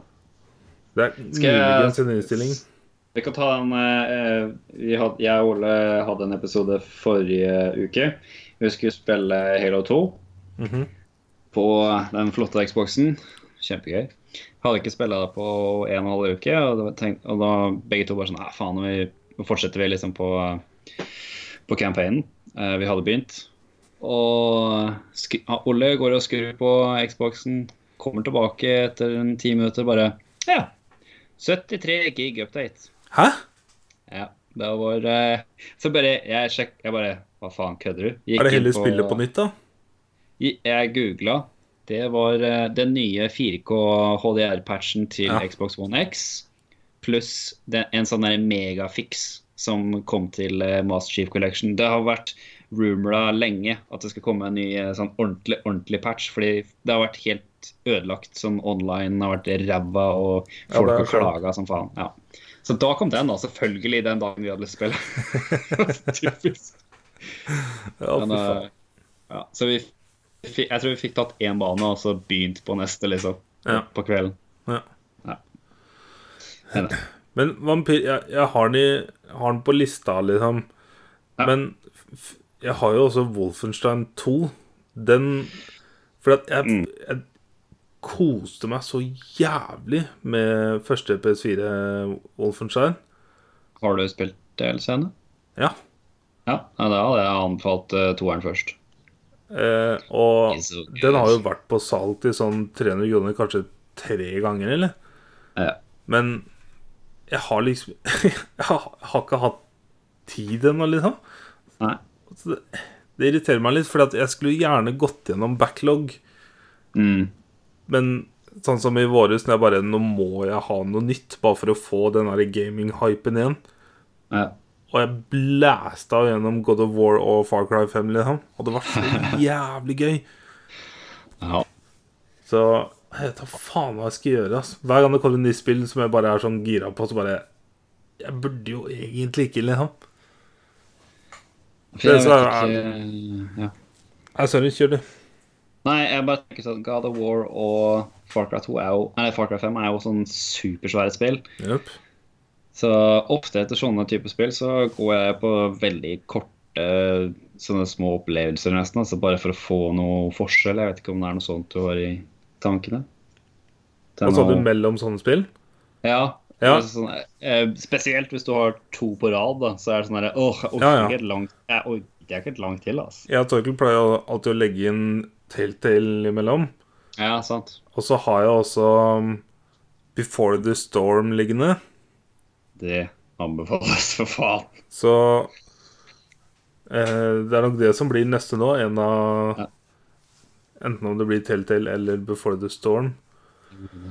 [SPEAKER 1] Det er
[SPEAKER 2] Skal jeg-
[SPEAKER 1] muligens en innstilling.
[SPEAKER 2] Vi kan ta en eh, vi had, Jeg og Ole hadde en episode forrige uke. Vi skulle spille Halo 2
[SPEAKER 1] Mhm.
[SPEAKER 2] på den flotte Xboxen. Kjempegøy. Hadde ikke spilla det på en og en halv uke, og, det var tenkt, og da begge to bare sånn Nei, faen, vi, nå fortsetter vi liksom på, på campaignen. Eh, vi hadde begynt. Og skri, ja, Ole går og skrur på Xboxen, kommer tilbake etter en ti minutter bare Ja, 73 gig update.
[SPEAKER 1] Hæ?
[SPEAKER 2] Ja, det var eh, Så bare Jeg sjekk, jeg bare Hva faen, kødder du? Gikk
[SPEAKER 1] Er det
[SPEAKER 2] inn
[SPEAKER 1] hele spillet på nytt, da?
[SPEAKER 2] I- Jeg googla. Det var eh, den nye 4K HDR-patchen til
[SPEAKER 1] Ja.
[SPEAKER 2] Xbox One X pluss den, en sånn der megafix som kom til eh, Master Chief Collection. Det har vært rumora lenge at det skal komme en ny eh, sånn ordentlig, ordentlig patch, fordi det har vært helt ødelagt. Sånn online har vært ræva, og
[SPEAKER 1] Ja,
[SPEAKER 2] folk
[SPEAKER 1] det er
[SPEAKER 2] har
[SPEAKER 1] sant.
[SPEAKER 2] klaga som faen. Ja. Så da kom den, da. Selvfølgelig den dagen vi hadde lyst til å
[SPEAKER 1] *laughs*
[SPEAKER 2] spille. *laughs* Typisk.
[SPEAKER 1] Ja, fy
[SPEAKER 2] Men,
[SPEAKER 1] faen.
[SPEAKER 2] eh, ja, så vi fikk, jeg tror vi fikk tatt én bane, og så begynt på neste, liksom.
[SPEAKER 1] Ja.
[SPEAKER 2] På kvelden.
[SPEAKER 1] Ja.
[SPEAKER 2] ja. Men,
[SPEAKER 1] Men Vampyr Jeg, jeg har, den i, har den på lista, liksom.
[SPEAKER 2] Ja.
[SPEAKER 1] Men f jeg har jo også Wolfenstein 2. Den For at jeg,
[SPEAKER 2] Mm.
[SPEAKER 1] jeg koste meg så jævlig med første PS4 Wolfenstein.
[SPEAKER 2] har du spilt det hele scenen?
[SPEAKER 1] Ja.
[SPEAKER 2] Ja, ja, da hadde jeg anbefalt eh, toeren først.
[SPEAKER 1] Eh, og
[SPEAKER 2] Ikke så gøy,
[SPEAKER 1] den har jo
[SPEAKER 2] altså.
[SPEAKER 1] vært på salg til sånn 300 kroner kanskje tre ganger, eller?
[SPEAKER 2] Ja.
[SPEAKER 1] Men jeg har liksom *laughs* Jeg har, har ikke hatt tid ennå, liksom.
[SPEAKER 2] Nei.
[SPEAKER 1] Så det, det irriterer meg litt, for at jeg skulle gjerne gått gjennom backlog.
[SPEAKER 2] Mm.
[SPEAKER 1] Men sånn som i våres, når jeg bare Nå må jeg ha noe nytt, bare for å få den der gaming-hypen igjen.
[SPEAKER 2] Ja.
[SPEAKER 1] Og jeg blæsta gjennom God of War og Far Cry 5, liksom. Og det var så jævlig gøy.
[SPEAKER 2] ja.
[SPEAKER 1] Så jeg vet da faen hva jeg skal gjøre. ass. Hver gang det kommer et nytt spill som jeg bare er sånn gira på, så bare Jeg burde jo egentlig ikke, liksom.
[SPEAKER 2] For jeg
[SPEAKER 1] Det som er-
[SPEAKER 2] vet ikke ja.
[SPEAKER 1] Nei, sorry, kjør du.
[SPEAKER 2] Nei, jeg bare tenker sånn God of War og Far Cry 2 er jo Nei, Far Cry 5 er jo sånn supersvære spill.
[SPEAKER 1] Jep.
[SPEAKER 2] Så ofte etter sånne typer spill så går jeg på veldig korte sånne små opplevelser nesten, altså bare for å få noe forskjell. Jeg vet ikke om det er noe sånt du har i tankene. Det er
[SPEAKER 1] Hva sa du
[SPEAKER 2] noe-
[SPEAKER 1] mellom sånne spill?
[SPEAKER 2] Ja.
[SPEAKER 1] Ja.
[SPEAKER 2] Altså sånn, eh, spesielt hvis du har to på rad, da, så er det sånn her Åh, jeg orker
[SPEAKER 1] Ja, ja.
[SPEAKER 2] ikke et langt Jeg orker ikke et langt til, altså.
[SPEAKER 1] Jeg og Torkel pleier alltid å legge inn Telltale imellom.
[SPEAKER 2] Ja, sant.
[SPEAKER 1] Og så har jeg også um, Before the Storm liggende.
[SPEAKER 2] Det anbefales, for faen.
[SPEAKER 1] Så eh, det er nok det som blir neste nå. En av
[SPEAKER 2] Ja.
[SPEAKER 1] Enten om det blir Telltale eller Before the Storm.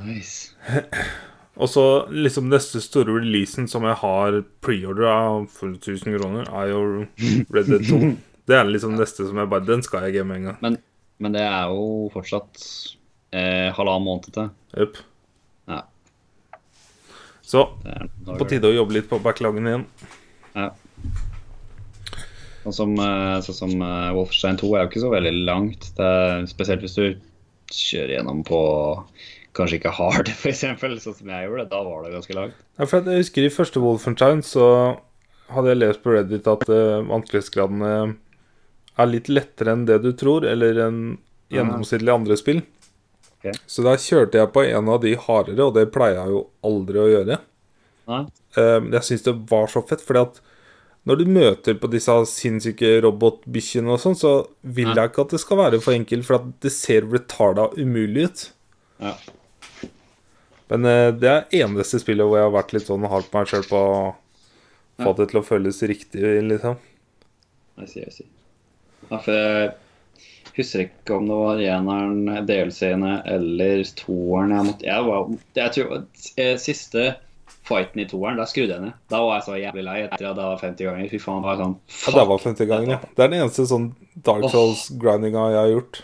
[SPEAKER 2] Nice.
[SPEAKER 1] Og så liksom neste store releasen som jeg har preordra for 1000 kroner, er jo Red Dead 2. Det er liksom neste som jeg bare Den skal jeg game med en gang.
[SPEAKER 2] Men, men det er jo fortsatt eh, halvannen måned til.
[SPEAKER 1] Jøpp.
[SPEAKER 2] Ja.
[SPEAKER 1] Så
[SPEAKER 2] Det er noen
[SPEAKER 1] på
[SPEAKER 2] dager.
[SPEAKER 1] tide å jobbe litt på backloggen igjen.
[SPEAKER 2] Ja. Og som, eh, sånn som eh, Wolfenstein 2 er jo ikke så veldig langt. Det er, spesielt hvis du kjører gjennom på kanskje ikke hard, *laughs* f.eks., sånn som jeg gjorde. Da var det ganske langt.
[SPEAKER 1] Ja, for at jeg husker i første Wolfenstein så hadde jeg lest på Reddit at eh, vanskelighetsgradene er litt lettere enn det du tror, eller enn gjennomsnittlig andre spill.
[SPEAKER 2] Ok.
[SPEAKER 1] Så da kjørte jeg på en av de hardere, og det pleier jeg jo aldri å gjøre.
[SPEAKER 2] Nei?
[SPEAKER 1] Eh, Men jeg syns det var så fett, fordi at når du møter på disse sinnssyke robotbikkjene og sånn, så vil jeg ikke at det skal være for enkelt, for at det ser retarda umulig ut.
[SPEAKER 2] Ja.
[SPEAKER 1] Men eh, det er eneste spillet hvor jeg har vært litt sånn hard på meg sjøl på å få det til å føles riktig, liksom.
[SPEAKER 2] Jeg sier, jeg sier. Ja, for jeg husker ikke om det var eneren, delseerne eller toeren jeg måtte Jeg var jeg tror, eh, Siste fighten i toeren, da skrudde jeg ned. Da var jeg så jævlig lei etter at det var 50 ganger. Fy faen, bare sånn
[SPEAKER 1] Ja, det var femte gangen, ja. Det er den eneste sånn Dark
[SPEAKER 2] Åh.
[SPEAKER 1] Souls-grindinga jeg har gjort.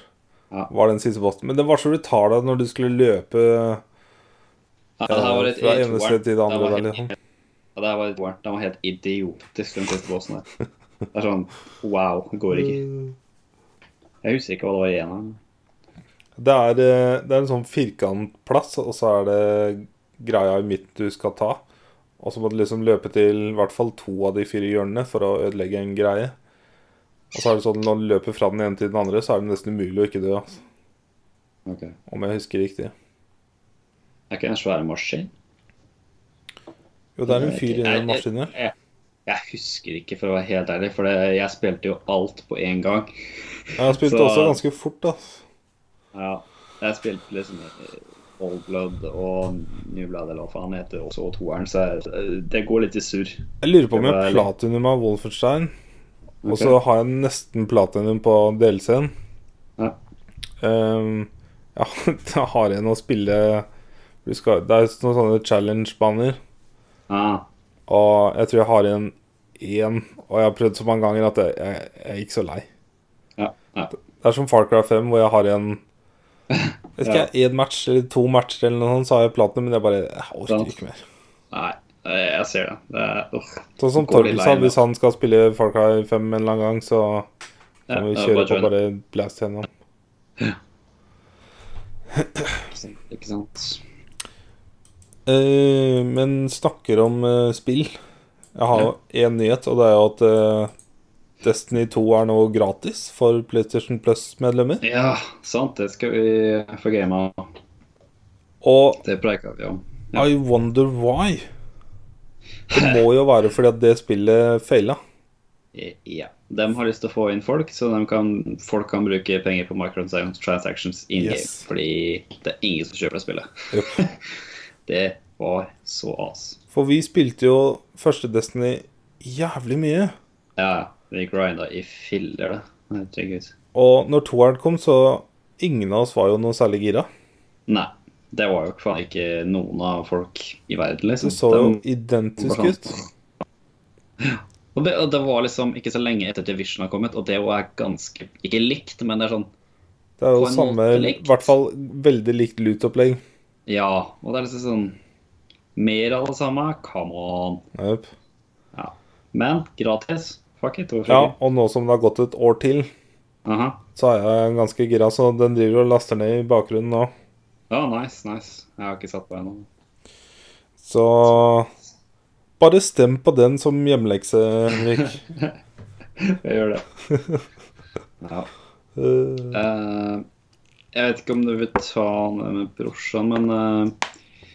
[SPEAKER 2] Ja.
[SPEAKER 1] Var den siste bossen. Men det var så retarda når du skulle løpe eh,
[SPEAKER 2] Ja, det her var litt
[SPEAKER 1] fra
[SPEAKER 2] i
[SPEAKER 1] ene
[SPEAKER 2] toeren.
[SPEAKER 1] sted til det
[SPEAKER 2] Den
[SPEAKER 1] andre.
[SPEAKER 2] var
[SPEAKER 1] Der,
[SPEAKER 2] helt-
[SPEAKER 1] liksom.
[SPEAKER 2] Ja, det her var i toeren. Den var helt idiotisk, den siste bossen der. Det er sånn wow, det går
[SPEAKER 1] Mm.
[SPEAKER 2] ikke. Jeg husker ikke hva det var i eneren.
[SPEAKER 1] Det er, eh, det er en sånn firkantplass, og så er det greia i midten du skal ta. Og så må du liksom løpe til i hvert fall to av de fire hjørnene for å ødelegge en greie. Og så er det sånn når du løper fra den ene til den andre, så er det nesten umulig å ikke dø. Altså.
[SPEAKER 2] Ok.
[SPEAKER 1] Om jeg husker riktig.
[SPEAKER 2] Er ikke det en svær maskin?
[SPEAKER 1] Jo, det er en fyr inni
[SPEAKER 2] Nei,
[SPEAKER 1] den maskinen her.
[SPEAKER 2] Jeg, jeg husker ikke, for å være helt ærlig, for det, jeg spilte jo alt på én gang.
[SPEAKER 1] Jeg har spilt
[SPEAKER 2] Så-
[SPEAKER 1] også ganske fort, da.
[SPEAKER 2] Ja, jeg spilte liksom eh, Old Blood og New Blood, eller hva faen det heter, også og toeren, så jeg, det går litt i surr.
[SPEAKER 1] Jeg lurer på om jeg
[SPEAKER 2] Det
[SPEAKER 1] har
[SPEAKER 2] var litt-
[SPEAKER 1] platinum av Wolfenstein. Og
[SPEAKER 2] Ok.
[SPEAKER 1] så har jeg nesten platinum på DLC-en.
[SPEAKER 2] Ja.
[SPEAKER 1] Ehm, ja, *laughs* da har jeg en å spille du skal, Det er noen sånne challenge-baner.
[SPEAKER 2] Ah,
[SPEAKER 1] Og jeg tror jeg har igjen én, og jeg har prøvd så mange ganger at jeg, jeg, jeg er ikke så lei.
[SPEAKER 2] ja, ja.
[SPEAKER 1] Det er som Far Cry 5, hvor jeg har igjen
[SPEAKER 2] *laughs*
[SPEAKER 1] Vet ikke, én match eller to matcher eller noe sånt, så har jeg platinum, men jeg bare jeg
[SPEAKER 2] Sant.
[SPEAKER 1] orker ikke mer.
[SPEAKER 2] Nei, eh, jeg ser det. det er, uff.
[SPEAKER 1] Sånn som
[SPEAKER 2] Går litt
[SPEAKER 1] Torkel
[SPEAKER 2] lei
[SPEAKER 1] sa,
[SPEAKER 2] meg.
[SPEAKER 1] hvis han skal spille Far Cry 5 en eller annen gang, så
[SPEAKER 2] Ja,
[SPEAKER 1] kan vi
[SPEAKER 2] ja,
[SPEAKER 1] kjøre
[SPEAKER 2] bare
[SPEAKER 1] på
[SPEAKER 2] join.
[SPEAKER 1] bare blast gjennom.
[SPEAKER 2] Ikke sant?
[SPEAKER 1] Eh, men snakker om eh, spill. Jeg har jo én nyhet, og det er jo at eh, Destiny 2 er nå gratis for PlayStation Plus-medlemmer.
[SPEAKER 2] Ja, sant, det skal vi få game av.
[SPEAKER 1] Og
[SPEAKER 2] Det preika vi om. Ja.
[SPEAKER 1] I wonder why. Det må jo være fordi at det spillet faila.
[SPEAKER 2] Eh, Ja. De har lyst til å få inn folk, så de kan, folk kan bruke penger på microtransactions in game.
[SPEAKER 1] Yes.
[SPEAKER 2] Fordi det er ingen som kjøper det spillet.
[SPEAKER 1] Yep.
[SPEAKER 2] Det var så as.
[SPEAKER 1] For vi spilte jo første Destiny jævlig mye.
[SPEAKER 2] Ja, vi grinda i filler, det. Herregud.
[SPEAKER 1] Og når toeren kom, så Ingen av oss var jo noe særlig gira.
[SPEAKER 2] Nei. Det var jo faen ikke noen av folk i verden, liksom.
[SPEAKER 1] Det så jo
[SPEAKER 2] De-
[SPEAKER 1] identisk ut.
[SPEAKER 2] og det, og det var liksom ikke så lenge etter Division har kommet, og det var ganske Ikke likt, men det er sånn
[SPEAKER 1] Det er
[SPEAKER 2] På
[SPEAKER 1] jo
[SPEAKER 2] en
[SPEAKER 1] samme
[SPEAKER 2] måte
[SPEAKER 1] I
[SPEAKER 2] likt.
[SPEAKER 1] hvert fall veldig likt loot-opplegg.
[SPEAKER 2] Ja. Og det er liksom sånn Mer av det samme? Come on.
[SPEAKER 1] Yep.
[SPEAKER 2] Ja. Men gratis. Fuck it. Hvorfor
[SPEAKER 1] Ja,
[SPEAKER 2] ikke?
[SPEAKER 1] og nå som det har gått et år til,
[SPEAKER 2] Aha.
[SPEAKER 1] så er jeg ganske gira, så den driver og laster ned i bakgrunnen nå.
[SPEAKER 2] Ja, nice, nice. Jeg har ikke satt på ennå.
[SPEAKER 1] Så bare stem på den som hjemlekse, Henrik.
[SPEAKER 2] Jeg gjør det. Ja.
[SPEAKER 1] Eh,
[SPEAKER 2] Eh, jeg vet ikke om du vil ta det med brorsan, men eh,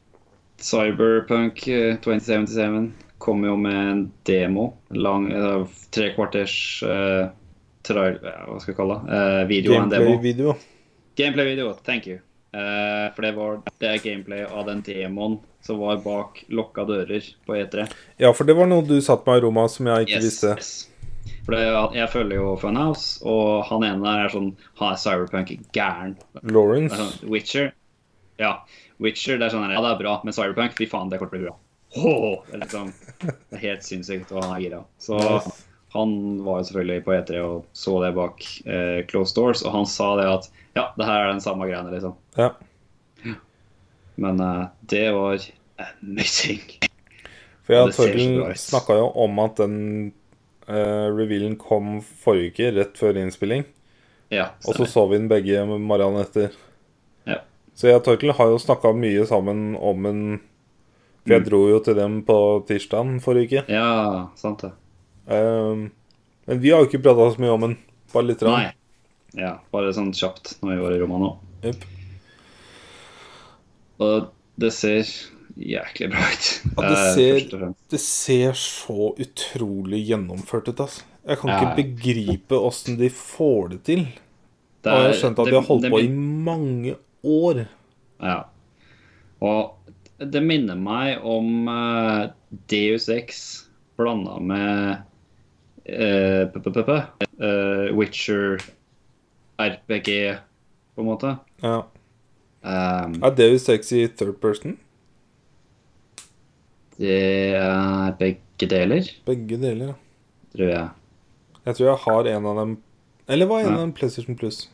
[SPEAKER 2] Cyberpunk eh, 2077 kom jo med en demo. Lang, eh, tre kvarters eh, trail, ja, Hva skal jeg kalle det? Eh, video av en demo.
[SPEAKER 1] Gameplay-video.
[SPEAKER 2] Gameplay-video. Thank you. Eh, for det var det er gameplay av den demoen som var bak lukka dører på E E3.
[SPEAKER 1] Ja, for det var noe du satt med i rommet som jeg ikke
[SPEAKER 2] Yes,
[SPEAKER 1] visste.
[SPEAKER 2] yes. For det, jeg følger jo Funhouse, og han ene der er sånn Han er cyberpunk gæren. Det
[SPEAKER 1] Lawrence.
[SPEAKER 2] er sånn, Witcher Ja, Witcher det er sånn her, Ja, det er bra, men Cyberpunk, fy faen, det kommer til å bli bra. Åh, det, er liksom, det er helt sinnssykt, og han er gira. Så
[SPEAKER 1] Nice.
[SPEAKER 2] han var jo selvfølgelig på E3 og så det bak eh, closed doors, og han sa det at ja, det her er den samme greiene, liksom.
[SPEAKER 1] Ja.
[SPEAKER 2] Men eh, det var amazing. *laughs*
[SPEAKER 1] For jeg
[SPEAKER 2] Ja,
[SPEAKER 1] og
[SPEAKER 2] det ser så
[SPEAKER 1] Torkel
[SPEAKER 2] bra ut.
[SPEAKER 1] snakka jo om at den eh, revealen kom forrige uke, rett før innspilling.
[SPEAKER 2] Ja,
[SPEAKER 1] Og så
[SPEAKER 2] stemmer.
[SPEAKER 1] så vi den begge morgenen etter.
[SPEAKER 2] Ja.
[SPEAKER 1] Så jeg og Torkel har jo snakka mye sammen om en For jeg dro jo til dem på tirsdagen forrige uke.
[SPEAKER 2] ja, sant det.
[SPEAKER 1] Ehm, men vi har jo ikke prata så mye om den. Bare litt.
[SPEAKER 2] Nei. Ja, bare sånn kjapt når vi var i Roma nå.
[SPEAKER 1] Yep.
[SPEAKER 2] Og det ser jæklig bra ut.
[SPEAKER 1] Ja, det
[SPEAKER 2] eh,
[SPEAKER 1] ser-
[SPEAKER 2] først og fremst.
[SPEAKER 1] Det ser så utrolig gjennomført ut, altså. Jeg kan
[SPEAKER 2] Ja.
[SPEAKER 1] ikke begripe åssen de får det til.
[SPEAKER 2] Det
[SPEAKER 1] Og jeg har
[SPEAKER 2] er-
[SPEAKER 1] skjønt at
[SPEAKER 2] det-
[SPEAKER 1] de har holdt
[SPEAKER 2] det
[SPEAKER 1] på i
[SPEAKER 2] min-
[SPEAKER 1] mange år.
[SPEAKER 2] Ja. Og det minner meg om eh, Deus Ex blanda med eh, p- p- p- p- eh, Witcher RPG, på en måte.
[SPEAKER 1] Ja.
[SPEAKER 2] Ehm,
[SPEAKER 1] Er Deus Ex i third person?
[SPEAKER 2] det er begge deler,
[SPEAKER 1] Begge deler, ja.
[SPEAKER 2] tror jeg.
[SPEAKER 1] Jeg tror jeg har en av dem Eller var en
[SPEAKER 2] Ja.
[SPEAKER 1] av dem PlayStation Plus?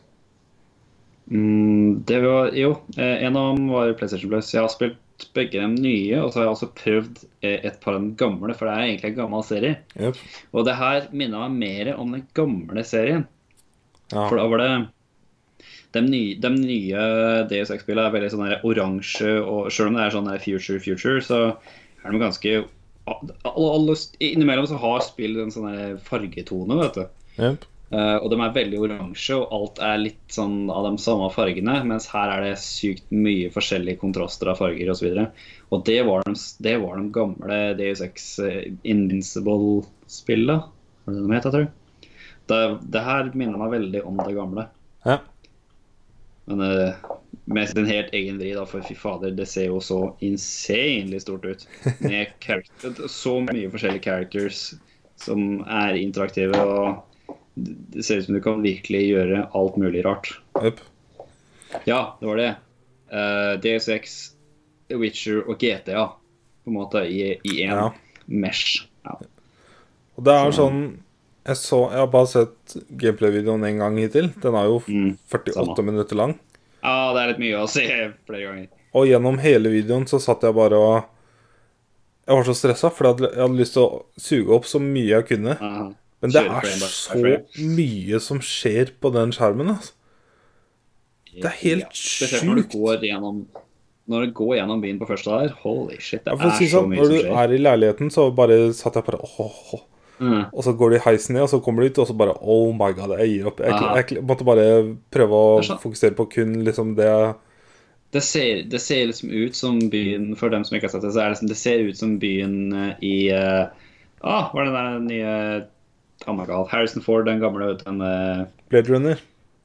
[SPEAKER 2] Mm, det var, jo, eh, en av dem var PlayStation Plus. Jeg har spilt begge de nye, og så har jeg også prøvd eh, et par av de gamle, for det er egentlig en gammel serie.
[SPEAKER 1] Yep.
[SPEAKER 2] Og det her minner meg mer om den gamle serien.
[SPEAKER 1] Ja.
[SPEAKER 2] For da var det De nye, de nye Deus Ex-spillene er veldig sånn der oransje, og selv om det er sånn der future, future, så er de ganske alle, alle, Innimellom så har spill en sånn der fargetone, vet du.
[SPEAKER 1] Yep.
[SPEAKER 2] Eh, og de er veldig oransje, og alt er litt sånn av de samme fargene. Mens her er det sykt mye forskjellige kontraster av farger osv. Og, så og det, var de, det var de gamle Deus Ex eh, Invincible-spilla. Var det det de het, jeg tror? Det, det her minner meg veldig om det gamle.
[SPEAKER 1] Ja.
[SPEAKER 2] Men eh, med en helt egen vri, da, for fy fader, det ser jo så insanely stort ut. Med character, så mye forskjellige characters som er interaktive. og det ser ut som du kan virkelig gjøre alt mulig rart.
[SPEAKER 1] Yep.
[SPEAKER 2] Ja, det var det. Uh, DSX, Witcher og GTA på en måte i i én
[SPEAKER 1] Ja.
[SPEAKER 2] mesh. Ja.
[SPEAKER 1] Og det er sånn Jeg, så, jeg har bare sett gameplay-videoen én gang hittil. Den er jo
[SPEAKER 2] Mm,
[SPEAKER 1] 48
[SPEAKER 2] samme.
[SPEAKER 1] minutter lang.
[SPEAKER 2] ja, Ah, det er litt mye å se flere ganger.
[SPEAKER 1] Og gjennom hele videoen så satt jeg bare og Jeg var så stressa, for jeg hadde, jeg hadde lyst til å suge opp så mye jeg kunne.
[SPEAKER 2] Aha.
[SPEAKER 1] Men det
[SPEAKER 2] Kjøre
[SPEAKER 1] er
[SPEAKER 2] frame by
[SPEAKER 1] så
[SPEAKER 2] frame.
[SPEAKER 1] mye som skjer på den skjermen, altså. Det er helt
[SPEAKER 2] Spesielt når
[SPEAKER 1] sjukt.
[SPEAKER 2] du går gjennom når du går gjennom byen på første der. Holy shit, det
[SPEAKER 1] Jeg får
[SPEAKER 2] er
[SPEAKER 1] si
[SPEAKER 2] så
[SPEAKER 1] sånn,
[SPEAKER 2] mye
[SPEAKER 1] Når
[SPEAKER 2] som
[SPEAKER 1] du
[SPEAKER 2] skjer.
[SPEAKER 1] er i leiligheten, så bare satt jeg bare åh, åh, åh.
[SPEAKER 2] Mm.
[SPEAKER 1] Og så går du i heisen ned, og så kommer du ut, og så bare Oh my god, jeg gir opp. Jeg,
[SPEAKER 2] Ja.
[SPEAKER 1] jeg, måtte bare prøve å
[SPEAKER 2] Det er sånn.
[SPEAKER 1] fokusere på kun liksom det
[SPEAKER 2] Det ser, det ser liksom ut som byen For dem som ikke har sett det, så er det, liksom, det ser ut som byen eh, i eh, Ah, hva er den der nye Oh my god, Harrison Ford, den gamle vet du, den, eh,
[SPEAKER 1] Blade Runner.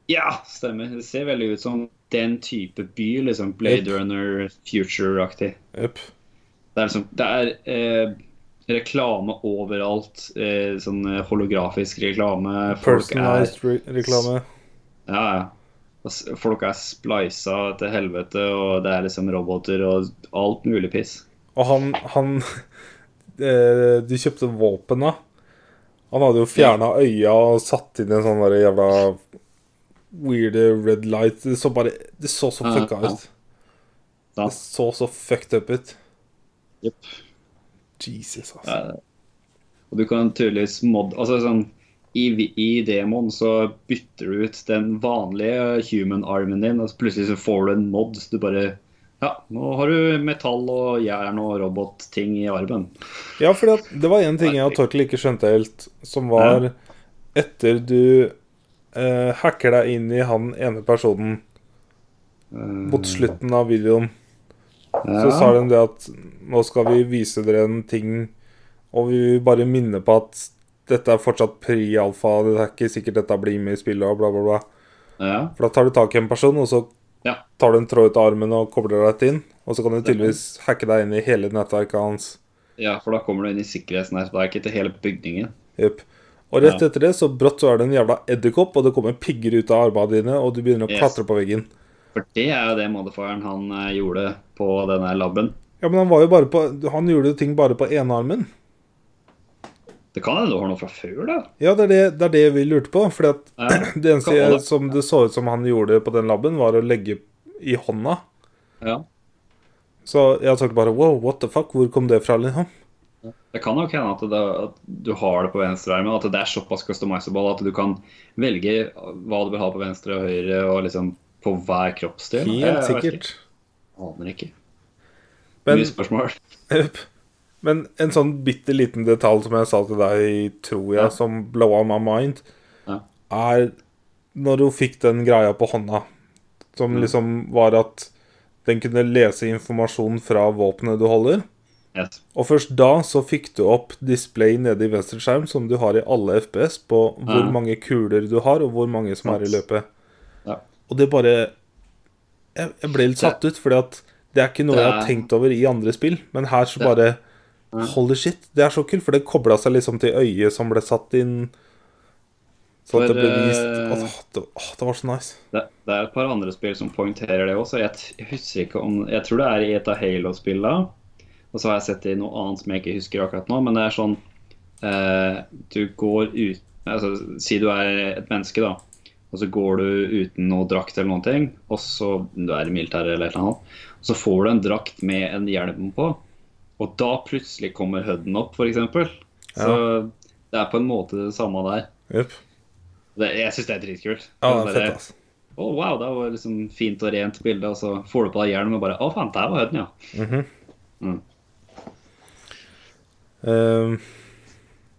[SPEAKER 2] Ja, stemmer. Det ser veldig ut som den type by, liksom. Blade
[SPEAKER 1] Yep.
[SPEAKER 2] Runner, Future-aktig.
[SPEAKER 1] Yep.
[SPEAKER 2] Det er liksom Det er eh, reklame overalt. Eh, sånn eh, holografisk reklame. Folk er
[SPEAKER 1] Personalized re reklame.
[SPEAKER 2] ja, ja. Og s- Folk er splisa til helvete, og det er liksom roboter og alt mulig piss.
[SPEAKER 1] Og han, han *laughs* eh, De kjøpte våpen da. Han hadde jo fjerna øya og satt inn en sånn der jævla weird red light. Det så bare Det så så
[SPEAKER 2] Ja,
[SPEAKER 1] fucka
[SPEAKER 2] ja.
[SPEAKER 1] ut.
[SPEAKER 2] Sant.
[SPEAKER 1] Det så så fucked up ut.
[SPEAKER 2] Jep.
[SPEAKER 1] Jesus, altså.
[SPEAKER 2] Ja. Og du kan tydeligvis mod... Altså sånn i, I demoen så bytter du ut den vanlige human armen din, og så plutselig så får du en mod. Så du bare Ja, nå har du metall og jern og robotting i armen.
[SPEAKER 1] Ja, for det var én ting jeg og Torkel ikke skjønte helt, som var etter du eh, hacker deg inn i han ene personen
[SPEAKER 2] Eh,
[SPEAKER 1] mot slutten av videoen, Så sa de det at nå skal vi vise dere en ting, og vi vil bare minne på at dette er fortsatt pri-alfa, det er ikke sikkert dette blir med i spillet, og bla, bla, bla.
[SPEAKER 2] Ja.
[SPEAKER 1] For da tar du tak i en person, og så
[SPEAKER 2] Ja.
[SPEAKER 1] tar du en tråd ut av armen og kobler deg rett inn. Og så kan du tydeligvis hacke deg inn i hele nettverket hans.
[SPEAKER 2] ja, for da kommer du inn i sikkerheten her. Det er ikke til hele bygningen.
[SPEAKER 1] Jep. Og rett
[SPEAKER 2] Ja.
[SPEAKER 1] etter det, så brått så er det en jævla edderkopp, og det kommer pigger ut av armene dine, og du begynner å
[SPEAKER 2] Yes.
[SPEAKER 1] klatre på veggen.
[SPEAKER 2] For det er jo det motherfuckeren han eh, gjorde på denne laben.
[SPEAKER 1] Ja, men han var jo bare på Han gjorde ting bare på ene armen.
[SPEAKER 2] Det kan hende du har noe fra før, da.
[SPEAKER 1] *clears throat* Ja, det er det, det, er det vi lurte på. Fordi at *clears throat*
[SPEAKER 2] Ja.
[SPEAKER 1] det eneste
[SPEAKER 2] Kan holde.
[SPEAKER 1] jeg, som det så ut som han gjorde på den laben, var å legge i hånda.
[SPEAKER 2] Ja.
[SPEAKER 1] Så jeg tenkte bare wow, what the fuck, hvor kom det fra? liksom?
[SPEAKER 2] Det kan nok hende at, det, at du har det på venstre arm, at det er såpass customizable at du kan velge hva du vil ha på venstre og høyre og liksom på hver kroppsdel.
[SPEAKER 1] Helt
[SPEAKER 2] Jeg vet
[SPEAKER 1] sikkert.
[SPEAKER 2] ikke. Aner ikke.
[SPEAKER 1] Men-
[SPEAKER 2] Mye spørsmål.
[SPEAKER 1] Jep. Men en sånn bitte liten detalj som jeg sa til deg, tror jeg,
[SPEAKER 2] Ja.
[SPEAKER 1] som blowa my mind,
[SPEAKER 2] Ja.
[SPEAKER 1] er når hun fikk den greia på hånda, som
[SPEAKER 2] Mm.
[SPEAKER 1] liksom var at den kunne lese informasjon fra våpenet du holder.
[SPEAKER 2] Yes.
[SPEAKER 1] Og først da så fikk du opp display nede i venstre skjerm, som du har i alle FPS, på hvor
[SPEAKER 2] Ja.
[SPEAKER 1] mange kuler du har, og hvor mange som er i
[SPEAKER 2] Sant.
[SPEAKER 1] løpet.
[SPEAKER 2] Ja.
[SPEAKER 1] Og det bare Jeg, jeg ble litt satt ut, fordi at det er ikke noe
[SPEAKER 2] Det
[SPEAKER 1] jeg har
[SPEAKER 2] er-
[SPEAKER 1] tenkt over i andre spill, men her så bare Holy shit, det er så kult, for det kobla seg liksom til øyet som ble satt inn. Så at
[SPEAKER 2] For,
[SPEAKER 1] det ble vist
[SPEAKER 2] eh,
[SPEAKER 1] Åh, det, åh, det var så nice.
[SPEAKER 2] Det, det er et par andre spill som poengterer det også. Jeg, t- jeg husker ikke om Jeg tror det er i et av Halo-spillene. Og så har jeg sett det i noe annet som jeg ikke husker akkurat nå. Men det er sånn eh, Du går ut altså, Si du er et menneske, da. Og så går du uten noe drakt eller noen ting. Og så du er i militæret eller et eller annet. Og så får du en drakt med en hjelm på. Og da plutselig kommer huden opp, f.eks. Så det er på en måte det samme der.
[SPEAKER 1] Jupp.
[SPEAKER 2] Det, jeg syns det er dritkult.
[SPEAKER 1] Ja, det
[SPEAKER 2] Bare-
[SPEAKER 1] er fett, altså.
[SPEAKER 2] å, wow, det var liksom fint og rent bilde, og så får du på deg hjelm og bare Å, faen, der var høyden, ja.
[SPEAKER 1] Ehm,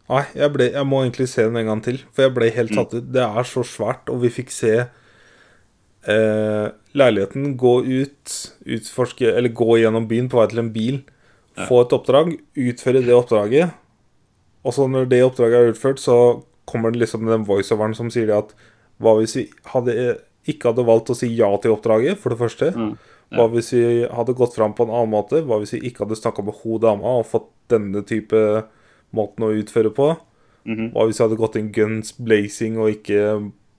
[SPEAKER 1] nei, jeg, ble, jeg må egentlig se den en gang til, for jeg ble helt tatt ut. Det er så svært, og vi fikk se eh, leiligheten gå ut, utforske Eller gå gjennom byen på vei til en bil, få et oppdrag, utføre det oppdraget. Og så når det oppdraget er utført, så kommer det liksom den voiceoveren som sier det at Hva hvis vi hadde, eh, ikke hadde valgt å si ja til oppdraget, for det første? Hva hvis vi hadde gått fram på en annen måte? Hva hvis vi ikke hadde snakka med hun dama og fått denne type måten å utføre på? Hva hvis vi hadde gått inn guns blazing og ikke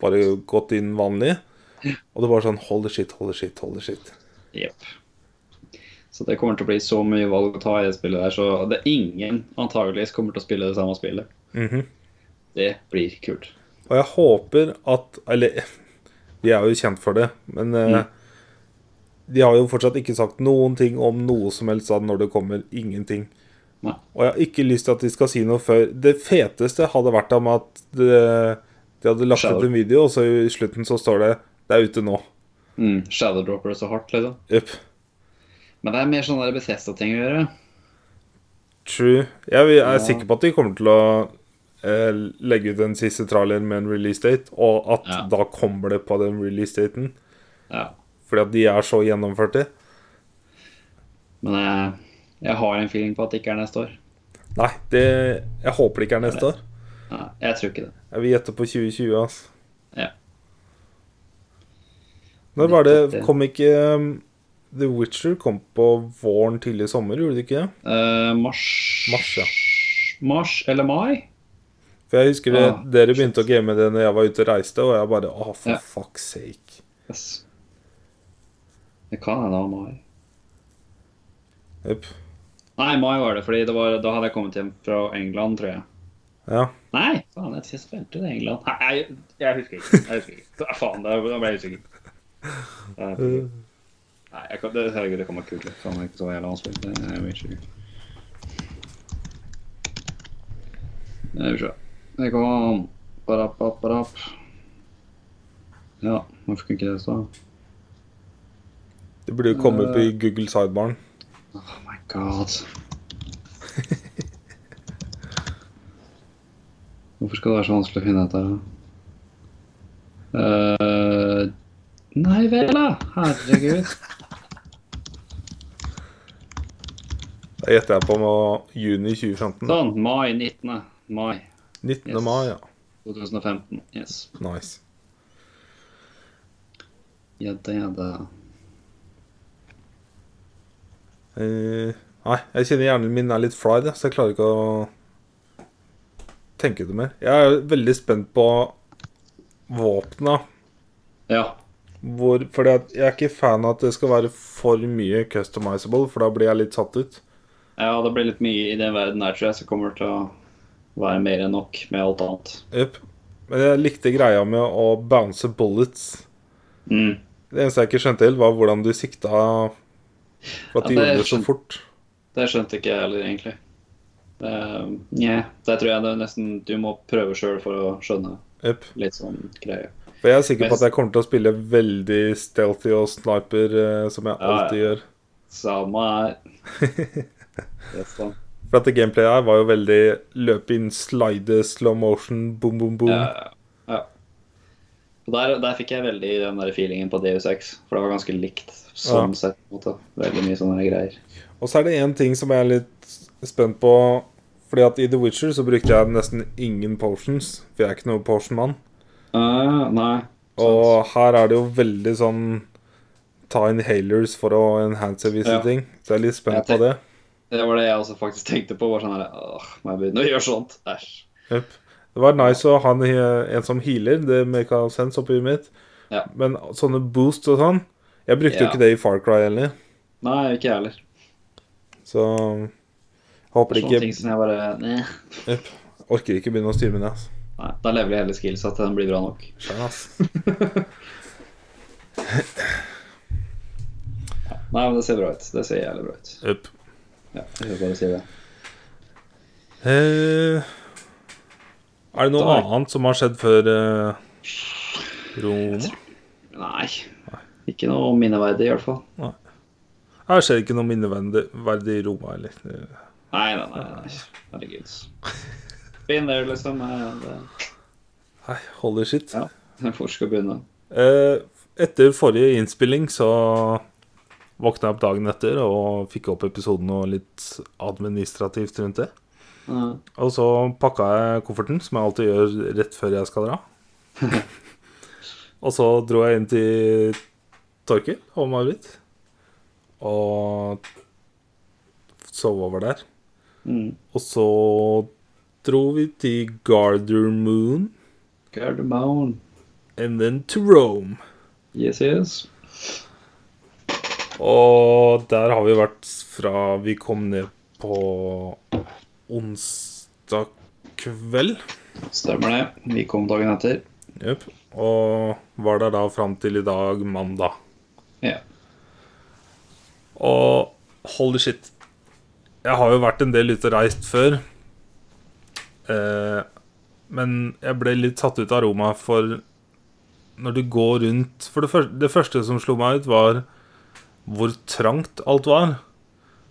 [SPEAKER 1] bare gått inn vanlig? Og det var sånn Hold the shit, hold the shit, hold the shit.
[SPEAKER 2] Jepp. Så det kommer til å bli så mye valg å ta i det spillet der, så det er ingen antageligvis kommer til å spille det samme spillet.
[SPEAKER 1] Mhm.
[SPEAKER 2] Det blir kult.
[SPEAKER 1] Og jeg håper at Eller de er jo kjent for det, men eh, de har jo fortsatt ikke sagt noen ting om noe som helst sånn når det kommer ingenting.
[SPEAKER 2] Nei.
[SPEAKER 1] Og jeg har ikke lyst til at de skal si noe før Det feteste hadde vært om at det, de hadde lagt ut
[SPEAKER 2] Shadow.
[SPEAKER 1] en video, og så i slutten så står det 'Det er ute nå'.
[SPEAKER 2] Mm, Shadow Dropper så hardt, liksom.
[SPEAKER 1] Yep.
[SPEAKER 2] Men det er mer sånn Bethesda-ting å gjøre.
[SPEAKER 1] True. Jeg, vil- jeg er sikker på at de kommer til å eh, legge ut en siste trailer med en release date, og at
[SPEAKER 2] Ja.
[SPEAKER 1] da kommer det på den release daten.
[SPEAKER 2] Ja.
[SPEAKER 1] Fordi at de er så gjennomførte.
[SPEAKER 2] Men jeg, jeg har en feeling på at det ikke er neste år.
[SPEAKER 1] Nei, det, jeg håper det ikke er neste år.
[SPEAKER 2] Nei, jeg tror ikke det.
[SPEAKER 1] Jeg vil gjette på 2020, altså.
[SPEAKER 2] Ja.
[SPEAKER 1] Når var det
[SPEAKER 2] Nettopp det.
[SPEAKER 1] Kom ikke um, The Witcher kom på våren tidlig i sommer, gjorde det ikke det?
[SPEAKER 2] Eh, mars
[SPEAKER 1] Mars, ja.
[SPEAKER 2] Mars eller mai?
[SPEAKER 1] For jeg husker det,
[SPEAKER 2] Ah,
[SPEAKER 1] dere begynte å game det når jeg var ute og reiste, og jeg bare Å, for
[SPEAKER 2] Ja.
[SPEAKER 1] fuck's sake.
[SPEAKER 2] Yes. Det kan hende det var mai.
[SPEAKER 1] Jepp.
[SPEAKER 2] Nei, mai var det, fordi det var, da hadde jeg kommet hjem fra England, tror jeg.
[SPEAKER 1] Ja.
[SPEAKER 2] Nei, faen, jeg spilte det i England. Nei, jeg, jeg husker ikke. Jeg husker ikke. Da, faen, da, da ble jeg usikker. Da- Nei, jeg kan, det, herregud, det kommer kult. Faen, det er ikke så jævla vanskelig. Det er jeg usikker. Nei, vi får se. Det kom. Barap, barap, barap. Ja, hvorfor kunne ikke det stå?
[SPEAKER 1] Det burde jo komme
[SPEAKER 2] Eh.
[SPEAKER 1] opp i Google sidebaren.
[SPEAKER 2] Oh my god. Hvorfor skal det være så vanskelig å finne dette? her, da? Eh, nei vel, da. Herregud.
[SPEAKER 1] Da gjetter jeg på må juni 2015.
[SPEAKER 2] Sånn. Mai 19. Mai
[SPEAKER 1] 19.
[SPEAKER 2] Yes.
[SPEAKER 1] mai, ja.
[SPEAKER 2] 2015. Yes.
[SPEAKER 1] Nice.
[SPEAKER 2] Gjedda, gjedda.
[SPEAKER 1] Eh, nei, jeg kjenner hjernen min er litt fried, jeg, så jeg klarer ikke å tenke det mer. Jeg er veldig spent på våpna.
[SPEAKER 2] Ja.
[SPEAKER 1] Hvor, fordi at jeg er ikke fan av at det skal være for mye customizable, for da blir jeg litt satt ut.
[SPEAKER 2] ja, det blir litt mye i den verden her, tror jeg, som kommer til å være mer enn nok med alt annet.
[SPEAKER 1] Jep. Men jeg likte greia med å bounce bullets.
[SPEAKER 2] Mm.
[SPEAKER 1] Det eneste jeg ikke skjønte helt, var hvordan du sikta For at de
[SPEAKER 2] Ja, det
[SPEAKER 1] gjorde det så
[SPEAKER 2] skjøn-
[SPEAKER 1] fort.
[SPEAKER 2] Det skjønte ikke jeg heller, egentlig. Eh, Nja, der tror jeg det er nesten du må prøve sjøl for å skjønne
[SPEAKER 1] Jep.
[SPEAKER 2] litt sånn greie.
[SPEAKER 1] For jeg er sikker på
[SPEAKER 2] Mest-
[SPEAKER 1] at jeg kommer til å spille veldig stealthy og sniper, eh, som jeg
[SPEAKER 2] Ja, ja.
[SPEAKER 1] alltid gjør.
[SPEAKER 2] Samme
[SPEAKER 1] *laughs*
[SPEAKER 2] er Det er sånn.
[SPEAKER 1] For at det gameplayet her var jo veldig løpe inn, slide, slow motion, boom, boom, boom.
[SPEAKER 2] Ja, ja, ja. Og der, der fikk jeg veldig den der feelingen på DU6, for det var ganske likt sånn
[SPEAKER 1] Ja.
[SPEAKER 2] sett. på en måte. Veldig mye sånne greier.
[SPEAKER 1] Og så er det én ting som jeg er litt spent på. Fordi at i The Witcher så brukte jeg nesten ingen potions, for jeg er ikke noe potion-mann.
[SPEAKER 2] Ah, nei.
[SPEAKER 1] Og
[SPEAKER 2] Sånn.
[SPEAKER 1] her er det jo veldig sånn Ta inhalers for å enhance visse
[SPEAKER 2] Ja.
[SPEAKER 1] ting. Så jeg er litt
[SPEAKER 2] Jeg
[SPEAKER 1] spent på
[SPEAKER 2] tenk-
[SPEAKER 1] det.
[SPEAKER 2] Det var det jeg også faktisk tenkte på. Var sånn her, Åh, må jeg begynne å gjøre sånt? Æsj.
[SPEAKER 1] Jep. Det var nice å ha en, en som healer, det make a sense oppi huet mitt.
[SPEAKER 2] Ja.
[SPEAKER 1] Men sånne boosts og sånn Jeg brukte jo
[SPEAKER 2] Ja.
[SPEAKER 1] ikke det i Far Cry heller,
[SPEAKER 2] Nei, ikke jeg heller.
[SPEAKER 1] så Håper
[SPEAKER 2] Det er sånne
[SPEAKER 1] ikke
[SPEAKER 2] ting som jeg bare Nei,
[SPEAKER 1] Orker ikke begynne å styre med det, ass.
[SPEAKER 2] Nei, da lever jeg hele skills at den blir bra nok.
[SPEAKER 1] Skjønner, ass.
[SPEAKER 2] Nei, men det ser bra ut. Det ser jævlig bra ut.
[SPEAKER 1] Jep.
[SPEAKER 2] Ja, jeg vil bare si det.
[SPEAKER 1] Eh, er det noe
[SPEAKER 2] Da er-
[SPEAKER 1] annet som har skjedd før eh, Roma?
[SPEAKER 2] Nei. Ikke noe minneverdig, i hvert fall.
[SPEAKER 1] Her skjer ikke noe minneverdig i Roma, eller? Eh,
[SPEAKER 2] Nei, nei, nei. nei. Herregud. Been there, liksom. eh, det-
[SPEAKER 1] Nei, holy shit.
[SPEAKER 2] Ja. Hvor skal jeg begynne?
[SPEAKER 1] Eh, etter forrige innspilling så våkna jeg opp dagen etter og fikk opp episoden og litt administrativt rundt det.
[SPEAKER 2] Eh,
[SPEAKER 1] Og så pakka jeg kofferten, som jeg alltid gjør rett før jeg skal dra. og så dro jeg inn til Torkil og Marit. Og sov over der.
[SPEAKER 2] Mm.
[SPEAKER 1] Og så dro vi til Gardermoon
[SPEAKER 2] Gardermoen.
[SPEAKER 1] and then to Rome.
[SPEAKER 2] Yes, yes.
[SPEAKER 1] Og der har vi vært fra vi kom ned på onsdag kveld.
[SPEAKER 2] Stemmer det. Vi kom dagen etter.
[SPEAKER 1] Jep. Og var der da fram til i dag, mandag.
[SPEAKER 2] Ja.
[SPEAKER 1] Og holy shit. Jeg har jo vært en del ute og reist før. Eh, men jeg ble litt satt ut av Roma, for når du går rundt For det første, det første som slo meg ut, var hvor trangt alt var.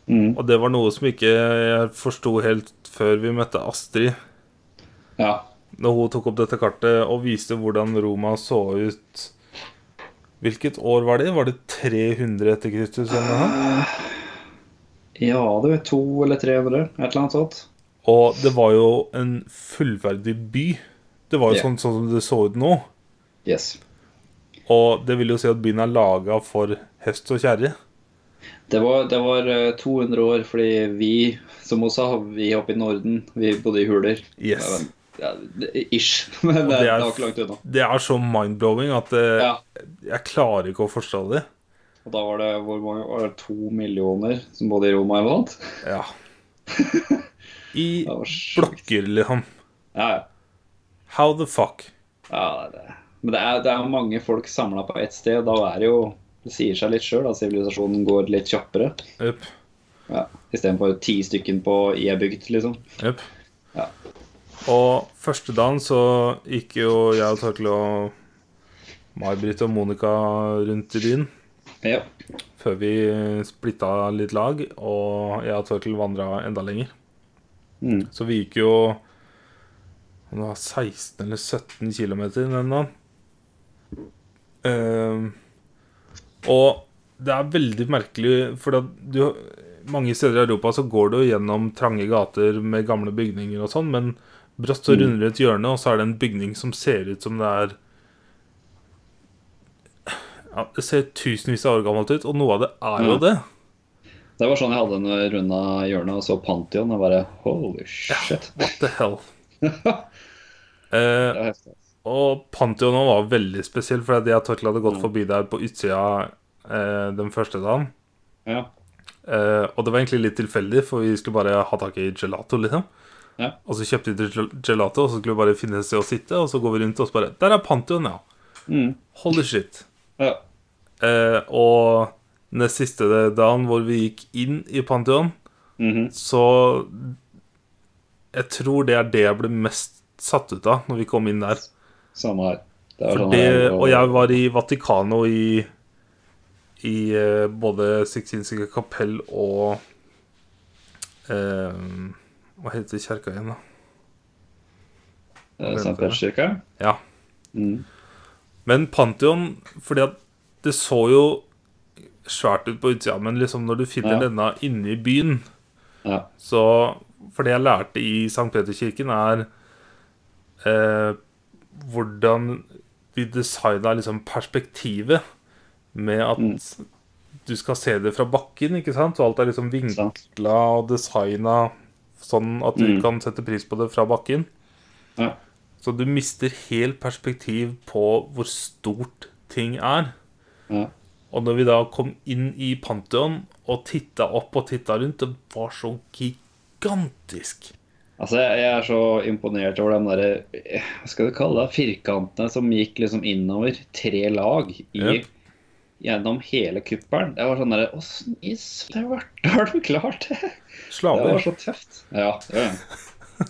[SPEAKER 2] Mm.
[SPEAKER 1] Og det var noe som ikke jeg forsto helt før vi møtte Astrid.
[SPEAKER 2] Ja.
[SPEAKER 1] Når hun tok opp dette kartet og viste hvordan Roma så ut Hvilket år var det? Var det 300 etter Kristus? eller noe?
[SPEAKER 2] ja, det var to eller tre andre. Et eller annet sånt.
[SPEAKER 1] Og det var jo en fullverdig by. Det var jo
[SPEAKER 2] Ja.
[SPEAKER 1] sånn, sånn som det så ut nå.
[SPEAKER 2] Yes.
[SPEAKER 1] Og det vil jo si at byen er laga for hest og kjerre.
[SPEAKER 2] Det var, det var eh, 200 år fordi vi, som hun sa, vi oppe i Norden, vi bodde i huler.
[SPEAKER 1] Yes.
[SPEAKER 2] Ja, det- ish. *laughs* Men det,
[SPEAKER 1] det
[SPEAKER 2] det
[SPEAKER 1] er-
[SPEAKER 2] var ikke langt unna.
[SPEAKER 1] Det er så mind-blowing at eh,
[SPEAKER 2] Ja.
[SPEAKER 1] jeg klarer ikke å forstå det.
[SPEAKER 2] Og da var det hvor mange var det to millioner som bodde i Roma eller noe sånt? *laughs*
[SPEAKER 1] Ja. I
[SPEAKER 2] Det var sjukt.
[SPEAKER 1] blokker, liksom.
[SPEAKER 2] Ja, ja.
[SPEAKER 1] How the fuck?
[SPEAKER 2] ja det er det. Men det er, det er mange folk samla på ett sted. og Da er det jo Det sier seg litt sjøl at sivilisasjonen går litt kjappere.
[SPEAKER 1] Jep.
[SPEAKER 2] Ja. Istedenfor ti stykken på i ei bygd, liksom.
[SPEAKER 1] Jep.
[SPEAKER 2] Ja.
[SPEAKER 1] Og første dagen så gikk jo jeg og Torkel og May-Britt og Monica rundt i byen
[SPEAKER 2] Ja.
[SPEAKER 1] før vi splitta litt lag, og jeg og Torkel vandra enda lenger.
[SPEAKER 2] Mm.
[SPEAKER 1] Så vi gikk jo om det var 16 eller 17 km den dagen. Ehm, og det er veldig merkelig, for at du mange steder i Europa så går du gjennom trange gater med gamle bygninger og sånn, men brått så runder du et hjørne, og så er det en bygning som ser ut som det er ja, Det ser tusenvis av år gammelt ut, og noe av det er jo
[SPEAKER 2] Ja.
[SPEAKER 1] det.
[SPEAKER 2] Det var sånn jeg hadde når jeg runda hjørnet og så Pantheon og bare Holy shit.
[SPEAKER 1] What the hell?
[SPEAKER 2] det
[SPEAKER 1] Eh,
[SPEAKER 2] var heftig.
[SPEAKER 1] Og Pantheon nå var veldig spesiell, for jeg og Torkel hadde
[SPEAKER 2] Mm.
[SPEAKER 1] gått forbi der på utsida eh, den første dagen.
[SPEAKER 2] Ja.
[SPEAKER 1] Eh, og det var egentlig litt tilfeldig, for vi skulle bare ha tak i gelato, liksom.
[SPEAKER 2] Ja.
[SPEAKER 1] Og så kjøpte vi gel- gelato, og så skulle vi bare finne et sted å sitte, og så går vi rundt og så bare Der er Pantheon, ja.
[SPEAKER 2] Mm.
[SPEAKER 1] Holy shit.
[SPEAKER 2] ja.
[SPEAKER 1] Eh, og den siste dagen hvor vi gikk inn i Pantheon,
[SPEAKER 2] Mhm.
[SPEAKER 1] så Jeg tror det er det jeg ble mest satt ut av når vi kom inn der.
[SPEAKER 2] Samme her. Det var
[SPEAKER 1] For
[SPEAKER 2] sånn
[SPEAKER 1] det,
[SPEAKER 2] her,
[SPEAKER 1] og jeg var i Vatikano i, i eh, både Sixtinske kapell og eh, Hva heter kjerka igjen, da?
[SPEAKER 2] eh, St. Peders-kirka.
[SPEAKER 1] Ja.
[SPEAKER 2] Mm.
[SPEAKER 1] Men Pantheon Fordi at det så jo svært ut på utsida, men liksom når du finner
[SPEAKER 2] Ja.
[SPEAKER 1] denne inne i byen
[SPEAKER 2] Ja.
[SPEAKER 1] Så For det jeg lærte i St. Peterkirken, er eh, hvordan de designa liksom perspektivet med at
[SPEAKER 2] Mm.
[SPEAKER 1] du skal se det fra bakken, ikke sant? Og alt er liksom vinkla
[SPEAKER 2] Sant.
[SPEAKER 1] og designa sånn at du
[SPEAKER 2] Mm.
[SPEAKER 1] kan sette pris på det fra bakken.
[SPEAKER 2] Ja.
[SPEAKER 1] Så du mister helt perspektiv på hvor stort ting er.
[SPEAKER 2] Ja.
[SPEAKER 1] Og når vi da kom inn i Pantheon og titta opp og titta rundt, det var så gigantisk.
[SPEAKER 2] Altså, jeg jeg er så imponert over de der eh, Hva skal du kalle det? Firkantene som gikk liksom innover tre lag i,
[SPEAKER 1] Jep.
[SPEAKER 2] gjennom hele kuppelen. Det var sånn derre Åssen i *laughs* svarte har du klart det? Det var
[SPEAKER 1] Slaver.
[SPEAKER 2] så tøft. Ja, det var det.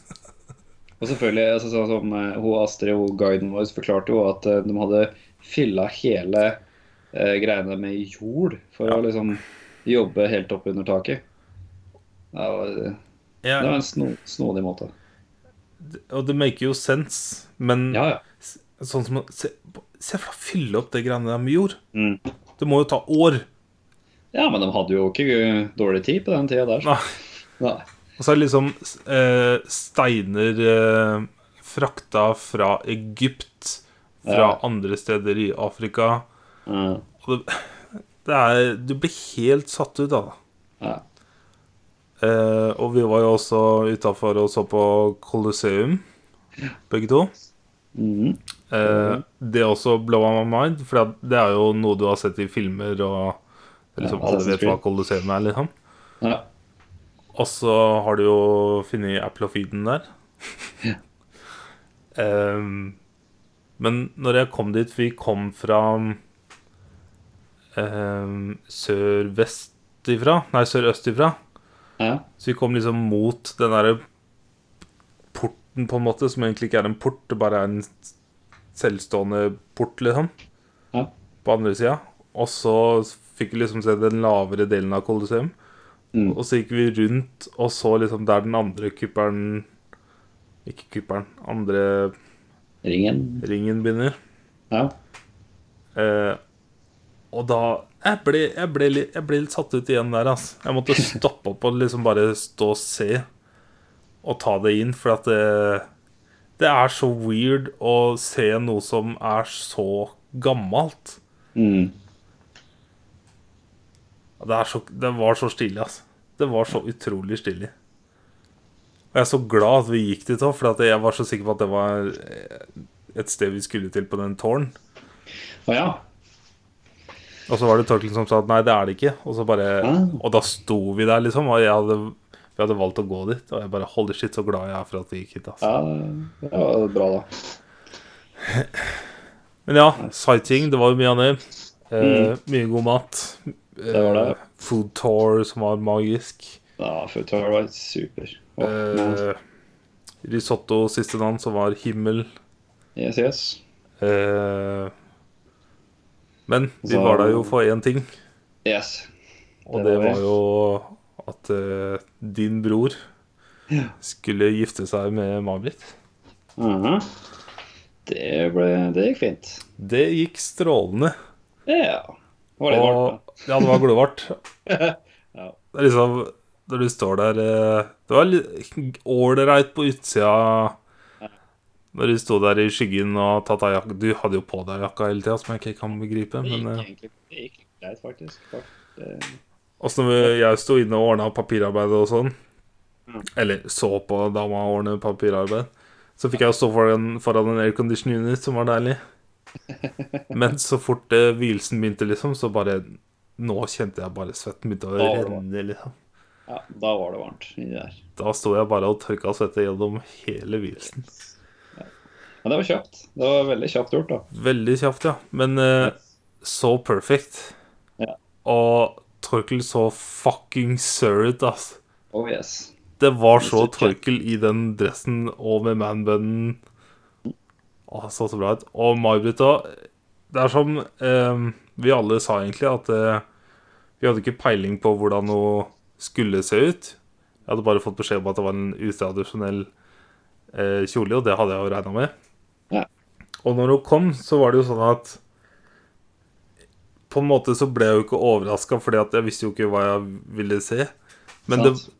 [SPEAKER 2] Og selvfølgelig, altså, sånn som eh, hun Astrid og hun guiden vår forklarte jo at eh, de hadde fylla hele eh, greiene med jord for å liksom jobbe helt opp under taket. Det var, eh, det var
[SPEAKER 1] Ja,
[SPEAKER 2] en sno, snodig måte.
[SPEAKER 1] og det maker jo sens, men
[SPEAKER 2] Ja, ja.
[SPEAKER 1] sånn som å Se, se for deg å fylle opp det greiene der med jord.
[SPEAKER 2] Mm.
[SPEAKER 1] Det må jo ta år.
[SPEAKER 2] Ja, men de hadde jo ikke dårlig tid på den tida der. så-
[SPEAKER 1] Nei.
[SPEAKER 2] Nei.
[SPEAKER 1] Og så er det liksom eh, steiner eh, frakta fra Egypt, fra
[SPEAKER 2] Ja.
[SPEAKER 1] andre steder i Afrika.
[SPEAKER 2] Ja,
[SPEAKER 1] Og det, det er Du blir helt satt ut av det.
[SPEAKER 2] ja.
[SPEAKER 1] Eh, og vi var jo også utafor og så på Colosseum, begge to.
[SPEAKER 2] Mhm.
[SPEAKER 1] Eh, det er også blow my mind, for at det er jo noe du har sett i filmer, og det er liksom
[SPEAKER 2] Ja,
[SPEAKER 1] alle
[SPEAKER 2] Assassin's
[SPEAKER 1] vet hva Colosseum er, liksom.
[SPEAKER 2] ja.
[SPEAKER 1] Og så har du jo funnet Apple-feeden der. *laughs* Ehm, men når jeg kom dit Vi kom fra ehm, sør-vest ifra, nei, sør-øst ifra.
[SPEAKER 2] ja.
[SPEAKER 1] Så vi kom liksom mot den derre porten, på en måte, som egentlig ikke er en port, det bare er en selvstående port, liksom.
[SPEAKER 2] Ja.
[SPEAKER 1] På andre sida. Og så fikk vi liksom se den lavere delen av Colosseum.
[SPEAKER 2] Mm.
[SPEAKER 1] Og så gikk vi rundt og så liksom der den andre kuppelen Ikke kuppelen, andre
[SPEAKER 2] Ringen.
[SPEAKER 1] ringen begynner.
[SPEAKER 2] Ja.
[SPEAKER 1] Eh, og da jeg ble, jeg, ble, litt- jeg ble litt satt ut igjen der, altså. Jeg måtte stoppe opp og liksom bare stå og se og ta det inn, for at det, det er så weird å se noe som er så gammelt.
[SPEAKER 2] Mm.
[SPEAKER 1] Og Det, er så, det var så stilig, altså. Det var så utrolig stilig. Og jeg er så glad at vi gikk dit òg, for at jeg var så sikker på at det var eh, et sted vi skulle til på den tårn.
[SPEAKER 2] Å ja.
[SPEAKER 1] Og så var det Torkel som sa at nei, det er det ikke. Og så bare
[SPEAKER 2] Ah.
[SPEAKER 1] Og da sto vi der, liksom. Og jeg hadde, vi hadde valgt å gå dit. Og jeg bare Holy shit, så glad jeg er for at vi gikk hit. Altså.
[SPEAKER 2] ja. Det var bra, da.
[SPEAKER 1] Men ja, sighting. Det var jo mye av det. Eh, Mye god mat.
[SPEAKER 2] Mm.
[SPEAKER 1] Eh,
[SPEAKER 2] Det var det.
[SPEAKER 1] Food tour som var magisk.
[SPEAKER 2] Ja, Futur var super. Å,
[SPEAKER 1] Eh, risotto siste dagen, som var himmel.
[SPEAKER 2] Yes, yes.
[SPEAKER 1] Eh, men vi
[SPEAKER 2] Så-
[SPEAKER 1] var der jo for én ting,
[SPEAKER 2] Yes.
[SPEAKER 1] og det
[SPEAKER 2] Det var
[SPEAKER 1] var
[SPEAKER 2] vi.
[SPEAKER 1] jo at eh, din bror skulle gifte seg med May-Britt.
[SPEAKER 2] Mhm. Det, ble, det gikk fint.
[SPEAKER 1] Det gikk strålende.
[SPEAKER 2] Ja. Det var litt varmt,
[SPEAKER 1] Og, ja, det var glovarmt.
[SPEAKER 2] da. *laughs* Ja.
[SPEAKER 1] Det er liksom Når du står der eh, Det var litt ålreit på utsida når du sto der i skyggen og tatt av jakka Du hadde jo på deg jakka hele tida, som jeg ikke kan begripe,
[SPEAKER 2] Det
[SPEAKER 1] men
[SPEAKER 2] gikk
[SPEAKER 1] eh,
[SPEAKER 2] egentlig det gikk greit, faktisk. Fakt, eh,
[SPEAKER 1] Og så når vi- jeg sto inne og ordna papirarbeid og sånn,
[SPEAKER 2] Mm.
[SPEAKER 1] eller så på dama ordne papirarbeid, så fikk jeg jo stå foran, foran en aircondition unit, som var deilig.
[SPEAKER 2] *laughs*
[SPEAKER 1] Men så fort eh, hvilelsen begynte, liksom, så bare Nå kjente jeg bare svetten begynte å
[SPEAKER 2] Da var det
[SPEAKER 1] renne, liksom.
[SPEAKER 2] Ja, da var det varmt inni der.
[SPEAKER 1] Da sto jeg bare og tørka svette gjennom hele hvilelsen.
[SPEAKER 2] Men det var kjapt. Det var veldig kjapt gjort, da.
[SPEAKER 1] Veldig kjapt, ja. Men eh, så perfect.
[SPEAKER 2] Ja.
[SPEAKER 1] Og Torkel så fucking sør ut, ass.
[SPEAKER 2] Oh yes.
[SPEAKER 1] Det var så
[SPEAKER 2] Mr. Jack.
[SPEAKER 1] Torkel i den dressen og med manbunnen. Å, han så så bra ut. Og May-Britt òg. Det er som eh, vi alle sa, egentlig, at eh, vi hadde ikke peiling på hvordan hun skulle se ut. Jeg hadde bare fått beskjed om at det var en utradisjonell eh, kjole, og det hadde jeg jo regna med.
[SPEAKER 2] Ja.
[SPEAKER 1] Og når hun kom, så var det jo sånn at På en måte så ble jeg jo ikke overraska, fordi at jeg visste jo ikke hva jeg ville se. Men det,
[SPEAKER 2] Sant?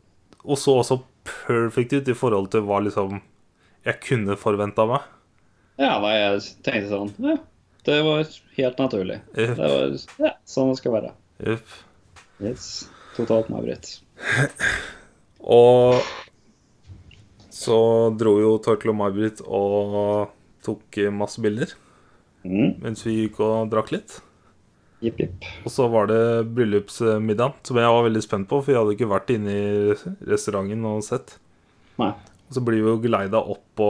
[SPEAKER 1] og så også perfect ut i forhold til hva liksom jeg kunne forventa meg.
[SPEAKER 2] Ja, nei, jeg tenkte sånn Ja, det var helt naturlig. Det
[SPEAKER 1] Jepp.
[SPEAKER 2] var ja, sånn det skal være.
[SPEAKER 1] Jepp.
[SPEAKER 2] Yes. Totalt meg, Britt.
[SPEAKER 1] Og så dro jo Torkel og May-Britt og tok masse bilder
[SPEAKER 2] Mm.
[SPEAKER 1] mens vi gikk og drakk litt.
[SPEAKER 2] Jipp, jipp.
[SPEAKER 1] Og så var det bryllupsmiddagen, som jeg var veldig spent på, for jeg hadde ikke vært inne i restauranten og sett.
[SPEAKER 2] Nei.
[SPEAKER 1] Og så blir vi jo geleida opp på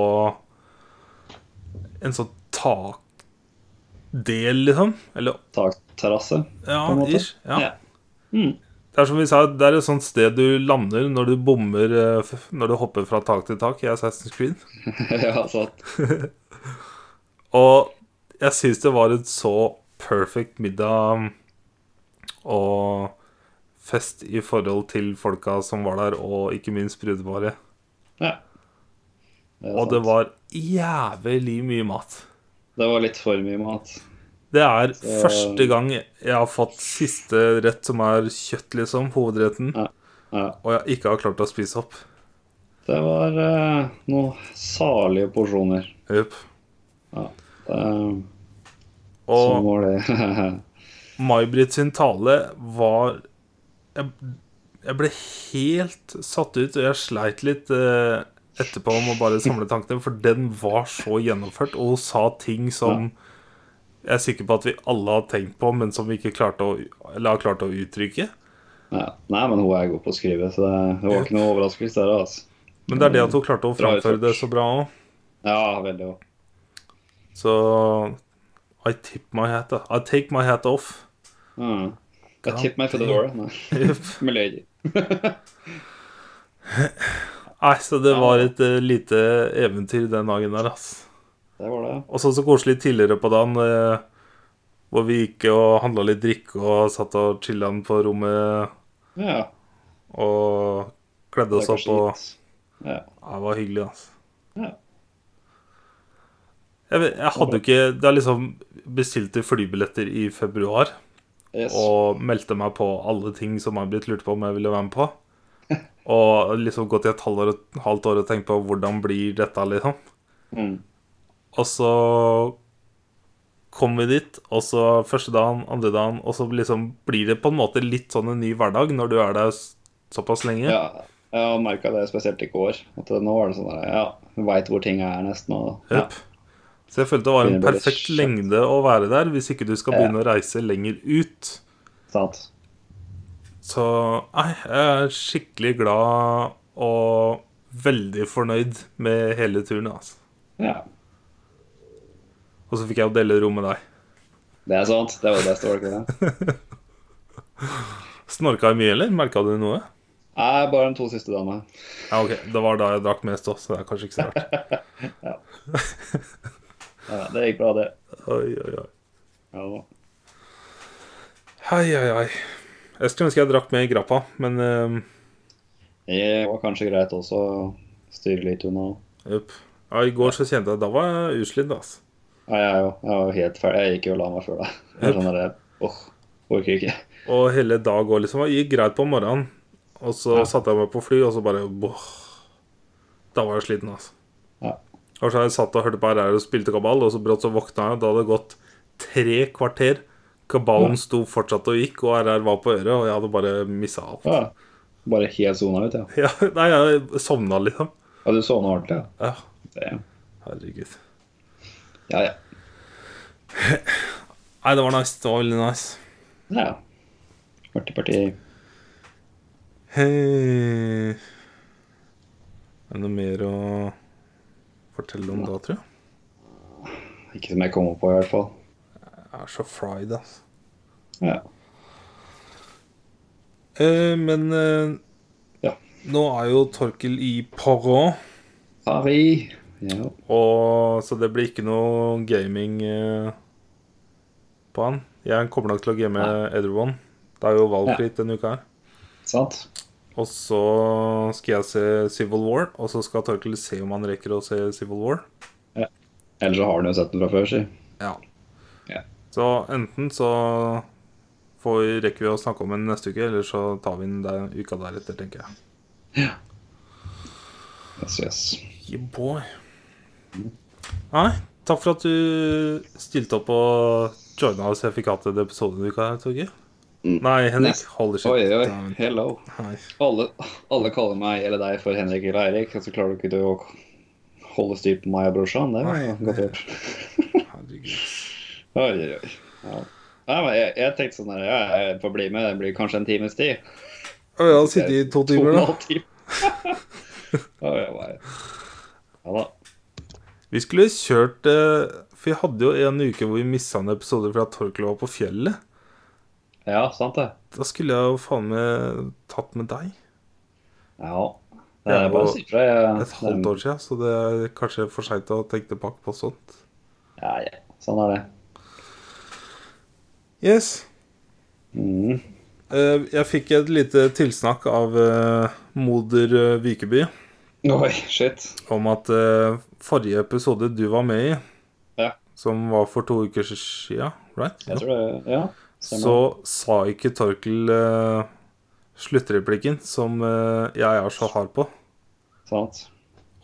[SPEAKER 1] en sånn takdel, liksom. Eller
[SPEAKER 2] Takterrasse.
[SPEAKER 1] ja,
[SPEAKER 2] på en måte.
[SPEAKER 1] ish. Ja.
[SPEAKER 2] Ja. *laughs* Mm.
[SPEAKER 1] Det er som vi sa, det er et sånt sted du lander når du bommer eh, f- Når du hopper fra tak til tak i Assassin's Creed.
[SPEAKER 2] ja, altså, sant.
[SPEAKER 1] Og jeg syns det var et så perfect middag um, og fest i forhold til folka som var der, og ikke minst brudeparet.
[SPEAKER 2] Ja. Det er
[SPEAKER 1] Og det
[SPEAKER 2] sant.
[SPEAKER 1] var jævlig mye mat.
[SPEAKER 2] det var litt for mye mat.
[SPEAKER 1] Det er
[SPEAKER 2] Så-
[SPEAKER 1] første gang jeg har fått siste rett, som er kjøtt, liksom. Hovedretten.
[SPEAKER 2] Ja. Ja.
[SPEAKER 1] Og jeg ikke har klart å spise opp.
[SPEAKER 2] Det var eh, noen salige porsjoner.
[SPEAKER 1] Jupp.
[SPEAKER 2] Eh,
[SPEAKER 1] Og
[SPEAKER 2] Sånn var det. *laughs*
[SPEAKER 1] May-Britt sin tale var jeg, jeg ble helt satt ut, og jeg sleit litt eh, etterpå om å bare samle tankene, for den var så gjennomført, og hun sa ting som jeg er sikker på at vi alle har tenkt på, men som vi ikke klarte å, eller har klart å uttrykke.
[SPEAKER 2] Ja. Nei, men hun er god på å skrive, så det, det var ikke noe overraskelse der. altså.
[SPEAKER 1] Men det er det at hun klarte å
[SPEAKER 2] Bra
[SPEAKER 1] framføre
[SPEAKER 2] utført.
[SPEAKER 1] det så bra òg.
[SPEAKER 2] Ja, veldig godt.
[SPEAKER 1] Så I tip my hat I take my hat off.
[SPEAKER 2] Mm. Jeg tipper meg for det dårlige. Nei,
[SPEAKER 1] Jupp.
[SPEAKER 2] men *laughs* løy ikke.
[SPEAKER 1] Nei, så det var et eh, lite eventyr den dagen der, ass.
[SPEAKER 2] Det var det.
[SPEAKER 1] Og så så koselig tidligere på dagen, eh, hvor vi gikk og handla litt drikke og satt og chilla på rommet
[SPEAKER 2] Ja.
[SPEAKER 1] og kledde
[SPEAKER 2] Det
[SPEAKER 1] oss
[SPEAKER 2] er
[SPEAKER 1] opp
[SPEAKER 2] kanskje
[SPEAKER 1] og
[SPEAKER 2] litt- Ja.
[SPEAKER 1] ja, Det var hyggelig, altså.
[SPEAKER 2] Ja.
[SPEAKER 1] Jeg, vet- jeg hadde jo ikke Da liksom bestilte flybilletter i februar
[SPEAKER 2] Yes.
[SPEAKER 1] og meldte meg på alle ting som har blitt lurt på om jeg ville være med
[SPEAKER 2] *laughs*
[SPEAKER 1] på. Og liksom gått i et halvt år, halvt år og tenkt på hvordan blir dette, liksom.
[SPEAKER 2] Mm.
[SPEAKER 1] Og så kom vi dit, og så første dagen, andre dagen, og så liksom blir det på en måte litt sånn en ny hverdag når du er der s- såpass lenge.
[SPEAKER 2] ja. Jeg har merka det spesielt i går. At nå var det sånn der, ja, Hun veit hvor tinga er, nesten. Og, ja.
[SPEAKER 1] Jøp. Så jeg følte det var en
[SPEAKER 2] Begynner å bli
[SPEAKER 1] perfekt
[SPEAKER 2] litt skjønt.
[SPEAKER 1] lengde å være der, hvis ikke du skal
[SPEAKER 2] Ja.
[SPEAKER 1] begynne å reise lenger ut.
[SPEAKER 2] Sant.
[SPEAKER 1] Så nei, jeg er skikkelig glad og veldig fornøyd med hele turen, altså.
[SPEAKER 2] Ja.
[SPEAKER 1] Og så fikk jeg jo dele rom med deg.
[SPEAKER 2] Det er sant. Det var det beste, var
[SPEAKER 1] *laughs*
[SPEAKER 2] det ikke det?
[SPEAKER 1] Snorka jeg mye, eller? Merka du noe?
[SPEAKER 2] Nei, bare de to siste dagene.
[SPEAKER 1] Ja, ok, det var da jeg drakk mest òg, så det er kanskje ikke så rart.
[SPEAKER 2] *laughs* Ja, det gikk bra, det.
[SPEAKER 1] Oi, oi, oi.
[SPEAKER 2] Ja, da.
[SPEAKER 1] Hei, hei, hei. Jeg skulle ønske jeg drakk mer i grappa, men ehm,
[SPEAKER 2] Det var kanskje greit også å styre litt unna.
[SPEAKER 1] jupp. Ja, I går så kjente jeg at da var jeg utslitt, altså.
[SPEAKER 2] Ja, jeg, er jo, jeg var jo helt ferdig. Jeg gikk jo og la meg før deg. Jeg
[SPEAKER 1] Yep.
[SPEAKER 2] sånn der, åh, orker ikke.
[SPEAKER 1] Og hele dag òg, liksom. Det gikk greit på morgenen. Og så
[SPEAKER 2] Ja.
[SPEAKER 1] satte jeg meg på fly, og så bare boh. Da var jeg sliten, altså.
[SPEAKER 2] Ja.
[SPEAKER 1] Og så har jeg satt og hørte på RR og spilte kabal, og så brått så våkna jeg. Da hadde det gått tre kvarter. Kabalen sto fortsatt og gikk, og RR var på øret, og jeg hadde bare missa alt.
[SPEAKER 2] ja. Bare helt sona ut, ja.
[SPEAKER 1] *laughs* Ja, nei, jeg sovna, liksom.
[SPEAKER 2] Ja, du sovna ordentlig, ja.
[SPEAKER 1] Ja,
[SPEAKER 2] Det,
[SPEAKER 1] herregud.
[SPEAKER 2] ja, ja.
[SPEAKER 1] Nei, det var nice. Det var veldig nice.
[SPEAKER 2] ja. Parti, parti.
[SPEAKER 1] Hei. Er det noe mer å fortelle om da, tror jeg?
[SPEAKER 2] Ikke som jeg kommer på, i hvert fall.
[SPEAKER 1] Jeg er så fried, altså.
[SPEAKER 2] Ja.
[SPEAKER 1] Eh, men eh,
[SPEAKER 2] Ja.
[SPEAKER 1] nå er jo Torkel i Paris,
[SPEAKER 2] Paris. Ja.
[SPEAKER 1] og, så det blir ikke noe gaming eh, på han. Jeg kommer nok til å game Edderborn. Det er jo valgfritt denne uka her.
[SPEAKER 2] Sant?
[SPEAKER 1] Og så skal jeg se Civil War, og så skal Torkel se om han rekker å se Civil War.
[SPEAKER 2] Eller så har du jo sett den fra før, si.
[SPEAKER 1] Ja.
[SPEAKER 2] Ja.
[SPEAKER 1] Så enten så får vi, rekker vi å snakke om den neste uke, eller så tar vi den der, uka deretter, tenker jeg.
[SPEAKER 2] Yes, yes.
[SPEAKER 1] Yeah, boy. Nei, takk for at du stilte opp og joina oss. Jeg fikk hatt en episode denne uka, her, Torgeir.
[SPEAKER 2] Mm.
[SPEAKER 1] Nei, Henrik.
[SPEAKER 2] Neste-
[SPEAKER 1] Holder
[SPEAKER 2] Oi, oi,
[SPEAKER 1] Nei, men-
[SPEAKER 2] hello.
[SPEAKER 1] Nei.
[SPEAKER 2] Alle, alle kaller meg eller deg for Henrik eller Eirik, og så klarer du ikke du å holde styr på meg og brorsan. Det var jo
[SPEAKER 1] Nei.
[SPEAKER 2] godt gjort.
[SPEAKER 1] Herregud.
[SPEAKER 2] Oi, oi, oi. Ja. Nei, men jeg, jeg tenkte sånn her, ja, jeg får bli med, det blir kanskje en times tid.
[SPEAKER 1] Å, jeg har sittet i to timer, da.
[SPEAKER 2] Time. *laughs* ja, jeg bare... ja da.
[SPEAKER 1] Vi skulle kjørt eh, For vi hadde jo en uke hvor vi mista en episode fordi at Torkel var på fjellet.
[SPEAKER 2] Ja, sant det.
[SPEAKER 1] Da skulle jeg jo faen meg tatt med deg.
[SPEAKER 2] Ja. Det
[SPEAKER 1] Ja,
[SPEAKER 2] er
[SPEAKER 1] og
[SPEAKER 2] bare å si fra. jeg-
[SPEAKER 1] et halvt år siden, så det er kanskje for seint å tenke tilbake på sånt.
[SPEAKER 2] Ja, ja. Sånn er det.
[SPEAKER 1] Yes.
[SPEAKER 2] Mm.
[SPEAKER 1] Eh, Jeg fikk et lite tilsnakk av eh, moder eh, Vikeby
[SPEAKER 2] Oi, shit.
[SPEAKER 1] om at eh, forrige episode du var med i,
[SPEAKER 2] Ja.
[SPEAKER 1] som var for to uker siden, right?
[SPEAKER 2] Jeg tror det Ja. stemmer.
[SPEAKER 1] så sa ikke Torkel eh, sluttreplikken som eh, jeg er så hard på.
[SPEAKER 2] Sant.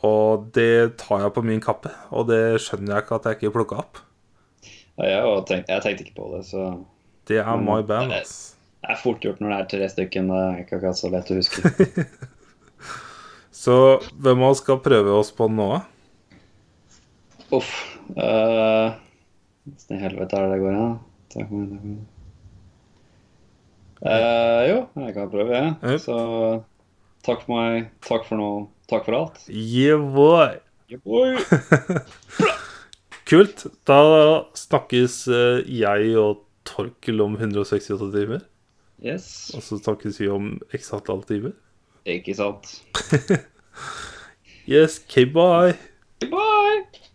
[SPEAKER 1] Og det tar jeg på min kappe, og det skjønner jeg ikke at jeg ikke plukka opp.
[SPEAKER 2] Ja, Jeg, har tenkt, jeg tenkte ikke på det, så
[SPEAKER 1] Det er my band,
[SPEAKER 2] Mm. Nei.
[SPEAKER 1] ass.
[SPEAKER 2] det er fort gjort når det er tre stykken. Det er ikke akkurat så lett
[SPEAKER 1] *laughs*
[SPEAKER 2] å huske.
[SPEAKER 1] Så hvem av oss skal prøve oss på nå? da?
[SPEAKER 2] Uff. eh, Hvordan i helvete er det det går an? Takk, men- takk, men. Eh, jo, jeg kan prøve, jeg.
[SPEAKER 1] Ja.
[SPEAKER 2] Så takk for meg. Takk for nå. Takk for alt.
[SPEAKER 1] Yeah, boy.
[SPEAKER 2] Oi.
[SPEAKER 1] Kult. Da snakkes eh, jeg og Torkel om 168 timer.
[SPEAKER 2] Yes.
[SPEAKER 1] Og så snakkes vi om x antall timer.
[SPEAKER 2] Ikke sant.
[SPEAKER 1] Yes, okay, bye.
[SPEAKER 2] Bye!